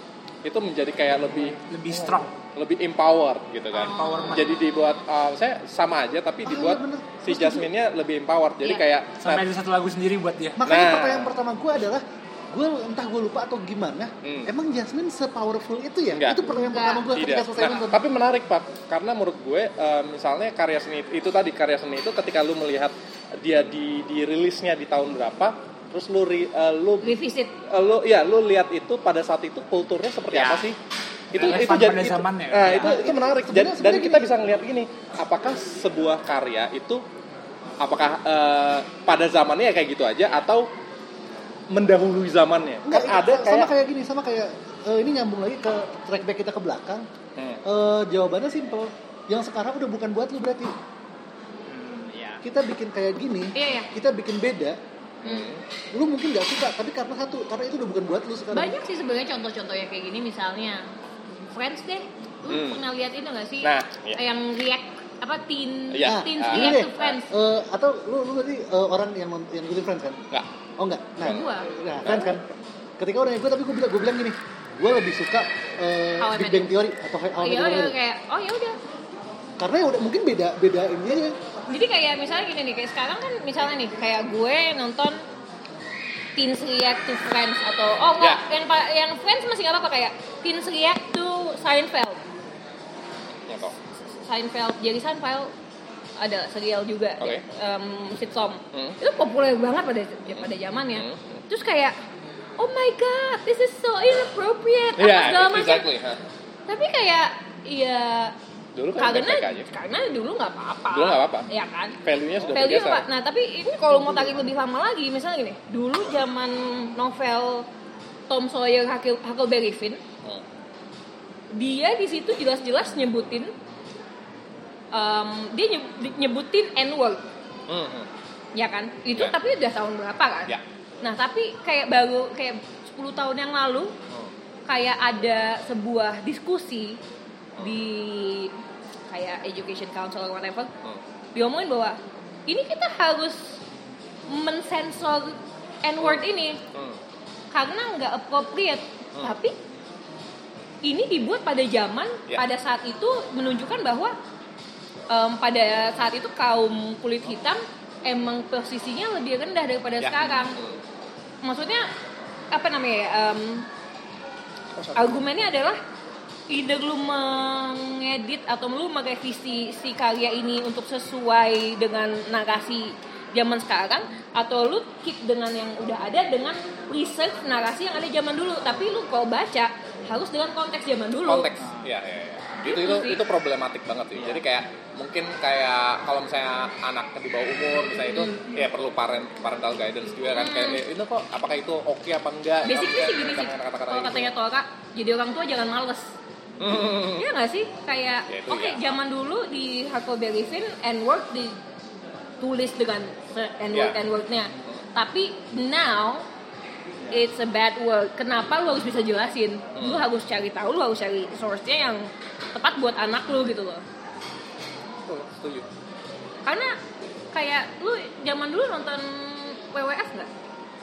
C: itu menjadi kayak lebih
B: Lebih strong.
C: lebih empowered gitu kan
B: Empowerment.
C: jadi dibuat saya sama aja tapi dibuat si Jasmine-nya lebih empowered jadi
A: Iya.
C: kayak
B: Sampai ada satu lagu sendiri buat dia.
D: Makanya
C: Nah.
D: pertanyaan pertama gue adalah gue entah gue lupa atau gimana
C: Hmm.
D: emang Jasmine sepowerful itu ya
C: Enggak.
D: itu pertanyaan
A: Enggak.
D: pertama gue
C: Tidak.
D: ketika selesai
C: Nah,
D: nonton
C: tapi menarik pak, karena menurut gue eh, misalnya karya seni itu tadi karya seni itu ketika lu melihat dia di dirilisnya di tahun berapa, terus lu ri- eh, lu
A: revisit
C: eh, lu ya lu lihat itu pada saat itu kulturnya seperti
B: Ya.
C: apa sih? Itu
B: Relevan
C: itu jadi
B: pada
C: itu,
B: zamannya.
C: nah,
B: Ya.
C: itu itu menarik. Dan, dan
D: sebenarnya- sebenarnya
C: kita
D: gini.
C: bisa ngelihat gini, apakah sebuah karya itu apakah eh, pada zamannya ya kayak gitu aja atau mendahului zamannya?
D: Enggak,
C: kan ada
D: sama
C: kayak,
D: kayak gini sama kayak eh, ini nyambung lagi ke track back kita ke belakang
C: Hmm.
D: Eh, jawabannya simple yang sekarang udah bukan buat lu berarti
C: Hmm, iya.
D: kita bikin kayak gini
A: Iya, iya.
D: kita bikin beda lu mungkin nggak suka tapi karena satu karena itu udah bukan buat lu sekarang
A: banyak sih sebenarnya contoh-contohnya kayak gini misalnya Friends deh lu
C: Hmm.
A: pernah lihat itu gak sih Eh,
C: Nah, iya.
A: yang react apa teen
C: Iya.
A: teens
C: Ah.
D: gini
A: react
D: deh,
A: to Friends
D: Nah, eh, atau lu lu tadi eh, orang yang non- yang ikutin friends kan
C: Enggak.
D: oh enggak nah
A: Gua.
D: nah, friends kan ketika orang yang gue tapi gue bilang gue bilang gini gue lebih suka eh,
A: How I Met
D: Big Bang
A: Your-
D: Theory atau How I
C: gitu,
D: Met
A: iya
D: Your
A: iya
D: Mother
A: kayak oh ya udah
D: karena ya udah mungkin beda beda ini aja
A: jadi kayak misalnya gini nih kayak sekarang kan misalnya nih kayak gue nonton teens react to Friends atau oh
C: Ya.
A: enggak yang pa- yang Friends masih nggak apa-apa kayak teens react to Seinfeld
C: Ya, toh.
A: Seinfeld jadi Seinfeld ada serial juga
C: Oke.
A: em, sitcom
C: Hmm.
A: itu populer banget pada pada zamannya
C: Hmm.
A: terus kayak oh my god this is so inappropriate apa segala
C: Iya,
A: macam
C: exactly. Hah.
A: tapi kayak iya
C: Dulu kan
A: karena
C: baik-baik aja.
A: karena dulu nggak apa-apa
C: Dulu nggak apa-apa.
A: ya kan
C: Value-nya sudah
A: value
C: bergeser.
A: apa nah tapi ini kalau mau tarik lebih lama lagi misalnya gini dulu zaman novel Tom Sawyer Huckle- Huckleberry Finn
C: Hmm.
A: dia di situ jelas-jelas nyebutin em, dia nyeb- nyebutin n word
C: Hmm, hmm.
A: ya kan itu
C: Ya.
A: tapi udah tahun berapa kan
C: Ya.
A: nah tapi kayak baru kayak 10 tahun yang lalu
C: hmm,
A: kayak ada sebuah diskusi di kayak education council or whatever
C: hmm,
A: diomongin bahwa ini kita harus mensensor n word ini
C: hmm.
A: karena nggak appropriate tapi ini dibuat pada zaman
C: Ya.
A: pada saat itu menunjukkan bahwa em, pada saat itu kaum kulit hitam emang posisinya lebih rendah daripada
C: Ya.
A: sekarang.
C: Hmm.
A: Maksudnya apa namanya? ya, em, argumennya adalah either lu mengedit atau lu merevisi si karya ini untuk sesuai dengan narasi zaman sekarang atau lu keep dengan yang udah ada dengan research narasi yang ada zaman dulu tapi lu kalau baca harus dengan konteks zaman dulu
C: konteks ya, ya, ya. itu itu
A: sih.
C: itu problematik
A: Iya.
C: banget sih jadi kayak mungkin kayak kalau misalnya anak di bawah umur misalnya itu
A: Hmm.
C: ya perlu parent parental guidance juga kan kayak eh, itu kok apakah itu oke apa enggak Gitu kan.
A: basicnya sih gini sih
C: Kata-kata- kata-kata
A: kalau
C: gitu.
A: katanya Tora jadi orang tua jangan males
C: Hmm.
A: Iya nggak sih kayak
C: Ya, itu
A: oke
C: ya.
A: zaman dulu di Huckleberry Finn n word ditulis dengan n word
C: Ya.
A: n wordnya tapi now it's a bad word kenapa lu harus bisa jelasin
C: Hmm.
A: lu harus cari tahu lu harus cari source-nya yang tepat buat anak lu gitu loh
C: Betul, Oh, setuju
A: karena kayak lu zaman dulu nonton WWF nggak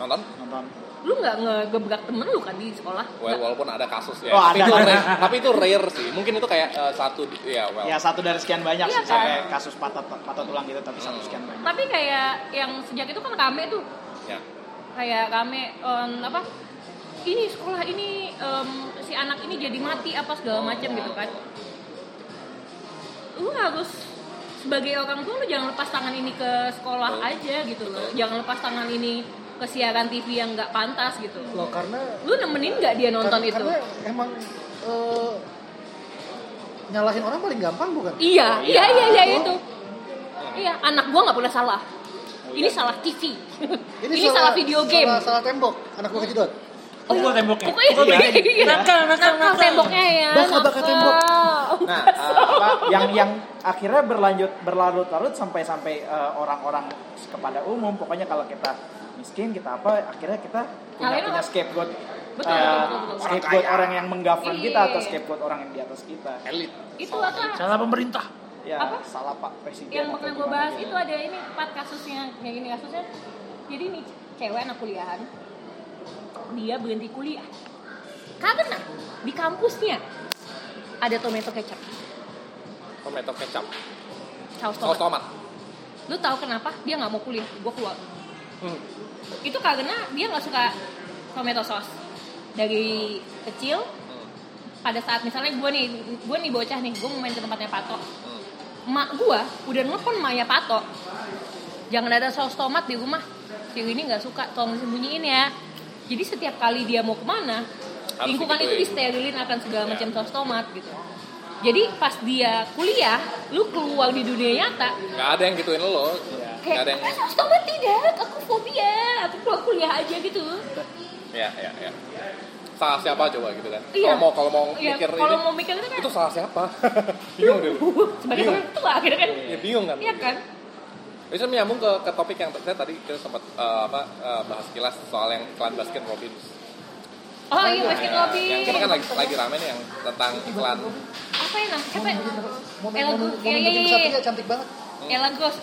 C: nonton
A: Nah.
G: Nonton.
A: lu nggak ngegebrak temen lu kan di sekolah
C: Well, walaupun ada kasus ya.
G: Oh,
C: tapi,
G: ada.
C: itu rare, tapi itu rare sih. Mungkin itu kayak eh, satu ya well.
G: Ya satu dari sekian banyak
A: Iya
G: sih
A: kan?
G: sampai kasus patah patah tulang gitu tapi satu sekian banyak.
A: tapi kayak yang sejak itu kan rame tuh
C: Ya.
A: kayak rame em, apa ini sekolah ini em, si anak ini jadi mati apa segala macam gitu kan lu harus sebagai orang tua lu jangan lepas tangan ini ke sekolah aja gitu loh jangan lepas tangan ini ke siaran TV yang nggak pantas gitu
D: loh karena
A: lu nemenin nggak dia nonton
D: karena,
A: itu
D: karena emang eh, nyalahin orang paling gampang bukan
A: iya iya iya iya
D: Oh.
A: itu iya anak gua nggak pernah salah ini salah TV ini, salah, video game
D: salah, salah tembok anak gua kejedot
B: Pukul
A: Oh,
B: temboknya.
A: Pokoknya iya,
B: Pukul temboknya.
A: iya. nakal, nakal, temboknya ya.
D: Bakar, bakar tembok.
E: Nah, eh, apa, yang yang akhirnya berlanjut berlarut-larut sampai sampai eh, orang-orang kepada umum, pokoknya kalau kita miskin kita apa, akhirnya kita punya,
A: Nyalain
E: punya
A: orang.
E: scapegoat.
A: Betul, betul,
E: eh,
A: betul, betul.
E: scapegoat orang yang menggovern kita atau
A: Iya.
E: scapegoat orang yang di atas kita.
C: Elit.
A: Itu apa?
B: Salah pemerintah.
E: Ya,
A: Apa?
E: salah Pak Presiden.
A: Yang
E: atau
A: pernah gue
E: gimana
A: bahas
E: gitu.
A: itu ada ini empat kasusnya kayak gini kasusnya. Jadi nih cewek anak kuliahan dia berhenti kuliah karena di kampusnya ada tomato kecap,
C: Tomato kecap.
A: saus
C: Saus
A: tomat.
C: tomat.
A: Lu tahu kenapa dia nggak mau kuliah? Gue keluar.
C: Hmm.
A: Itu karena dia nggak suka tomato sauce. Dari kecil
C: Hmm,
A: pada saat misalnya gue nih gue nih bocah nih gue mau main ke tempatnya Pato
C: hmm.
A: mak gue udah nelfon maknya Pato jangan ada saus tomat di rumah si ini nggak suka tolong sembunyiin ya jadi setiap kali dia mau kemana
C: Harus
A: lingkungan itu
C: digituin.
A: disterilin akan segala
C: Ya.
A: macam saus tomat gitu jadi pas dia kuliah lu keluar di dunia nyata
C: Gak ada yang gituin lo. Gak
A: kayak
C: ada yang.
A: "Ah, saus tomat tidak aku fobia aku keluar kuliah aja gitu
C: Ya ya ya. Salah siapa coba gitu kan?
A: Iya.
C: Kalau mau kalau mau
A: Iya,
C: mikir
A: kalau
C: ini
A: mau mikir itu kan
C: itu salah siapa? bingung deh. lu.
A: sebagai
C: Bingung.
A: orang tua gitu kan
C: Ya bingung kan?
A: iya kan
C: Bisa menyambung ke, ke topik yang saya tadi kita sempat eh, apa eh, bahas kilas soal yang iklan Baskin Robbins.
A: Oh iya basket
C: Ya,
A: lobby.
C: Yang kita kan lagi, lagi rame nih yang tentang iklan
A: Apa ya namanya? Apa?
D: momen
A: Ella
D: momen,
A: Gu-
D: momen
A: iya,
D: bikin
A: iya,
D: satunya
A: iya.
D: ya, cantik banget
A: Ella Gos.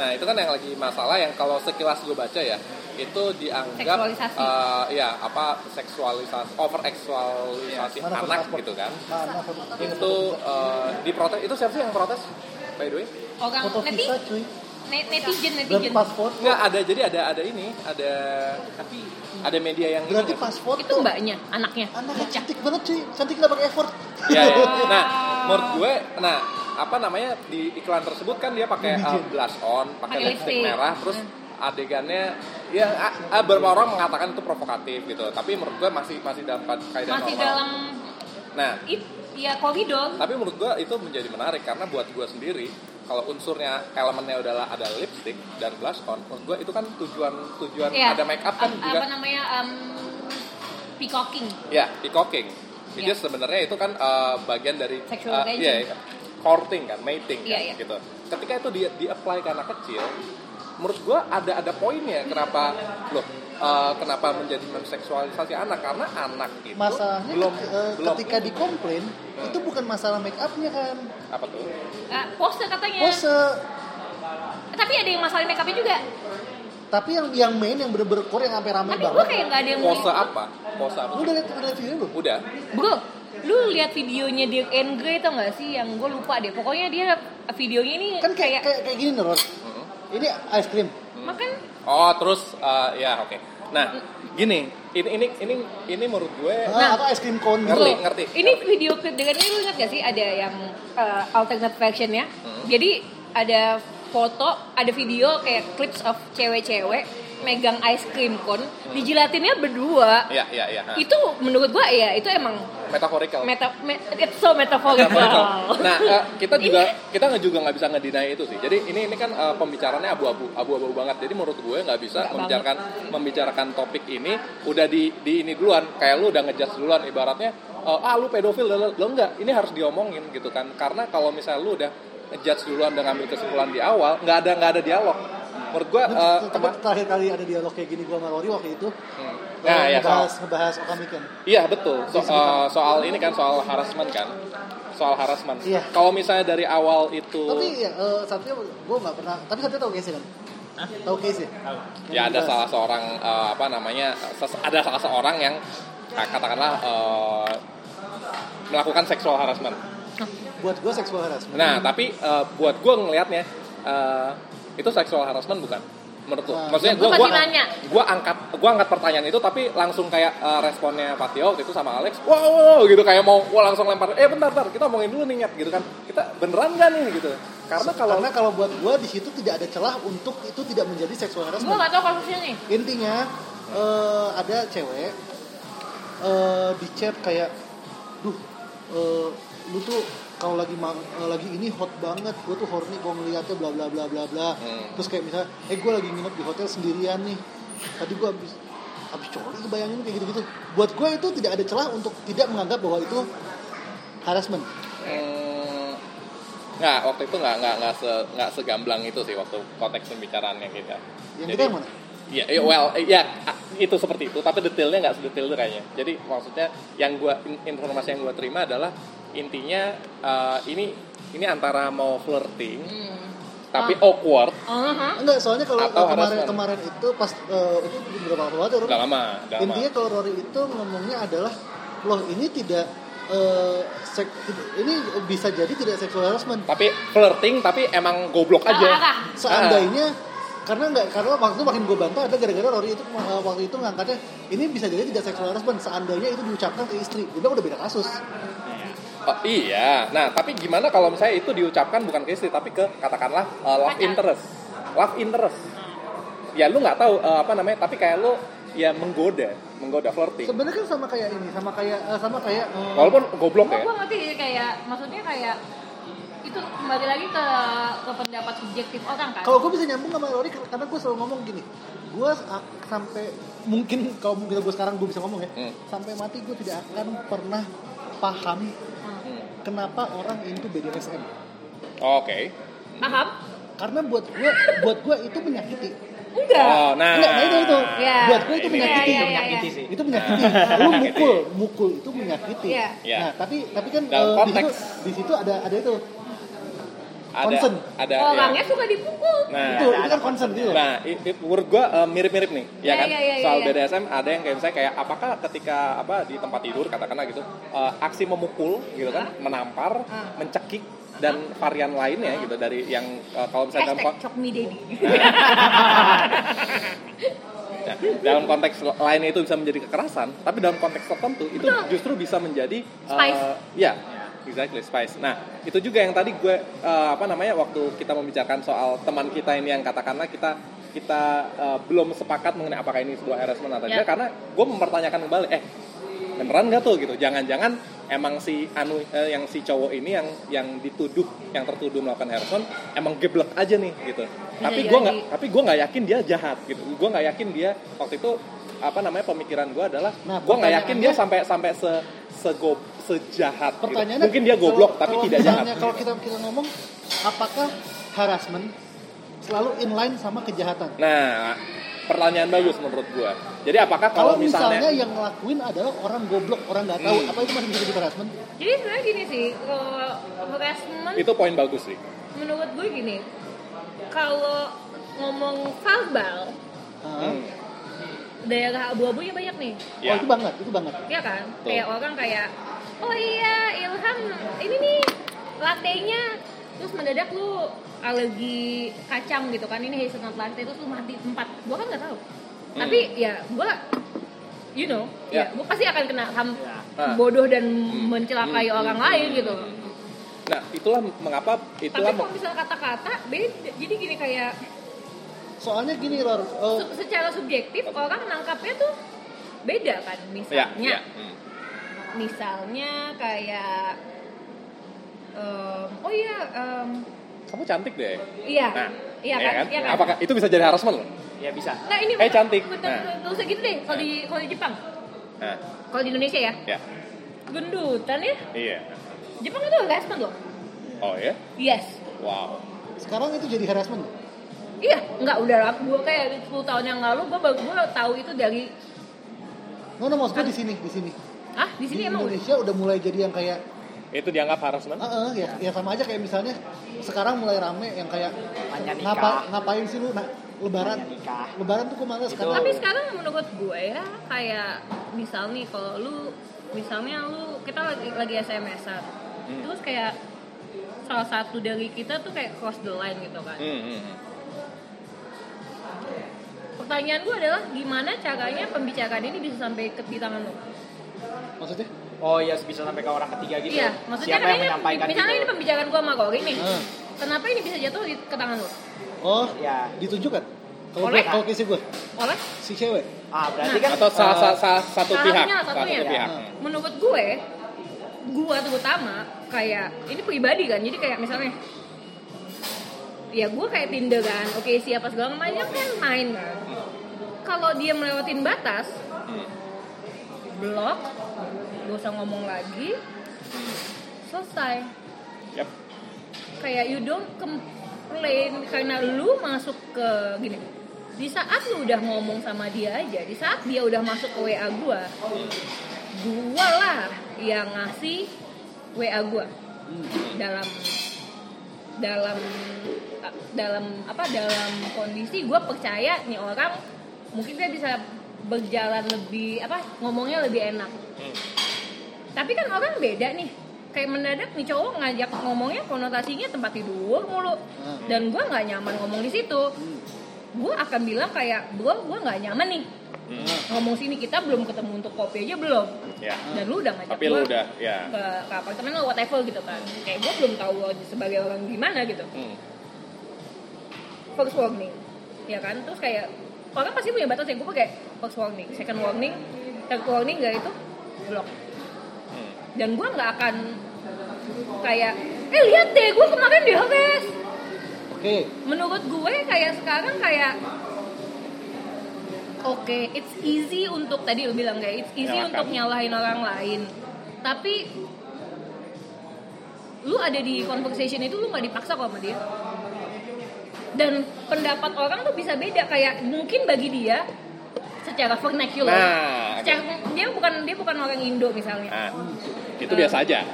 C: Nah itu kan yang lagi masalah yang kalau sekilas gue baca ya itu dianggap
A: Seksualisasi.
C: eh, ya apa seksualisasi over seksualisasi
D: Iya. Mana
C: anak
D: foto-foto? Nah,
C: gitu kan
D: mana foto
C: itu eh, diprotes itu siapa sih yang protes by the way
A: Orang
D: foto
A: neti,
D: visa Iya. cuy
A: ne- netizen,
D: berarti
A: netizen.
D: paspor
C: nggak ada jadi ada ada ini ada ada media yang ini
D: berarti
C: kan? nggak sih?
D: paspor
A: Itu ya? mbaknya, anaknya.
D: anaknya cantik banget cuy cantik nggak pakai effort
C: Iya, iya. Nah, menurut gue, nah apa namanya di iklan tersebut kan dia pakai uh, blush on,
A: Pakai
C: pakai lipstick
A: lipstick. Hmm.
C: merah, terus adegannya ya a- a- beberapa orang mengatakan itu provokatif gitu, tapi menurut gue masih masih dapat kaidah
A: Masih
C: normal.
A: dalam
C: Nah,
A: it, ya koridor.
C: tapi menurut gue itu menjadi menarik karena buat gue sendiri kalau unsurnya elemennya adalah ada lipstick dan blush on, menurut gue itu kan tujuan tujuan
A: Iya.
C: ada make up kan
A: Ap-
C: juga
A: Apa namanya? Um, peacocking.
C: Ya, peacocking. Itu
A: Ya.
C: sebenarnya itu kan eh, bagian dari
A: Sexual
C: eh,
A: agent.
C: iya, iya. courting kan, mating kan,
A: Iya, iya.
C: gitu. Ketika itu di di-apply ke anak kecil, menurut gua ada ada poinnya kenapa loh eh, kenapa menjadi menseksualisasi anak karena anak itu
D: masalahnya
C: belum
D: ke- eh,
C: belum
D: ketika dikomplain itu bukan masalah make upnya kan
C: apa tuh?
A: Ah, pose katanya. Eh,
D: pose
A: Tapi ada yang masalah make upnya juga.
D: tapi yang yang main yang bener-bener core yang sampai rame
A: Tapi gue
D: banget
A: kayak Iya, nggak ada yang mau
C: Pose apa? Pose apa?
D: lu udah liat udah liat video belum
C: Udah.
A: Bro, lu lihat videonya Dirk and Grey tau gak sih? Yang gue lupa deh. Pokoknya dia videonya ini
D: kan kayak kayak, kayak gini nih Ros
C: Mm-mm.
D: ini ice cream
A: makan
C: Oh, terus eh, ya oke. Nah, gini, ini ini ini ini menurut gue
A: Nah.
D: Ah, atau ice cream cone gitu
C: Ngerti,
A: Tuh,
C: ngerti,
A: Ini
C: ngerti.
A: video clip dengan ini lu ingat gak sih ada yang uh, alternate version ya?
C: Hmm.
A: Jadi ada foto, ada video kayak clips of cewek-cewek megang ice cream cone,
C: Hmm.
A: dijilatinnya berdua.
C: ya ya ya. nah,
A: Itu menurut gua ya itu emang
C: metaphorical.
A: meta, me- it's so metaphorical. Oh.
C: Nah, eh, kita juga kita nggak juga nggak bisa ngedinai itu sih. Jadi ini ini kan eh, pembicaraannya abu-abu abu-abu banget. Jadi menurut gue nggak bisa
A: Nggak
C: membicarakan membicarakan topik ini udah di di ini duluan. Kayak lu udah ngejudge duluan ibaratnya eh, ah lu pedofil lo, lo enggak. Ini harus diomongin gitu kan. Karena kalau misalnya lu udah ngejudge duluan dan ngambil kesimpulan di awal, nggak ada nggak ada dialog. Menurut gue
D: Lu-
C: eh,
D: tapi
C: kema-
D: terakhir kali ada dialog kayak gini gua sama Rory waktu itu eh,
C: Hmm. Nah, ya, soal-
D: ngebahas ngebahas Okami Ken
C: Iya betul. So- eh, soal ini kan soal harassment kan. Soal harassment.
D: Iya.
C: Kalau misalnya dari awal itu
D: tapi ya eh, Satria gue nggak pernah tapi Satria tau case kan Tahu case ya?
C: ya ada salah seorang eh, apa namanya ses- ada salah seorang yang eh, katakanlah eh, melakukan seksual harassment
D: Buat gue seksual harassment.
C: nah tapi eh, buat gue ngelihatnya eh, itu seksual harassment bukan menurut lo
D: Nah,
C: maksudnya
A: Lu
C: gue
A: masih
C: gua,
A: nanya.
C: gua angkat gua angkat pertanyaan itu tapi langsung kayak eh, responnya Patio waktu itu sama Alex wow, wow, wow," gitu kayak mau wah langsung lempar eh bentar bentar kita omongin dulu nih Nyet," gitu kan kita beneran gak nih gitu karena kalau
D: Karena kalau buat gue di situ tidak ada celah untuk itu tidak menjadi seksual
A: Gue
D: harassment.
A: gak tau kasusnya nih.
D: Intinya eh, ada cewek eh, di chat kayak, duh, eh, lu tuh kalau lagi ma- eh, lagi ini hot banget, gue tuh horny kalau ngeliatnya bla bla bla bla bla.
C: Hmm.
D: Terus kayak misalnya, eh gue lagi nginep di hotel sendirian nih. Tadi gue habis habis coli bayangin kayak gitu-gitu. Buat gue itu tidak ada celah untuk tidak menganggap bahwa itu harassment.
C: Hmm, nggak waktu itu nggak nggak nggak se nggak segamblang itu sih waktu konteks pembicaraannya gitu ya. kita.
D: Yang
C: Jadi-
D: kita yang mana?
C: Iya, iya, well, iya ah, itu seperti itu, tapi detailnya nggak sedetail itu kayaknya. Jadi maksudnya yang gua in- informasi yang gua terima adalah intinya eh, ini ini antara mau flirting
A: Hmm.
C: tapi
D: Ah.
C: awkward
A: Aha.
D: Enggak, soalnya kalau
C: Atau
D: kemarin
C: harassment.
D: kemarin itu pas eh, itu beberapa waktu lalu
C: udah lama, udah lama.
D: intinya kalau Rory itu ngomongnya adalah loh ini tidak eh, sek- ini bisa jadi tidak seksual harassment
C: Tapi flirting tapi emang goblok aja. Ah.
A: Salah arah.
D: Ah, seandainya karena nggak karena waktu makin gue bantah ada gara-gara Rory itu eh, waktu itu ngangkatnya ini bisa jadi tidak seksual harassment seandainya itu diucapkan ke istri gue bilang udah beda kasus
C: Oh, iya. Nah, tapi gimana kalau misalnya itu diucapkan bukan ke istri tapi ke katakanlah uh, love
A: Pacar.
C: interest. Love interest. Ya lu nggak tahu uh, apa namanya, tapi kayak lu ya menggoda, menggoda flirting.
D: sebenarnya kan sama kayak ini sama kayak eh, sama kayak eh,
C: Walaupun goblok
A: Cuma
C: ya.
A: gue ngerti sih, kayak, maksudnya kayak itu kembali lagi ke ke pendapat subjektif orang kan.
D: Kalau gue bisa nyambung sama Rory kar- karena gue selalu ngomong gini, gue sa- sampai mungkin kalau mungkin gue sekarang gue bisa ngomong ya,
C: Hmm.
D: sampai mati gue tidak akan pernah paham
A: Hmm.
D: kenapa orang itu BDSM.
C: Oke.
A: Paham?
D: Karena buat gue buat gue itu menyakiti.
A: Iya. Enggak.
C: Oh, nah.
D: Enggak, nah itu itu.
A: Iya.
D: Buat gue itu
C: Ini
A: Iya,
D: menyakiti.
A: iya,
E: menyakiti sih.
C: Ah.
D: Itu menyakiti. Lu mukul, mukul itu menyakiti.
A: Iya.
C: Iya.
D: Nah, tapi tapi kan
C: Dalam
D: eh, di situ
C: konteks. Nah.
D: di situ ada ada itu.
C: Ada
D: Concern.
C: ada ya.
A: Orangnya suka dipukul.
C: Nah,
D: itu itu kan concern gitu.
C: Nah, i- i- menurut gua eh, mirip-mirip nih, ya
A: Iya,
C: kan?
A: iya, iya,
C: Soal
A: iya.
C: BDSM ada yang kayak misalnya kayak apakah ketika apa di tempat tidur katakanlah gitu, eh, aksi memukul gitu kan, menampar,
A: Ah.
C: mencekik dan varian lainnya gitu dari yang eh, kalau misalnya dalam,
A: Hashtag
C: kon-
A: cok me daddy.
C: nah, dalam konteks lainnya itu bisa menjadi kekerasan, tapi dalam konteks tertentu itu justru bisa menjadi eh,
A: Spice.
C: ya, exactly spice. Nah, itu juga yang tadi gue eh, apa namanya waktu kita membicarakan soal teman kita ini yang katakanlah kita kita eh, belum sepakat mengenai apakah ini sebuah harassment atau
A: Ya.
C: tidak karena gue mempertanyakan kembali eh beneran nggak tuh gitu jangan-jangan emang si anu eh, yang si cowok ini yang yang dituduh yang tertuduh melakukan harassment emang geblek aja nih gitu
D: Iya,
C: tapi gue
A: jadi.
C: nggak tapi gue nggak yakin dia jahat gitu gue nggak yakin dia waktu itu apa namanya pemikiran gue adalah
D: Nah,
C: gue nggak yakin dia
D: pertanyaannya-
C: sampai sampai se segob sejahat gitu.
D: pertanyaannya
C: mungkin dia goblok
D: kalau-
C: tapi
D: kalau
C: tidak jahat
D: misalnya- kalau kita kita ngomong apakah harassment selalu inline sama kejahatan
C: nah pertanyaan bagus menurut gue jadi apakah kalau
D: kalau misalnya,
C: misalnya,
D: yang ngelakuin adalah orang goblok orang nggak tahu
C: Hmm.
D: apa itu masih bisa jadi harassment
A: Jadi sebenarnya gini sih, kalau
D: ya-
A: harassment
C: itu poin bagus sih
A: menurut gue gini, kalau ngomong verbal,
D: Hah?
C: Hmm.
A: daerah abu-abunya banyak nih,
D: oh itu banget itu banget
A: ya kan?
C: Betul.
A: Kayak orang kayak, oh iya Ilham, ini nih latte-nya, terus mendadak lu alergi kacang gitu kan, ini hazelnut latte, terus lu mati tempat, gue kan nggak tahu. Tapi ya gue, you know,
C: Hmm. Ya.
A: ya gue pasti akan kena ham
C: Ah. Hmm.
A: bodoh dan mencelakai orang lain gitu.
C: nah itulah mengapa itulah
A: Tapi kalau misalnya kata-kata beda. Jadi gini kayak
D: soalnya gini lor eh,
A: su- secara subjektif orang nangkapnya tuh beda kan
C: ya,
A: misalnya.
C: ya. Hmm.
A: Misalnya kayak em, oh iya em,
C: kamu cantik deh
A: iya.
C: nah
A: iya kan? Iya kan?
C: apakah itu bisa jadi harassment loh
E: Ya bisa.
A: Nah, ini
C: Eh, cantik.
A: Betul,
C: Nah.
A: betul, betul, segitu deh kalau di kalau di Jepang.
C: nah
A: Kalau di Indonesia ya,
C: ya
A: gendutan ya.
C: iya
A: Jepang itu respon loh.
C: oh ya
A: Yes.
C: wow
D: sekarang itu jadi harassment
A: Iya, enggak udah lah. Gue kayak 10 tahun yang lalu gue baru gue tahu itu dari
D: no no maksud gue di sini di sini
A: ah di
D: di
A: sini emang udah.
D: Indonesia udah mulai jadi yang kayak
C: itu dianggap
A: Oh.
C: harassment
D: "Ah, eh, ya, ya sama aja kayak misalnya sekarang mulai rame yang kayak
E: Tanya nikah.
D: ngapa ngapain sih lu nah, lebaran
G: nikah.
D: lebaran tuh gue males
G: Gitu.
D: karena
A: Tapi sekarang menurut gue ya kayak misal nih kalau lu misalnya lu kita lagi lagi SMS-an.
G: Hmm.
A: Terus kayak salah satu dari kita tuh kayak cross the line gitu kan.
C: Hmm, hmm, hmm.
A: Pertanyaan gue adalah gimana caranya pembicaraan ini bisa sampai ke di tangan lu?
D: maksudnya
G: Oh iya bisa sampai ke orang ketiga gitu.
E: ya?
A: Iya, maksudnya
G: Siapa
A: kan
G: yang
A: ini
G: menyampaikan Hmm.
A: misalnya
G: gitu?
A: ini pembicaraan gue sama Rory nih. Kenapa ini bisa jatuh di, ke tangan lu?
D: oh
G: Ya.
E: Iya.
D: ditunjuk kan kalau
A: Oleh?
D: gue kalau kisah gue
A: Oleh
D: si cewek
G: Ah berarti
A: Nah.
G: kan
C: Atau
E: eh,
C: salah, salah, salah satu
A: Eh, salah
C: pihak,
A: satunya, salah
C: salah satu
A: satunya.
C: pihak.
A: menurut gue gue terutama kayak ini pribadi kan jadi kayak misalnya ya gue kayak Tinder kan oke siapa segala macam kan main kan kalau dia melewatin batas blok gak usah ngomong lagi selesai
C: Yap.
A: kayak you don't complain karena lu masuk ke gini di saat lu udah ngomong sama dia aja di saat dia udah masuk ke WA gua gua lah yang ngasih WA gua dalam dalam dalam apa dalam kondisi gua percaya nih orang mungkin dia bisa berjalan lebih apa ngomongnya lebih enak tapi kan orang beda nih kayak mendadak nih cowok ngajak ngomongnya konotasinya tempat tidur mulu dan gue nggak nyaman ngomong di situ gue akan bilang kayak bro gue nggak nyaman nih ngomong sini kita belum ketemu untuk kopi aja belum
C: Ya.
A: dan lu udah ngajak
C: Tapi lu
A: gua
C: udah, ya.
A: ke, ke apartemen lo whatever gitu kan kayak gue belum tahu lo sebagai orang gimana gitu
C: Hmm.
A: first warning ya kan terus kayak orang pasti punya batas ya gue pakai first warning second warning third warning gak itu blok
C: hmm.
A: dan gue nggak akan kayak eh lihat deh gue kemarin di HVS
D: oke
A: menurut gue kayak sekarang kayak oke it's easy untuk tadi lu bilang kayak it's easy
C: Nyalakan.
A: untuk nyalahin orang lain tapi lu ada di conversation itu lu nggak dipaksa kok sama dia dan pendapat orang tuh bisa beda kayak mungkin bagi dia secara vernacular
C: Nah, oke.
A: secara, dia bukan dia bukan orang Indo misalnya
C: Nah,
A: Eh.
C: itu biasa aja.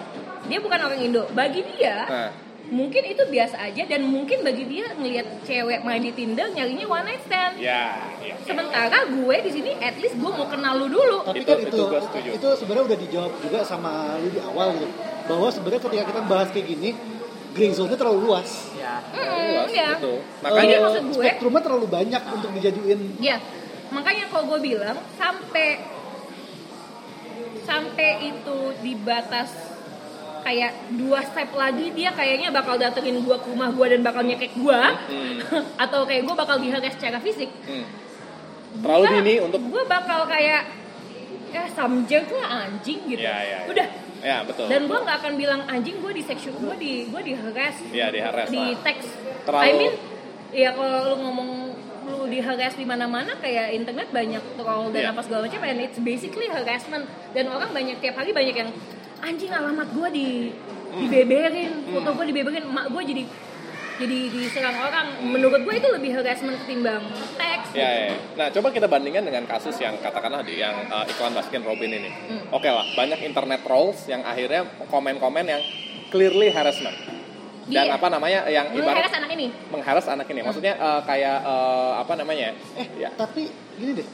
A: dia bukan orang Indo bagi dia
C: Nah,
A: mungkin itu biasa aja dan mungkin bagi dia ngelihat cewek main di Tinder nyarinya one night stand.
C: ya, ya.
A: Sementara gue di sini at least gue mau kenal lu dulu.
D: tapi
C: Itu-
D: kan
C: itu
D: itu
C: gua setuju.
D: itu sebenarnya udah dijawab juga sama lu di awal gitu bahwa sebenarnya ketika kita bahas kayak gini gray zone-nya terlalu luas
A: Hmm, ya.
C: Itu.
A: Jadi
C: Makanya
A: maksud gue,
D: spektrumnya terlalu banyak untuk dijadiin
A: ya. Makanya kalau gue bilang sampai sampai itu di batas kayak dua step lagi dia kayaknya bakal datengin gue ke rumah gue dan bakal nyekek gue atau kayak gue bakal dihagas secara fisik
C: Hmm. terlalu dini untuk
A: gue bakal kayak ya samjek lah anjing gitu
C: Ya, ya, ya.
A: udah
C: ya betul.
A: dan gue nggak akan bilang anjing gue di seksual gue di gue di harass
C: Iya, di harass
A: di
C: lah.
A: teks
C: Terlalu-
A: I mean ya kalau lu ngomong lu di harass di mana mana kayak internet banyak troll dan
C: Iya.
A: apa segala macam and it's basically harassment dan orang banyak tiap hari banyak yang anjing alamat gue di
C: Hmm.
A: dibeberin foto gue dibeberin mak gue jadi jadi diserang orang menurut gue itu lebih harassment ketimbang teks
C: Ya, ya. Nah, coba kita bandingkan dengan kasus yang katakanlah di yang uh, iklan Baskin Robin ini.
D: Hmm.
C: Oke lah, banyak internet trolls yang akhirnya komen-komen yang clearly harassment. Dan
A: Iya.
C: apa namanya yang
A: Lu
C: ibarat
A: harass anak ini
C: mengharas anak ini. Maksudnya uh, kayak uh, apa namanya?
D: eh
C: ya.
D: tapi gini deh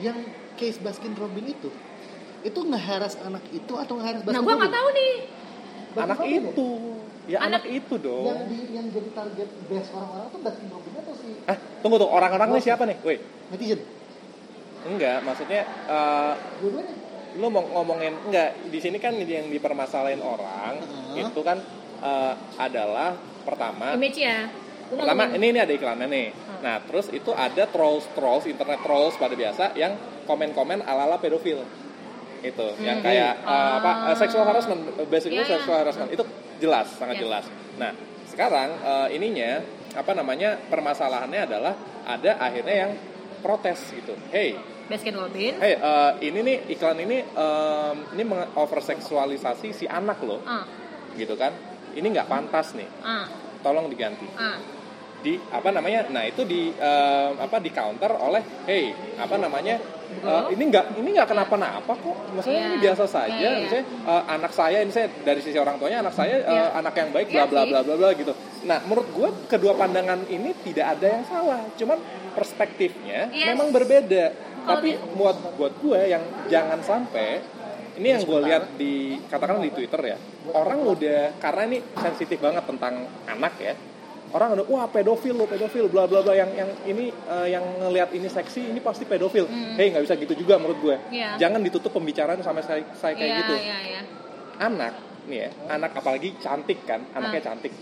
D: yang case Baskin Robin itu itu ngeharas anak itu atau ngeharas
A: nah
D: Baskin
A: gue
D: Robin?
A: nggak tahu nih
C: Anak
D: Robin ya?
C: itu. Oh. Ya anak, itu
D: yang
C: dong.
D: di, yang jadi target base orang-orang tuh Baskin Robin atau si
C: Ah, tunggu tuh orang-orang ini siapa nih? Woi,
D: netizen
C: enggak, maksudnya uh,
D: dua-duanya
C: lu mau ngomongin enggak di sini kan yang dipermasalahin orang
D: Heeh.
C: itu kan uh, adalah pertama
A: image ya Gua
C: pertama
A: ngomongin-
C: ini ini ada iklannya nih
A: Hmm.
C: nah terus itu ada trolls trolls internet trolls pada biasa yang komen komen ala ala pedofil itu yang kayak eh, apa eh, sexual harassment
A: Hmm. Ah. Iya,
C: basically
A: iya.
C: sexual harassment itu jelas sangat
A: Iya.
C: jelas nah sekarang eh, ininya apa namanya permasalahannya adalah ada akhirnya yang protes gitu hey
A: Baskin Robin
C: hey eh, ini nih iklan ini em, ini over seksualisasi si anak loh
A: ah
C: gitu kan ini nggak pantas nih
A: ah
C: tolong diganti
A: ah
C: di apa namanya nah itu di eh, apa di counter oleh hey apa namanya eh, ini nggak ini nggak kenapa-napa kok maksudnya
A: Iya.
C: ini biasa saja
A: Iya, iya.
C: misalnya eh, anak saya ini saya dari sisi orang tuanya anak saya eh,
A: Iya.
C: anak yang baik
A: Iya
C: bla bla
A: sih.
C: bla bla bla gitu nah menurut gue kedua pandangan ini tidak ada yang salah cuman perspektifnya
A: Yes.
C: memang berbeda
A: Iya Kalau
C: tapi
A: di-
C: buat buat gue yang jangan sampai ini yang gue lihat di katakanlah di Twitter ya orang udah karena ini sensitif banget tentang anak ya orang udah wah pedofil lo pedofil bla bla bla yang yang ini eh, yang ngelihat ini seksi ini pasti pedofil hei nggak bisa gitu juga menurut gue
A: Hmm. Iya.
C: jangan ditutup pembicaraan sama saya, saya kayak
A: Iya,
C: gitu
A: iya, iya.
C: anak nih ya
A: Oh.
C: anak apalagi cantik kan
A: Ah.
C: anaknya cantik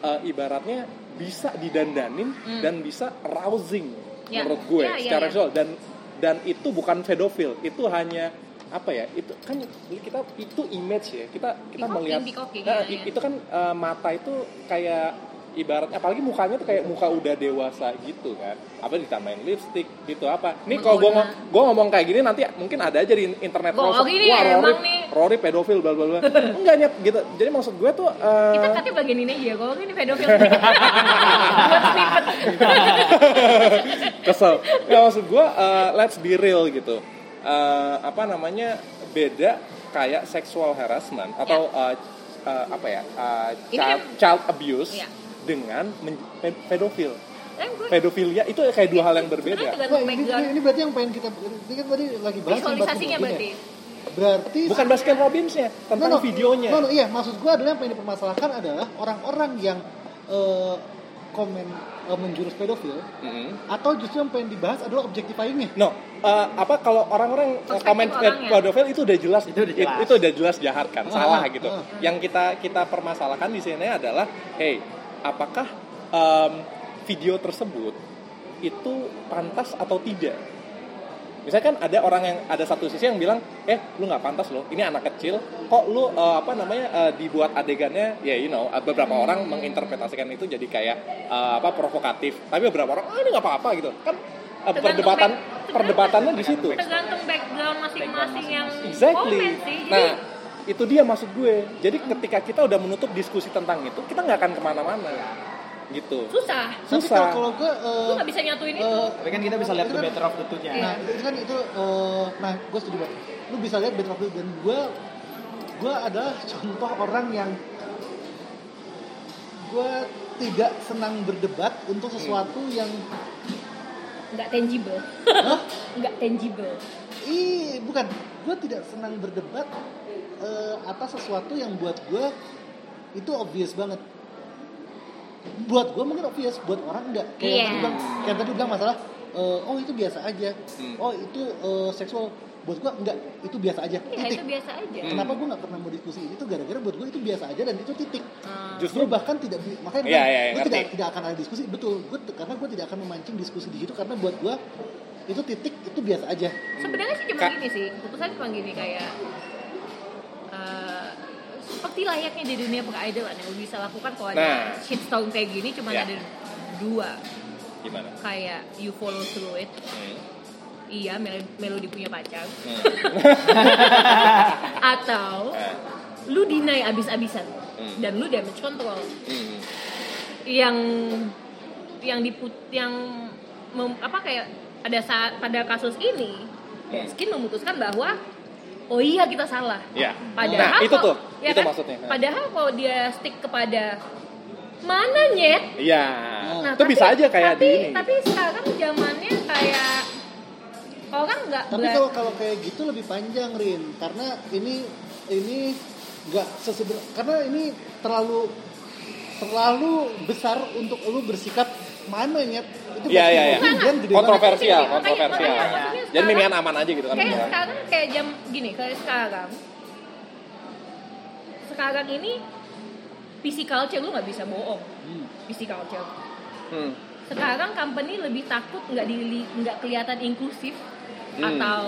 C: Eh, ibaratnya bisa didandanin
A: Hmm.
C: dan bisa rousing
A: Ya.
C: menurut gue
A: Ya, ya,
C: secara
A: ya.
C: visual dan dan itu bukan pedofil itu hanya apa ya itu kan kita itu image ya kita kita
A: Dikoking,
C: melihat
A: dikoking, ya,
C: Nah, i-
A: ya.
C: itu kan eh, mata itu kayak ibaratnya apalagi mukanya tuh kayak muka udah dewasa gitu kan apa ditambahin lipstick gitu apa nih kalau gue
A: Menggoda.
C: gue ngomong kayak gini nanti mungkin ada aja di internet
A: Gokil
C: rosok,
A: nih,
C: "Wah,
A: ya, emang
C: Rory-
A: nih."
C: Rory pedofil bla bla bla. Enggak nyet gitu. Jadi maksud gue tuh eh,
A: Kita kan- katanya bagian ini aja, kalau ini pedofil sedikit. Buat snippet.
C: kesel. Enggak maksud gue eh, let's be real gitu. Eh, apa namanya beda kayak sexual harassment atau eh, eh, apa ya eh,
A: Ya. Ini
C: child,
A: kan-
C: child abuse
A: Iya.
C: dengan men- pe- pedofil. ya?
A: Eh, gue
C: Pedofilia itu kayak dua hal yang
A: sebenarnya
C: berbeda.
A: tergantung
D: Wah, ini,
A: background.
D: ini berarti yang pengen kita ini kan tadi lagi bahas yang
A: Visualisasinya
D: Baskin Robbins
A: berarti.
D: ya. Berarti
C: Bukan Baskin Robbinsnya tentang videonya.
D: No, no, iya, maksud gue adalah yang pengen dipermasalahkan adalah orang-orang yang eh, komen eh, menjurus pedofil
C: Mm-mm.
D: atau justru yang pengen dibahas adalah objectifyingnya.
C: No, eh, apa kalau orang-orang eh,
A: Perspektif
C: komen
A: orang ya?
C: pedofil itu udah jelas
E: Itu udah jelas.
C: It- itu udah jelas jahat kan, salah gitu.
D: ah.
C: Yang kita kita permasalahkan di sini adalah, hey, apakah em, video tersebut itu pantas atau tidak? Misalkan kan ada orang yang ada satu sisi yang bilang, eh lu nggak pantas loh, ini anak kecil, kok lu eh, apa namanya eh, dibuat adegannya, ya you know, eh, beberapa orang menginterpretasikan itu jadi kayak eh, apa provokatif, tapi beberapa orang, ah ini nggak apa-apa gitu, kan eh,
A: Tergantung
C: perdebatan
A: back- tergantung-
C: perdebatannya di situ.
A: Tergantung background masing-masing yang
C: Exactly.
A: komen sih. Jadi,
C: Nah, itu dia maksud gue. Jadi ketika kita udah menutup diskusi tentang itu, kita nggak akan kemana-mana, gitu.
A: susah.
D: Tapi
C: Susah.
D: kalau- eh, kalau gue
A: Lu nggak bisa nyatuin itu.
C: Eh.
E: Tapi kan kita bisa lihat the better of the two-nya.
A: Iya.
D: Nah, itu kan itu eh, nah gue setuju banget. Lu bisa lihat Better Off dan gue gue adalah contoh orang yang gue tidak senang berdebat untuk sesuatu
E: Hmm.
D: yang
A: Nggak tangible.
D: Hah?
A: Nggak tangible.
D: ih Iya, bukan gue tidak senang berdebat eh, atas sesuatu yang buat gue itu obvious banget buat gue mungkin obvious buat orang enggak
A: Iya.
D: kayak yang tadi bilang kayak tadi bilang masalah eh, oh itu biasa aja
C: Hmm.
D: oh itu eh, seksual buat gue enggak itu biasa aja
A: Ya,
D: titik
A: itu biasa aja.
C: Hmm.
D: kenapa gue nggak pernah mau diskusi itu gara-gara buat gue itu biasa aja dan itu titik
C: Justru
A: Ah.
D: justru bahkan tidak bi- makanya
C: Iya,
D: kan,
C: iya, iya,
D: gue
C: ngerti.
D: tidak tidak akan ada diskusi betul gue karena gue tidak akan memancing diskusi di situ karena buat gue itu titik itu biasa aja
A: Sebenarnya sih cuma
C: Kak.
A: gini sih. Keputusan cuma gini kayak... eh, seperti layaknya di dunia peridolan yang bisa lakukan kalau ada
C: Nah.
A: shitstorm kayak gini cuma
C: Ya.
A: ada dua
C: gimana?
A: kayak you follow through it iya Mel- melody punya pacar
C: Hmm.
A: atau
C: nah,
A: lu deny abis-abisan
C: Eh. Hmm.
A: dan lu damage control yang yang diput yang mem- apa kayak ada saat pada kasus ini
C: Iya.
A: Baskin memutuskan bahwa oh iya kita salah
C: Ya.
A: padahal
C: nah, itu
A: kok-
C: tuh,
A: ya
C: itu
A: kan?
C: maksudnya. Nah.
A: padahal kalau dia stick kepada mana nyet
C: Iya,
A: Nah,
C: itu
A: tapi-
C: bisa aja kayak
A: tapi,
C: di ini.
A: Tapi sekarang zamannya kayak orang nggak
D: tapi
A: berat-
D: kalau kalau kayak gitu lebih panjang Rin karena ini ini nggak sesederhana karena ini terlalu terlalu besar untuk lu bersikap mana ya itu
C: Iya, iya, iya.
D: pasti kemudian gede banget.
C: Kontroversial,
A: Makanya-
C: kontroversial.
A: makanya maksudnya
C: Jadi
A: sekarang-
C: mendingan aman aja gitu kan.
A: kayak
C: Iya.
A: sekarang kayak jam gini kayak sekarang sekarang ini PC culture lu nggak bisa bohong PC culture
C: Hmm.
A: sekarang company lebih takut nggak dili nggak kelihatan inklusif
C: Hmm,
A: atau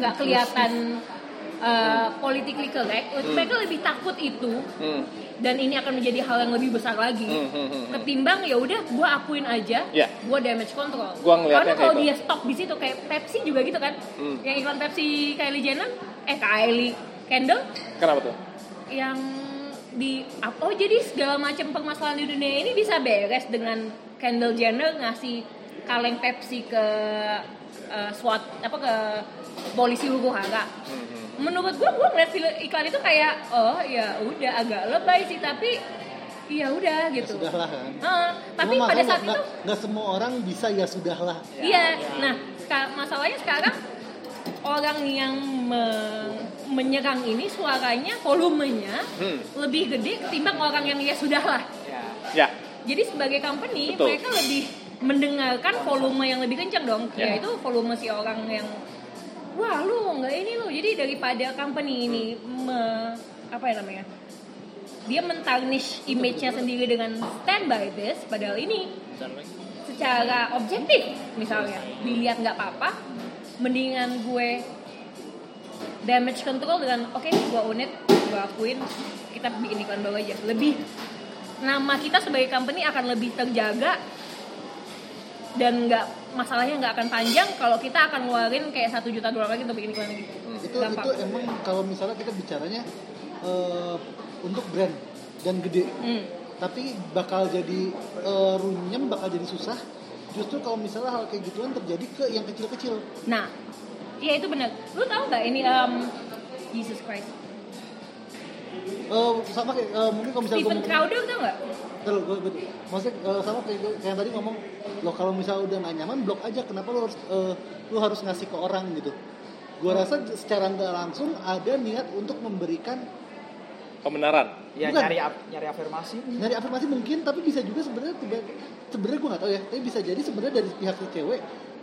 A: nggak kelihatan uh, politically correct mereka lebih takut itu
C: Hmm.
A: dan ini akan menjadi hal yang lebih besar lagi
C: Hmm, hmm, hmm, hmm.
A: ketimbang ya udah gue akuin aja
C: Ya.
A: gue damage control
C: Gua ngeliatnya
A: karena kalau
C: kayak gitu.
A: dia stop di situ kayak Pepsi juga gitu kan
C: Hmm.
A: yang iklan Pepsi Kylie Jenner eh Kylie Kendall
C: Kenapa tuh?
A: yang di oh jadi segala macam permasalahan di dunia ini bisa beres dengan Kendall Jenner ngasih kaleng Pepsi ke eh, SWAT apa ke polisi hukum harga.
C: Hmm.
A: Menurut gua gua ngeliat fil- iklan itu kayak oh ya udah agak lebay sih tapi ya udah gitu.
D: sudahlah kan.
A: Heeh, tapi
D: Cuma
A: pada
D: makanya
A: saat
D: kan nggak-
A: itu
D: nggak semua orang bisa ya sudahlah.
A: Iya. Nah, seka- masalahnya sekarang orang yang me- menyerang ini suaranya, volumenya
C: Hmm.
A: lebih gede ketimbang orang yang ya sudahlah.
C: Ya.
A: Jadi sebagai company
C: Betul.
A: mereka lebih mendengarkan volume yang lebih kencang dong.
C: Ya.
A: Yaitu volume si orang yang wah lu nggak ini lu. Jadi daripada company ini
C: Hmm.
A: me- apa ya namanya? Dia mentarnish image-nya sendiri dengan stand by this padahal ini secara objektif misalnya dilihat nggak apa-apa mendingan gue damage control dengan oke gue unit gue akuin kita bikin iklan baru aja lebih nama kita sebagai company akan lebih terjaga dan nggak masalahnya nggak akan panjang kalau kita akan ngeluarin kayak satu juta dolar lagi untuk bikin iklan lagi Hmm,
D: Itu
A: Gampang.
D: itu emang kalau misalnya kita bicaranya eh, untuk brand dan gede,
A: Hmm.
D: tapi bakal jadi eh, runyem, bakal jadi susah. Justru kalau misalnya hal kayak gituan terjadi ke yang kecil-kecil.
A: Nah, iya itu benar. Lu tahu nggak ini em, Jesus Christ?
D: Eh, sama kayak eh, mungkin kalau misalnya
A: Steven
D: ngomong-
A: Crowder tau nggak?
D: Terus gue gue maksudnya eh, sama kayak gue- kayak yang tadi ngomong lo kalau misalnya udah gak nyaman blok aja kenapa lo harus eh, lo harus ngasih ke orang gitu. Gue rasa secara nggak langsung ada niat untuk memberikan
C: Pembenaran.
E: Ya
D: Bukan.
E: nyari ap- nyari afirmasi.
D: nyari afirmasi mungkin tapi bisa juga sebenarnya tiba sebenarnya gue nggak tahu ya tapi bisa jadi sebenarnya dari pihak si cewek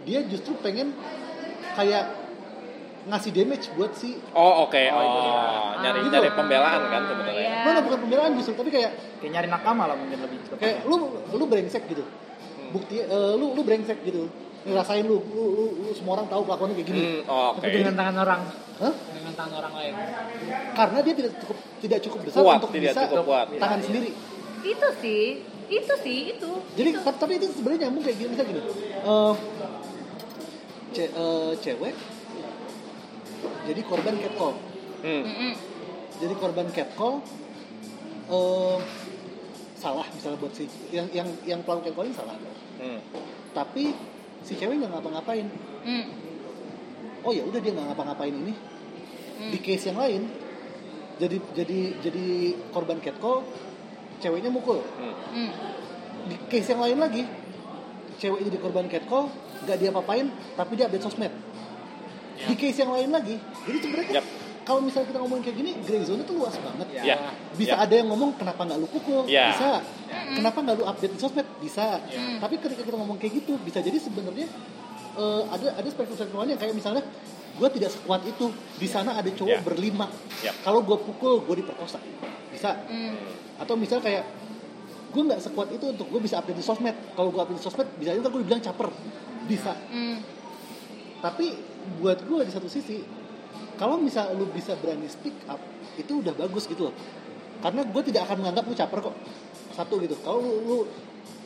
D: dia justru pengen kayak ngasih damage buat si
C: Oh, oke. Oh, nyari
D: Gitu.
C: nyari pembelaan kan sebenarnya.
A: Ah. Iya.
D: mana bukan pembelaan justru tapi kayak
E: Kayak nyari nakama lah mungkin lebih tepat.
D: kayak lu lu brengsek gitu bukti eh, lu lu brengsek gitu ngerasain lu lu, lu, lu semua orang tahu kelakuannya kayak gini
C: Hmm, oke.
B: dengan tangan orang
D: Hah?
B: dengan tangan orang lain
D: karena dia tidak cukup tidak cukup besar
C: Kuat,
D: untuk
C: tidak
D: bisa
C: cukup kuat.
D: tahan sendiri
A: itu sih itu sih itu
D: jadi tapi, tapi itu sebenarnya nyambung kayak gini misalnya gini eh, ce- eh, cewek jadi korban catcall
C: Hmm.
A: Mm-mm.
D: jadi korban catcall eh, salah misalnya buat si yang yang yang pelaku catcalling salah
C: Hmm.
D: tapi si cewek nggak ngapa-ngapain
A: Mm.
D: oh ya udah dia nggak ngapa-ngapain ini di case yang lain jadi jadi jadi korban catcall ceweknya mukul
C: hmm.
A: Mm.
D: di case yang lain lagi cewek jadi korban catcall nggak dia apain tapi dia update sosmed di case yang lain lagi jadi sebenarnya kan
C: Yap.
D: kalau misalnya kita ngomongin kayak gini gray zone itu luas banget
C: Ya.
D: bisa
C: Ya.
D: ada yang ngomong kenapa nggak lu pukul
C: Ya.
D: bisa kenapa nggak lu update di sosmed bisa tapi ketika kita ngomong kayak gitu bisa jadi sebenarnya eh, ada ada spektrum spektrumnya kayak misalnya gue tidak sekuat itu di sana ada cowok
C: Ya.
D: berlima
C: Ya.
D: kalau gue pukul gue diperkosa bisa atau misalnya kayak gue nggak sekuat itu untuk gue bisa update di sosmed kalau gue update di sosmed bisa aja gue dibilang caper bisa
A: Mm.
D: tapi buat gue di satu sisi kalau misal lu bisa berani speak up itu udah bagus gitu loh karena gue tidak akan menganggap lu caper kok satu gitu kalau lu, lu-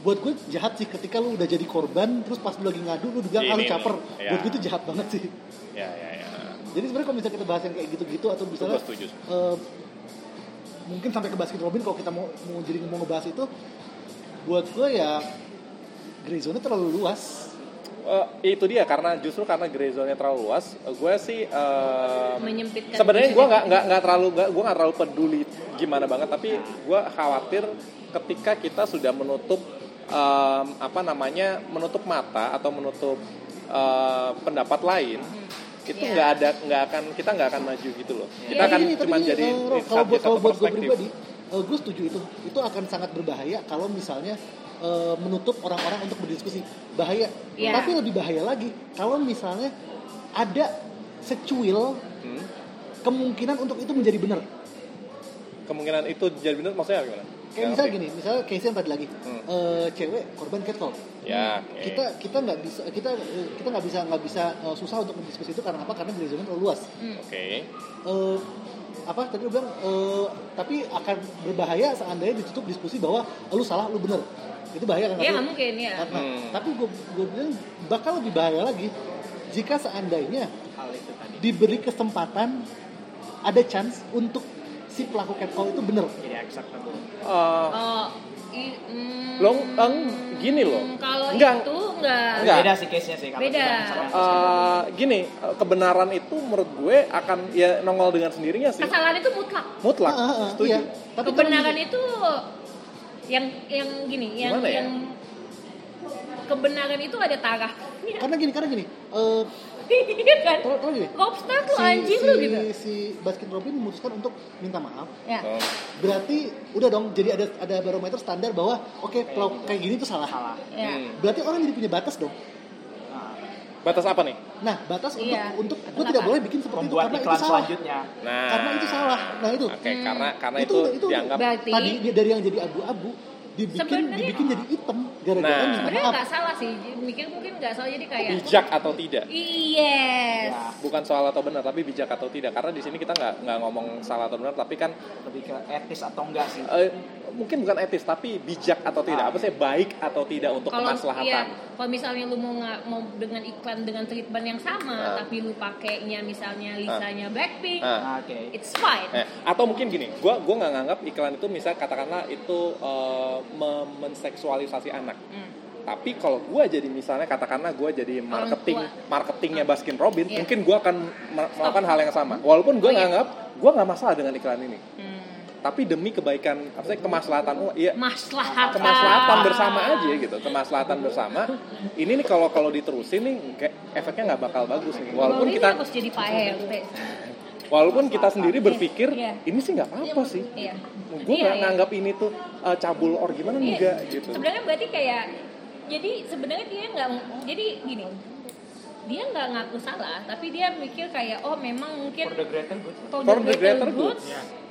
D: buat gue jahat sih ketika lu udah jadi korban terus pas lu lagi ngadu lu dibilang ah lu
C: Ini,
D: caper
C: ya.
D: buat gue itu jahat banget sih
C: Ya, ya, ya.
D: jadi sebenarnya kalau misalnya kita bahas yang kayak gitu-gitu atau
C: Itu gue
D: misalnya
C: setuju.
D: eh, mungkin sampai ke basket Robin kalau kita mau mau jadi mau ngebahas itu buat gue ya gray zone-nya terlalu luas
C: Eh, itu dia karena justru karena gray zone-nya terlalu luas, eh, gue sih eh,
A: menyempitkan
C: sebenarnya gue nggak nggak nggak terlalu nggak gue nggak terlalu peduli gimana banget tapi gue khawatir ketika kita sudah menutup em, apa namanya menutup mata atau menutup eh, pendapat lain itu
A: Iya.
C: nggak ada nggak akan kita nggak akan maju gitu loh kita
D: Tapi
C: akan
D: gini, Iya, tapi
C: cuma
D: gini,
C: jadi
D: eh,
C: di
D: Rob, kalau
C: satu-
D: buat kalau
C: satu
D: buat gue
C: perspektif.
D: pribadi eh, gue setuju itu itu akan sangat berbahaya kalau misalnya eh, menutup orang-orang untuk berdiskusi bahaya
A: Iya.
D: tapi lebih bahaya lagi kalau misalnya ada secuil
C: Hmm.
D: kemungkinan untuk itu menjadi benar
C: kemungkinan itu jadi benar maksudnya gimana
D: kayak
C: Nggak
D: misalnya
C: ngerti.
D: gini misalnya case yang tadi lagi
C: Ya, Hmm.
D: eh, cewek korban catcall
C: ya oke.
D: kita kita nggak bisa kita eh, kita nggak bisa nggak bisa eh, susah untuk mendiskusi itu karena apa karena gray zone-nya terlalu luas
C: oke
D: eh, apa tadi lu bilang eh, tapi akan berbahaya seandainya ditutup diskusi bahwa eh, lu salah lu bener itu bahaya kan
A: ya nggak
D: Tapi-
A: mungkin ya
D: Nah,
C: Hmm.
D: tapi gue bilang bakal lebih bahaya lagi jika seandainya
E: Hal itu tadi.
D: diberi kesempatan
E: iya,
D: ada chance untuk si pelaku catcall itu bener
E: Jadi acceptable.
C: Eh,
A: oh I- mm,
C: Lo eng, gini loh.
A: mm, kalau
C: Enggak.
A: itu enggak.
D: Iya.
C: Enggak.
E: Beda sih case-nya sih. kalau
A: Beda.
E: kita misalnya-
C: Eh, gini, eh, kebenaran itu menurut gue akan ya nongol dengan sendirinya sih.
A: Kesalahan itu mutlak.
C: Mutlak. Oh.
D: Ah, ah, ah,
C: Setuju.
D: iya.
C: kan
D: Tapi
A: kebenaran itu yang yang gini, yang
C: Gimana ya?
A: yang kebenaran itu ada taraf.
D: karena gini karena gini eh
A: Iya kan?
C: Oh,
D: tolong tolong gini
A: Lobster tuh
D: si
A: anjing
D: si,
A: lu gitu.
D: si Baskin Robin memutuskan untuk minta maaf
A: Ya.
D: berarti udah dong jadi ada ada barometer standar bahwa oke kalau kayak gini tuh salah
E: Salah.
A: Ya.
C: Oh,
D: berarti orang jadi punya batas dong
C: Batas apa nih?
D: nah batas untuk
A: Iya.
D: untuk gue tidak boleh bikin seperti itu karena
E: Membuat
D: itu
E: iklan
D: salah
E: selanjutnya.
C: Nah.
D: karena itu salah nah itu
C: Oke, karena karena
D: Itu-
C: itu,
D: itu-
C: dianggap
A: Berarti
D: tadi dia- dari yang jadi abu-abu dibikin
A: Sebenarnya-
D: dibikin jadi hitam gara-gara
C: Nah.
D: minta
A: Sebenarnya
D: maaf
A: nggak salah sih. Mikir mungkin nggak salah jadi kayak
C: bijak atau tidak.
A: Yes.
C: Bukan soal atau benar, tapi bijak atau tidak. Karena di sini kita nggak nggak ngomong salah atau benar, tapi kan
E: Lebih ke etis atau enggak sih.
C: eh, mungkin bukan etis, tapi bijak atau tidak. Apa sih baik atau tidak untuk
A: Kalau iya,
C: kemaslahatan?
A: kalau misalnya lu mau nga- mau dengan iklan dengan treatment yang sama,
C: Ah.
A: tapi lu pakainya misalnya Lisanya Blackpink,
C: Nah,
E: Nah, Oke.
A: it's fine.
C: Eh, atau mungkin gini, gue gua nggak nganggap iklan itu misal katakanlah itu eh, mem- menseksualisasi anak.
A: Hmm.
C: Tapi kalau gue jadi misalnya katakanlah gue jadi
A: Orang
C: marketing
A: tua.
C: marketingnya Baskin Robin,
A: Iya.
C: mungkin gue akan ma- melakukan hal yang sama. Walaupun
A: Oh,
C: gue
A: iya.
C: nganggap gue nggak masalah dengan iklan ini.
A: Hmm.
C: Tapi demi kebaikan, apa sih kemaslahatan, oh, iya
A: Maslahatan. Ah.
C: kemaslahatan bersama aja gitu, kemaslahatan bersama. Ini nih kalau kalau diterusin nih, kayak efeknya nggak bakal bagus nih. Walaupun
A: Kalau ini
C: kita
A: harus jadi Pak RT.
C: walaupun kita sendiri berpikir
A: Iya.
C: ini sih nggak apa-apa sih.
A: Iya.
C: gue
A: Iya,
C: nggak
A: iya.
C: nganggap ini tuh uh, cabul or gimana
A: Iya.
C: enggak gitu
A: Sebenarnya berarti kayak jadi sebenarnya dia nggak jadi gini dia nggak ngaku salah tapi dia mikir kayak oh memang mungkin
E: For the greater good.
A: for
C: For the
A: the
C: greater
A: greater good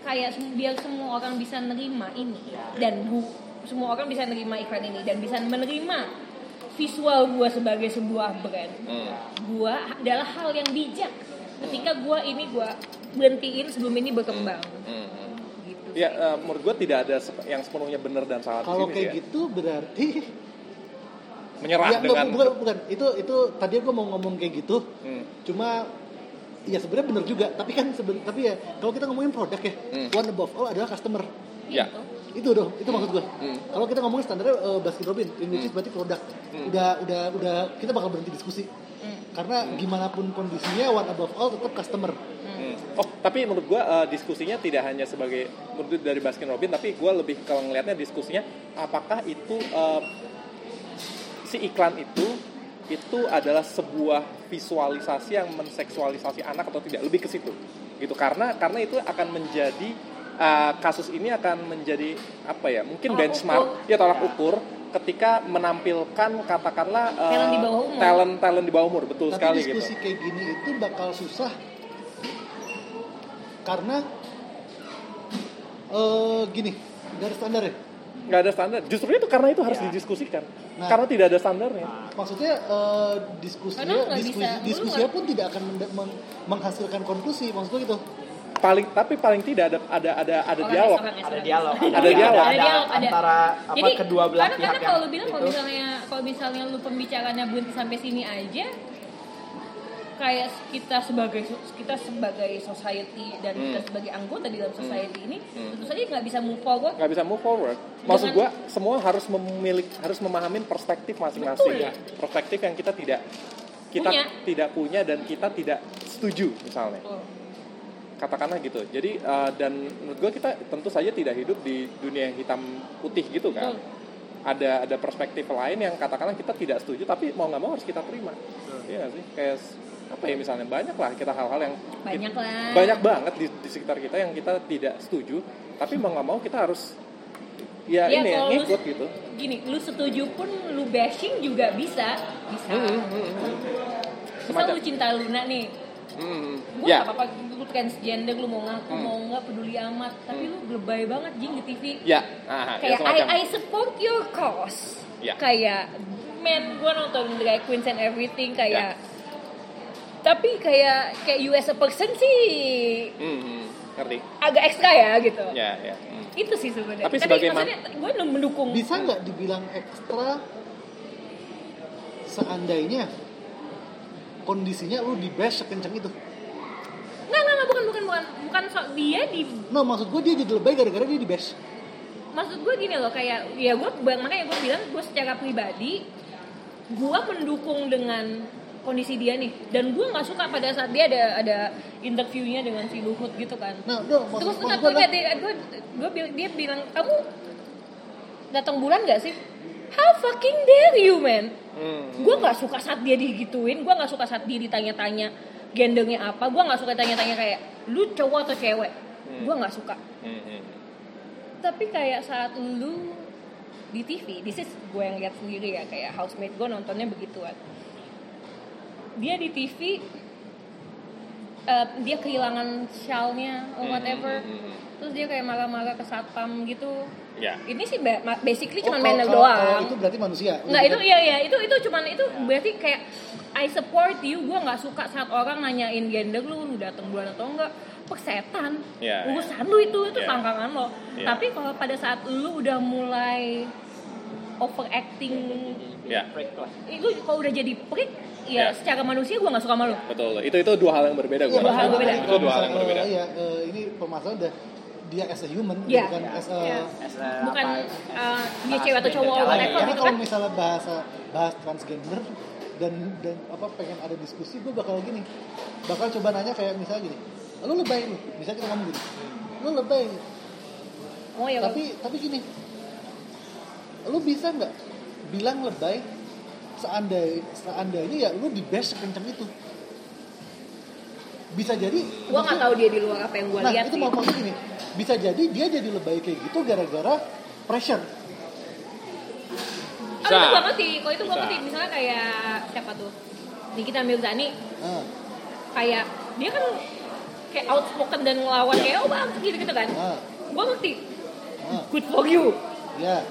A: kayak sem- biar semua orang bisa nerima ini dan bu- semua orang bisa nerima iklan ini dan bisa menerima visual gua sebagai sebuah brand
E: Hmm.
A: gua adalah hal yang bijak ketika gua ini gua berhentiin sebelum ini berkembang
E: Hmm.
A: gitu
C: ya uh, menurut gue tidak ada sep- yang sepenuhnya benar dan salah
D: kalau
C: di sini
D: kayak
C: sih ya.
D: gitu berarti
C: menyerah
D: ya,
C: dengan
D: enggak, bukan, bukan itu itu tadi gue mau ngomong kayak gitu
C: Hmm.
D: cuma ya sebenarnya benar juga tapi kan seben- tapi ya kalau kita ngomongin produk ya
C: Hmm.
D: one above all adalah customer
C: ya
A: Gitu.
D: itu dong itu maksud gue
C: Hmm.
D: kalau kita ngomongin standarnya eh, Baskin Robin in which is berarti produk
C: Hmm.
D: udah udah udah kita bakal berhenti diskusi
A: Hmm.
D: karena gimana pun kondisinya one above all tetap customer
C: Hmm. oh tapi menurut gue uh, diskusinya tidak hanya sebagai menurut dari Baskin Robin tapi gue lebih kalau ngelihatnya diskusinya apakah itu uh, si iklan itu itu adalah sebuah visualisasi yang menseksualisasi anak atau tidak lebih ke situ gitu karena karena itu akan menjadi uh, kasus ini akan menjadi apa ya mungkin
A: Tolak
C: benchmark ya tolak ukur ketika menampilkan katakanlah uh,
A: Talent di bawah umur.
C: talent talent di bawah umur betul sekali
D: tapi diskusi
C: gitu
D: kayak gini itu bakal susah karena eh gini dari standarnya
C: nggak ada standar justru itu karena itu
A: Iya.
C: harus didiskusikan
D: Nah.
C: karena tidak ada standarnya
D: maksudnya eh, diskusinya
A: Karena nggak
D: diskusi,
A: bisa-
D: diskusinya
A: lu
D: pun tidak akan mende- meng- menghasilkan konklusi maksudnya gitu
C: paling tapi paling tidak ada ada ada ada
A: Orang
C: dialog
A: orang
E: Ada dialog.
C: Ada dialog.
A: Ada dialog, ada.
E: Antara apa
A: Jadi,
E: kedua belah
A: karena,
E: pihak
A: karena kalau lu
E: yang
A: bilang kalau
E: itu.
A: misalnya kalau misalnya lu pembicaranya berhenti sampai sini aja kayak kita sebagai kita sebagai society dan kita
E: Hmm.
A: sebagai anggota di dalam society ini tentu saja nggak bisa move forward
C: nggak bisa move forward. Maksud gua semua harus memiliki harus memahami perspektif masing-masing.
A: Betul. ya.
C: Perspektif yang kita tidak kita
A: Punya.
C: tidak punya dan kita tidak setuju misalnya.
A: Betul.
C: Katakanlah gitu. Jadi eh, dan menurut gua kita tentu saja tidak hidup di dunia yang hitam putih gitu kan. Ada ada perspektif lain yang katakanlah kita tidak setuju tapi mau nggak mau harus kita terima. Iya nggak sih? Kayak s- apa ya misalnya banyak lah kita hal-hal yang
A: banyak
E: Iya.
A: lah
C: banyak banget di, di sekitar kita yang kita tidak setuju tapi mau nggak mau kita harus ya,
A: Ya,
C: ini ya
A: kalau lu-
C: ngikut gitu
A: gini lu setuju pun lu bashing juga bisa bisa
E: Hmm,
A: misal
C: Semacam.
A: lu cinta Luna nih
C: Hmm,
A: gue
C: ya
A: gak apa-apa lu transgender lu mau ngaku
E: Hmm.
A: mau nggak peduli amat tapi lu lebay banget jing di TV
C: ya ah, ya
A: kayak I,
C: semacam
A: I support your cause
C: Ya.
A: kayak man gue nonton drag queens and everything kayak
C: Ya.
A: tapi kayak kayak you as a person sih
C: Hmm, hmm, ngerti
A: agak ekstra ya gitu
C: ya ya hmm.
A: itu sih sebenarnya
C: Tapi sebagai man-
A: maksudnya gue mendukung
D: bisa nggak dibilang ekstra seandainya kondisinya lu di bash sekenceng itu
A: nggak nggak nggak, bukan bukan bukan bukan soal dia di
D: no maksud gue dia jadi lebay gara-gara dia di bash
A: maksud gue gini loh kayak ya gue makanya gue bilang gue secara pribadi gue mendukung dengan kondisi dia nih dan gue nggak suka pada saat dia ada ada interviewnya dengan si Luhut gitu kan
D: Nah, udah, maksud,
A: terus
D: maksud
A: nggak
D: gue
A: gue
D: adalah-
A: gue gue bil- dia bilang kamu datang bulan nggak sih how fucking dare you man gue nggak suka saat dia digituin gue nggak suka saat dia ditanya-tanya gendernya apa gue nggak suka tanya-tanya kayak lu cowok atau cewek gue nggak suka
C: hmm,
A: tapi kayak saat lu di TV, this is gue yang lihat sendiri ya kayak housemate gue nontonnya begituan. Dia di TV eh, dia kehilangan shawlnya
D: Hmm,
A: or whatever, terus dia kayak marah-marah ke satpam gitu.
C: Ya.
A: Ini sih ba- ma- basically cuma
D: Oh,
A: main
D: kalau- kalau- kalau
A: doang.
D: Itu berarti manusia.
A: Nggak itu iya iya itu itu cuman itu berarti kayak I support you gue nggak suka saat orang nanyain gender lu lu datang bulan atau enggak persetan
C: Iya,
A: urusan lu itu itu
C: Iya.
A: tangkangan lo
C: Iya.
A: tapi kalau pada saat lu udah mulai overacting
C: Ya.
A: itu kalau udah jadi prick ya
C: Iya.
A: secara manusia gue nggak suka sama lu
C: Betul. Itu itu dua hal yang berbeda
D: Iya,
C: gua.
A: Dua hal
C: rasa.
A: berbeda.
C: Itu dua hal yang berbeda.
D: Iya, eh, ini permasalahan udah dia as a human
A: Iya.
D: bukan as a
A: Iya.
E: As a
A: bukan
E: eh, apa,
A: uh, dia
E: bahas
A: cewek atau
E: beda
A: cowok
E: jalan
A: whatever
D: Karena
A: gitu
D: Iya, kalau
A: kan
D: misalnya bahasa bahas transgender dan dan apa pengen ada diskusi, gue bakal gini, bakal coba nanya kayak misalnya gini, lo lebay lu, bisa kita ngomong gini, lo lebay,
A: oh ya
D: tapi tapi gini, lo bisa nggak bilang lebay seandainya seandainya ya lo di bash kencang itu, bisa jadi
A: gue nggak tahu dia di luar apa yang gue
D: nah
A: lihat
D: itu
A: sih Ah,
D: mau maksud gini bisa jadi dia jadi lebay kayak gitu gara-gara pressure
A: Ah, itu
C: Bisa.
A: gue ngerti, kalau itu gue ngerti misalnya kayak siapa tuh Nikita Mirzani
D: nah,
A: kayak dia kan kayak outspoken dan ngelawan kayak oh bang gitu gitu kan
D: nah,
A: gue ngerti
D: nah,
A: good for you
D: ya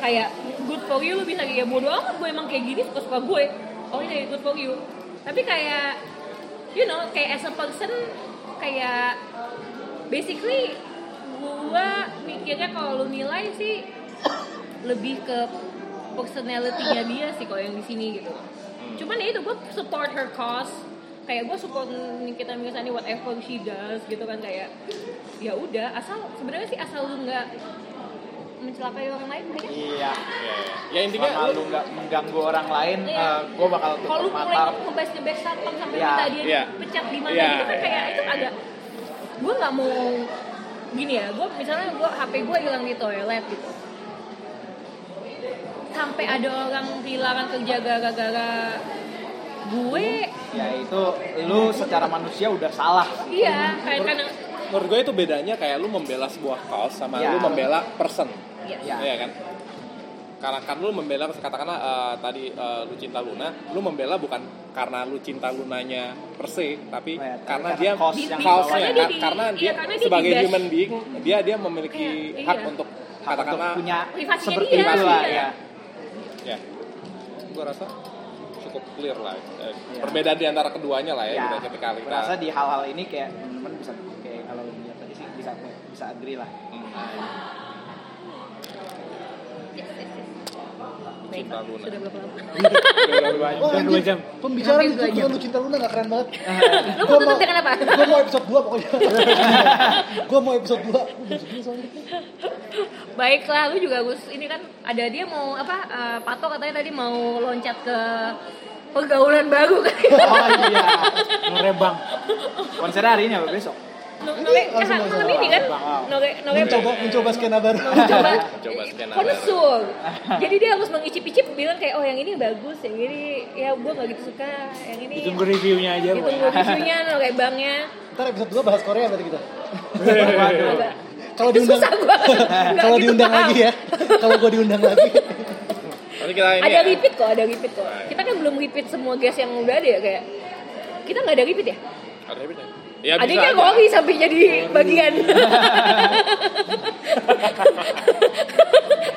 A: kayak good for you lu bisa kayak bodo amat gue emang kayak gini suka suka gue oh ini good for you tapi kayak you know kayak as a person kayak basically gue mikirnya kalau lu nilai sih lebih ke personality-nya dia sih kalau yang di sini gitu cuman ya itu gue support her cause kayak gue support Nikita Mirzani whatever she does gitu kan kayak ya udah asal sebenarnya sih asal lu nggak mencelakai orang lain kayaknya
E: Iya.
C: Ya intinya
E: Selama lu
C: lu
E: nggak mengganggu orang lain,
A: Iya.
E: eh, gue bakal
A: kalau lu
E: tutup
A: mulai
E: mata.
A: ngebahas ngebahas satpam sampai
E: Iya,
A: minta dia
C: iya.
A: pecat di mana
C: Iya,
A: gitu kan
C: iya,
A: kayak itu
C: iya.
A: agak gue nggak mau gini ya gue misalnya gue HP gue hilang di toilet gitu sampai ada orang kehilangan kerja gara-gara gue
E: Ya itu lu secara manusia udah salah.
A: iya kayak karena
C: menurut gue itu bedanya kayak lu membela sebuah kaos sama
E: Ya.
C: lu membela person.
A: Iya.
E: Ya.
C: Iya kan? Karena kan lu membela katakanlah eh, tadi eh, lu cinta Luna, lu membela bukan karena lu cinta Lunanya per se, tapi
E: Oh ya, tapi
C: karena
E: karena
C: dia
E: cost
A: Di- yang di-
C: kaosnya
A: karena dia
C: Kar-
A: di-
C: karena
A: iya,
C: dia
A: karena dia
C: sebagai
A: digas.
C: human being dia dia memiliki
A: Kayak,
C: hak
A: iya.
C: untuk
E: Untuk
C: katakanlah
E: punya
A: Privasinya
E: seperti
A: dia,
E: itu lah
A: iya.
E: ya.
C: ya gue rasa cukup clear lah eh,
E: Iya.
C: perbedaan di antara keduanya lah ya,
E: Ya,
C: gitu, ketika kita
E: berasa di hal-hal ini kayak teman-teman bisa kayak kalau lu lihat tadi sih bisa bisa agree lah. Oh,
C: cinta Luna
A: sudah berapa lama
D: oh
G: Jam dua
D: anjir
G: jam.
D: pembicaraan
A: Hampir
D: itu
A: dua jam.
D: tentang lu cinta Luna gak keren banget
A: lu mau tutup dengan apa
D: gue mau episode 2 pokoknya gue mau episode 2
A: Baiklah, lu juga Gus. Ini kan ada dia mau apa? eh, Pato katanya tadi mau loncat ke pergaulan baru kan.
E: Oh iya.
B: Ngerebang.
E: Konsernya hari ini apa besok?
A: Noge eh,
D: langsung langsung
A: malam ini kan Noge Noge
D: mencoba mencoba skena baru
A: mencoba
C: Mencoba skena
A: konsum. Jadi dia harus mengicip-icip bilang kayak oh yang ini bagus, yang ini ya gua nggak gitu suka, yang ini
G: Ditunggu reviewnya aja.
D: Gitu.
G: Bu.
A: ditunggu isunya Noge bangnya.
D: ntar episode 2 bahas Korea berarti kita
A: Agak-
D: kalau
A: Itu
D: diundang
A: susah gua. Nggak
D: kalau
A: gitu
D: diundang
A: paham.
D: lagi ya kalau gue diundang lagi
C: nanti kita ini
A: Ada
C: ya,
A: repeat kok, ada repeat kok. Kita kan belum repeat semua guys yang udah ada ya kayak kita nggak ada repeat ya?
C: ada ribet ya ya bisa
A: Adiknya
C: aja.
A: ngori sampai jadi bagian.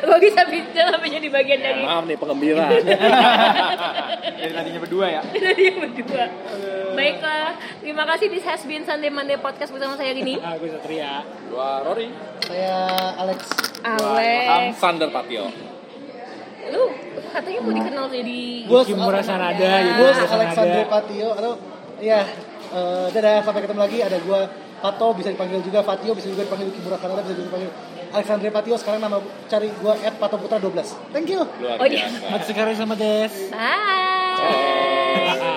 A: Ngori sampai sampai jadi bagian
C: Ya,
A: dari
C: maaf nih penggembira
E: Dari tadinya berdua ya.
A: dari yang berdua. Baiklah, terima kasih di Has Been Sunday Monday Podcast bersama saya gini.
B: Ah, gue Satria.
C: dua Rory
D: saya Alex
A: Alex,
C: Sander Patio
A: lu katanya mau dikenal jadi
D: Bos,
B: Kim Murasanada.
A: Alex-
B: Yuki
D: Gue
B: Murasanada.
D: Iya. Alexandro Patio, halo, ya, eh, dadah, sampai ketemu lagi. Ada gue Pato bisa dipanggil juga Fatio bisa juga dipanggil Kimura Kanada bisa juga dipanggil Alexandre Patio sekarang nama cari gua at Pato Putra 12 thank you
C: Luar
B: Oh, iya.
C: biasa.
A: Matsukaru sama Des.
B: Bye.